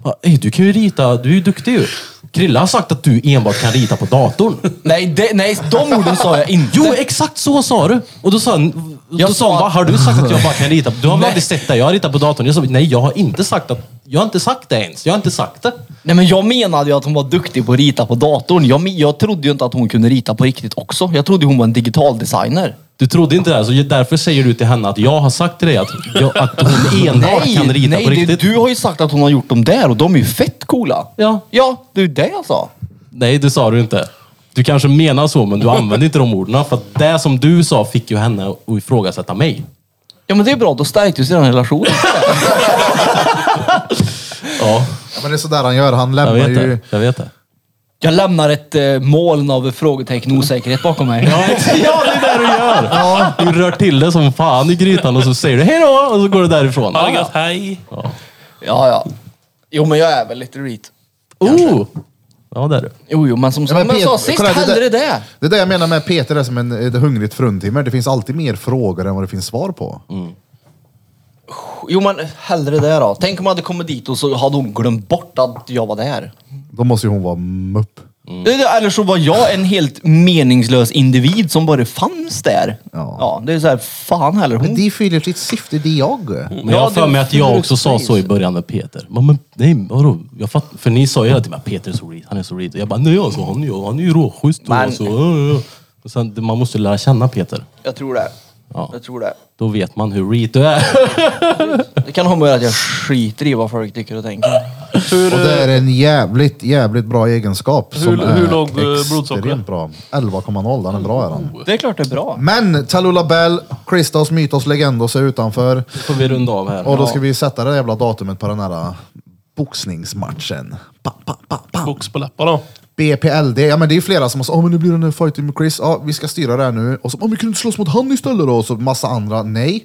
Bara, "Ey, du kan ju rita, du är ju duktig ju. Krilla har sagt att du enbart kan rita på datorn.
Nej, det, nej, de orden sa jag Äh, inte.
Jo, exakt så sa du! Och då sa han, då
Jag
sa han
sa-
"Va, har du sagt att jag bara kan rita? Du har väl
Nej.
aldrig sett det? Jag har ritat på datorn. Jag sa, nej jag har inte sagt att, jag har inte sagt det ens. Jag har inte sagt det.
Nej, men jag menade ju att hon var duktig på att rita på datorn. Jag, men- jag trodde ju inte att hon kunde rita på riktigt också. Jag trodde hon var en digital designer.
Du trodde inte det, här, så därför säger du till henne att jag har sagt till dig att, jag, att hon enbart kan rita
nej
på
det,
riktigt.
du har ju sagt att hon har gjort dem där och de är ju fett coola.
Ja.
Ja, det är ju det jag sa.
Nej, det sa du inte. Du kanske menar så, men du använde inte de orden. För att det som du sa fick ju henne att ifrågasätta mig.
Ja, men det är bra. Då stärktes ju den relationen.
Ja,
Ja, men det är sådär han gör. Han
jag
lämnar
vet
ju...
det. Jag vet det.
jag lämnar ett eh, moln av frågetecken och osäkerhet bakom mig.
Ja, exakt. ja, det är det du gör! Du rör till det som fan i grytan och så säger du hej då och så går du därifrån.
Har det gött, hej.
Ja, ja. Jo, men jag är väl lite reet.
Oh! Ja, det är du.
Jo, jo, men som
Ja,
som jag sa
Peter-
sist,
kolla,
hellre det.
Det är det jag menar med Peter är som en ett hungrigt fruntimmer. Det finns alltid mer frågor än vad det finns svar på.
Jo, men hellre det då. Tänk om jag hade kommit dit och så hade hon glömt bort att jag var där.
Då måste ju hon vara mupp.
Eh, Eller så var jag en helt meningslös individ som bara fanns där.
Ja.
Ja, det är så här, fan heller. Hon...
Men de fyller sitt syfte, de jag.
Men jag
Ja,
har för
det
mig att jag
fyller
också
ett
sa
pris.
så i början med Peter. Men, men nej, vadå? Jag fatt, för ni sa ju hela tiden att Peter är så reed, han är så reed. Jag bara, nej alltså han, är- han är ju råschysst. och
Men-
Alltså, ja, ja. och sen, det- man måste lära känna Peter.
Jag tror det.
Ja.
Jag tror det.
Då vet man hur reed du är.
Det kan ha med att jag skiter i vad folk tycker och tänker.
Hur,
Och det är en jävligt, jävligt bra egenskap. som
Hur-
är
hur låg, eh,
extremt
blodsockret?
bra. 11,0. Den är bra är den.
Det är klart det är bra.
Men Talula Bell, Christos, Mytos, Legendos är utanför.
Då får vi runda av här.
Och då ska vi sätta det jävla datumet på den här äh, boxningsmatchen. Pa, pa, pa, pa.
Box på läppar då.
BPLD, ja men det är flera som har sagt "Ja, men nu blir det den här fighten med Chris, ja vi ska styra det här nu. Och så, "Ja, men kan du inte slåss mot han istället då? Och så massa andra, nej.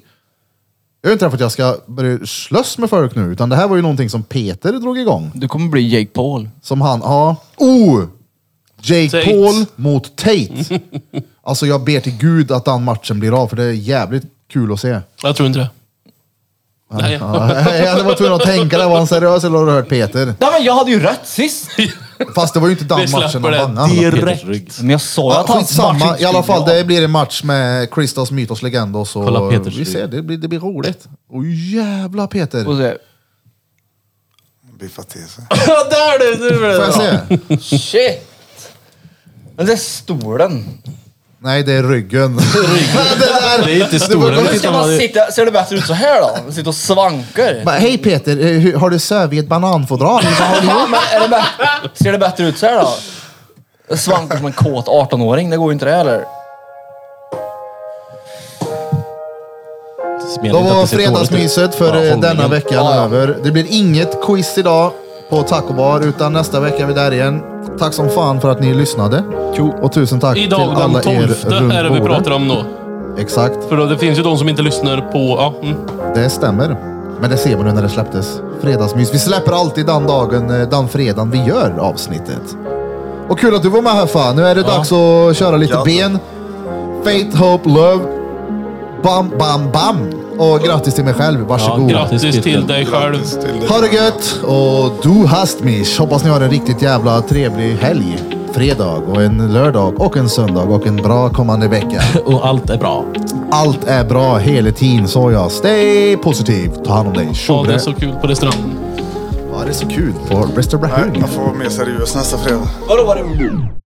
Jag är inte där för att jag ska börja slåss med folk nu, utan det här var ju någonting som Peter drog igång.
Du kommer bli Jake Paul.
Som han, ja. Oh! Jake
Tate.
Paul mot Tate. Alltså jag ber till gud att den matchen blir av, för det är jävligt kul att se.
Jag tror inte det. Nej.
Ja, jag var tvungen att tänka det, var han seriös eller har du hört Peter?
Nej men jag hade ju rätt sist!
Fast det var ju inte
Vi
den matchen
släpper
han
det
vann.
direkt.
Rygg.
Men jag sa ju
Ja,
att hans match
skitsamma,
inte
i alla fall.
skulle
Det blir en match med Christos, Mytos, Legendos
Kolla
och
Peters
vi ser, det blir, det blir roligt. Oj jävla Peter!
vara. Och
Får
så-
Biffa till sig.
Där du! Nu blev
jag
bra.
se?
Shit! Men det är stolen.
Nej, det är ryggen. det där!
Det är inte
var-
stora.
det
Ska man sitta, ser det bättre ut så här då? Man sitter och svankar.
Bara, Hej Peter, eh, hur- har du sövit i ett bananfodral?
Ja, men är det bä- ser det bättre ut så här då? Svankar som en kåt 18-åring, det går ju inte det heller.
Då var fredagsmyset för eh, denna veckan
Ja, ja.
över. Det blir inget quiz idag på Taco Bar, utan nästa vecka är vi där igen. Tack som fan för att ni lyssnade. Och tusen tack
Idag
till alla
den
er
12 är det vi
bordet.
pratar om då.
Exakt,
För då, det finns ju de som inte lyssnar på... Ja, mm.
det stämmer. Men det ser man nu när det släpptes. Fredagsmys. Vi släpper alltid den dagen, eh, den fredagen vi gör avsnittet. Och kul att du var med här fan. Nu är det dags att köra lite
Ja.
ben. Faith, Hope, Love. Bam, bam, bam. Och grattis till mig själv. Varsågod.
Grattis till dig själv.
Grattis till dig.
Ha det gött och du hast mich. Hoppas ni har en riktigt jävla trevlig helg. Fredag och en lördag och en söndag och en bra kommande vecka.
Och allt är bra.
Allt är bra hela tiden så jag stay positiv. Ta hand om dig.
Ja, det är
Tjobre.
så kul på restaurangen.
Ja, er det är så kul på
Nej,
restaurang.
jag får vara mer seriös nästa fredag.
Vadå var det?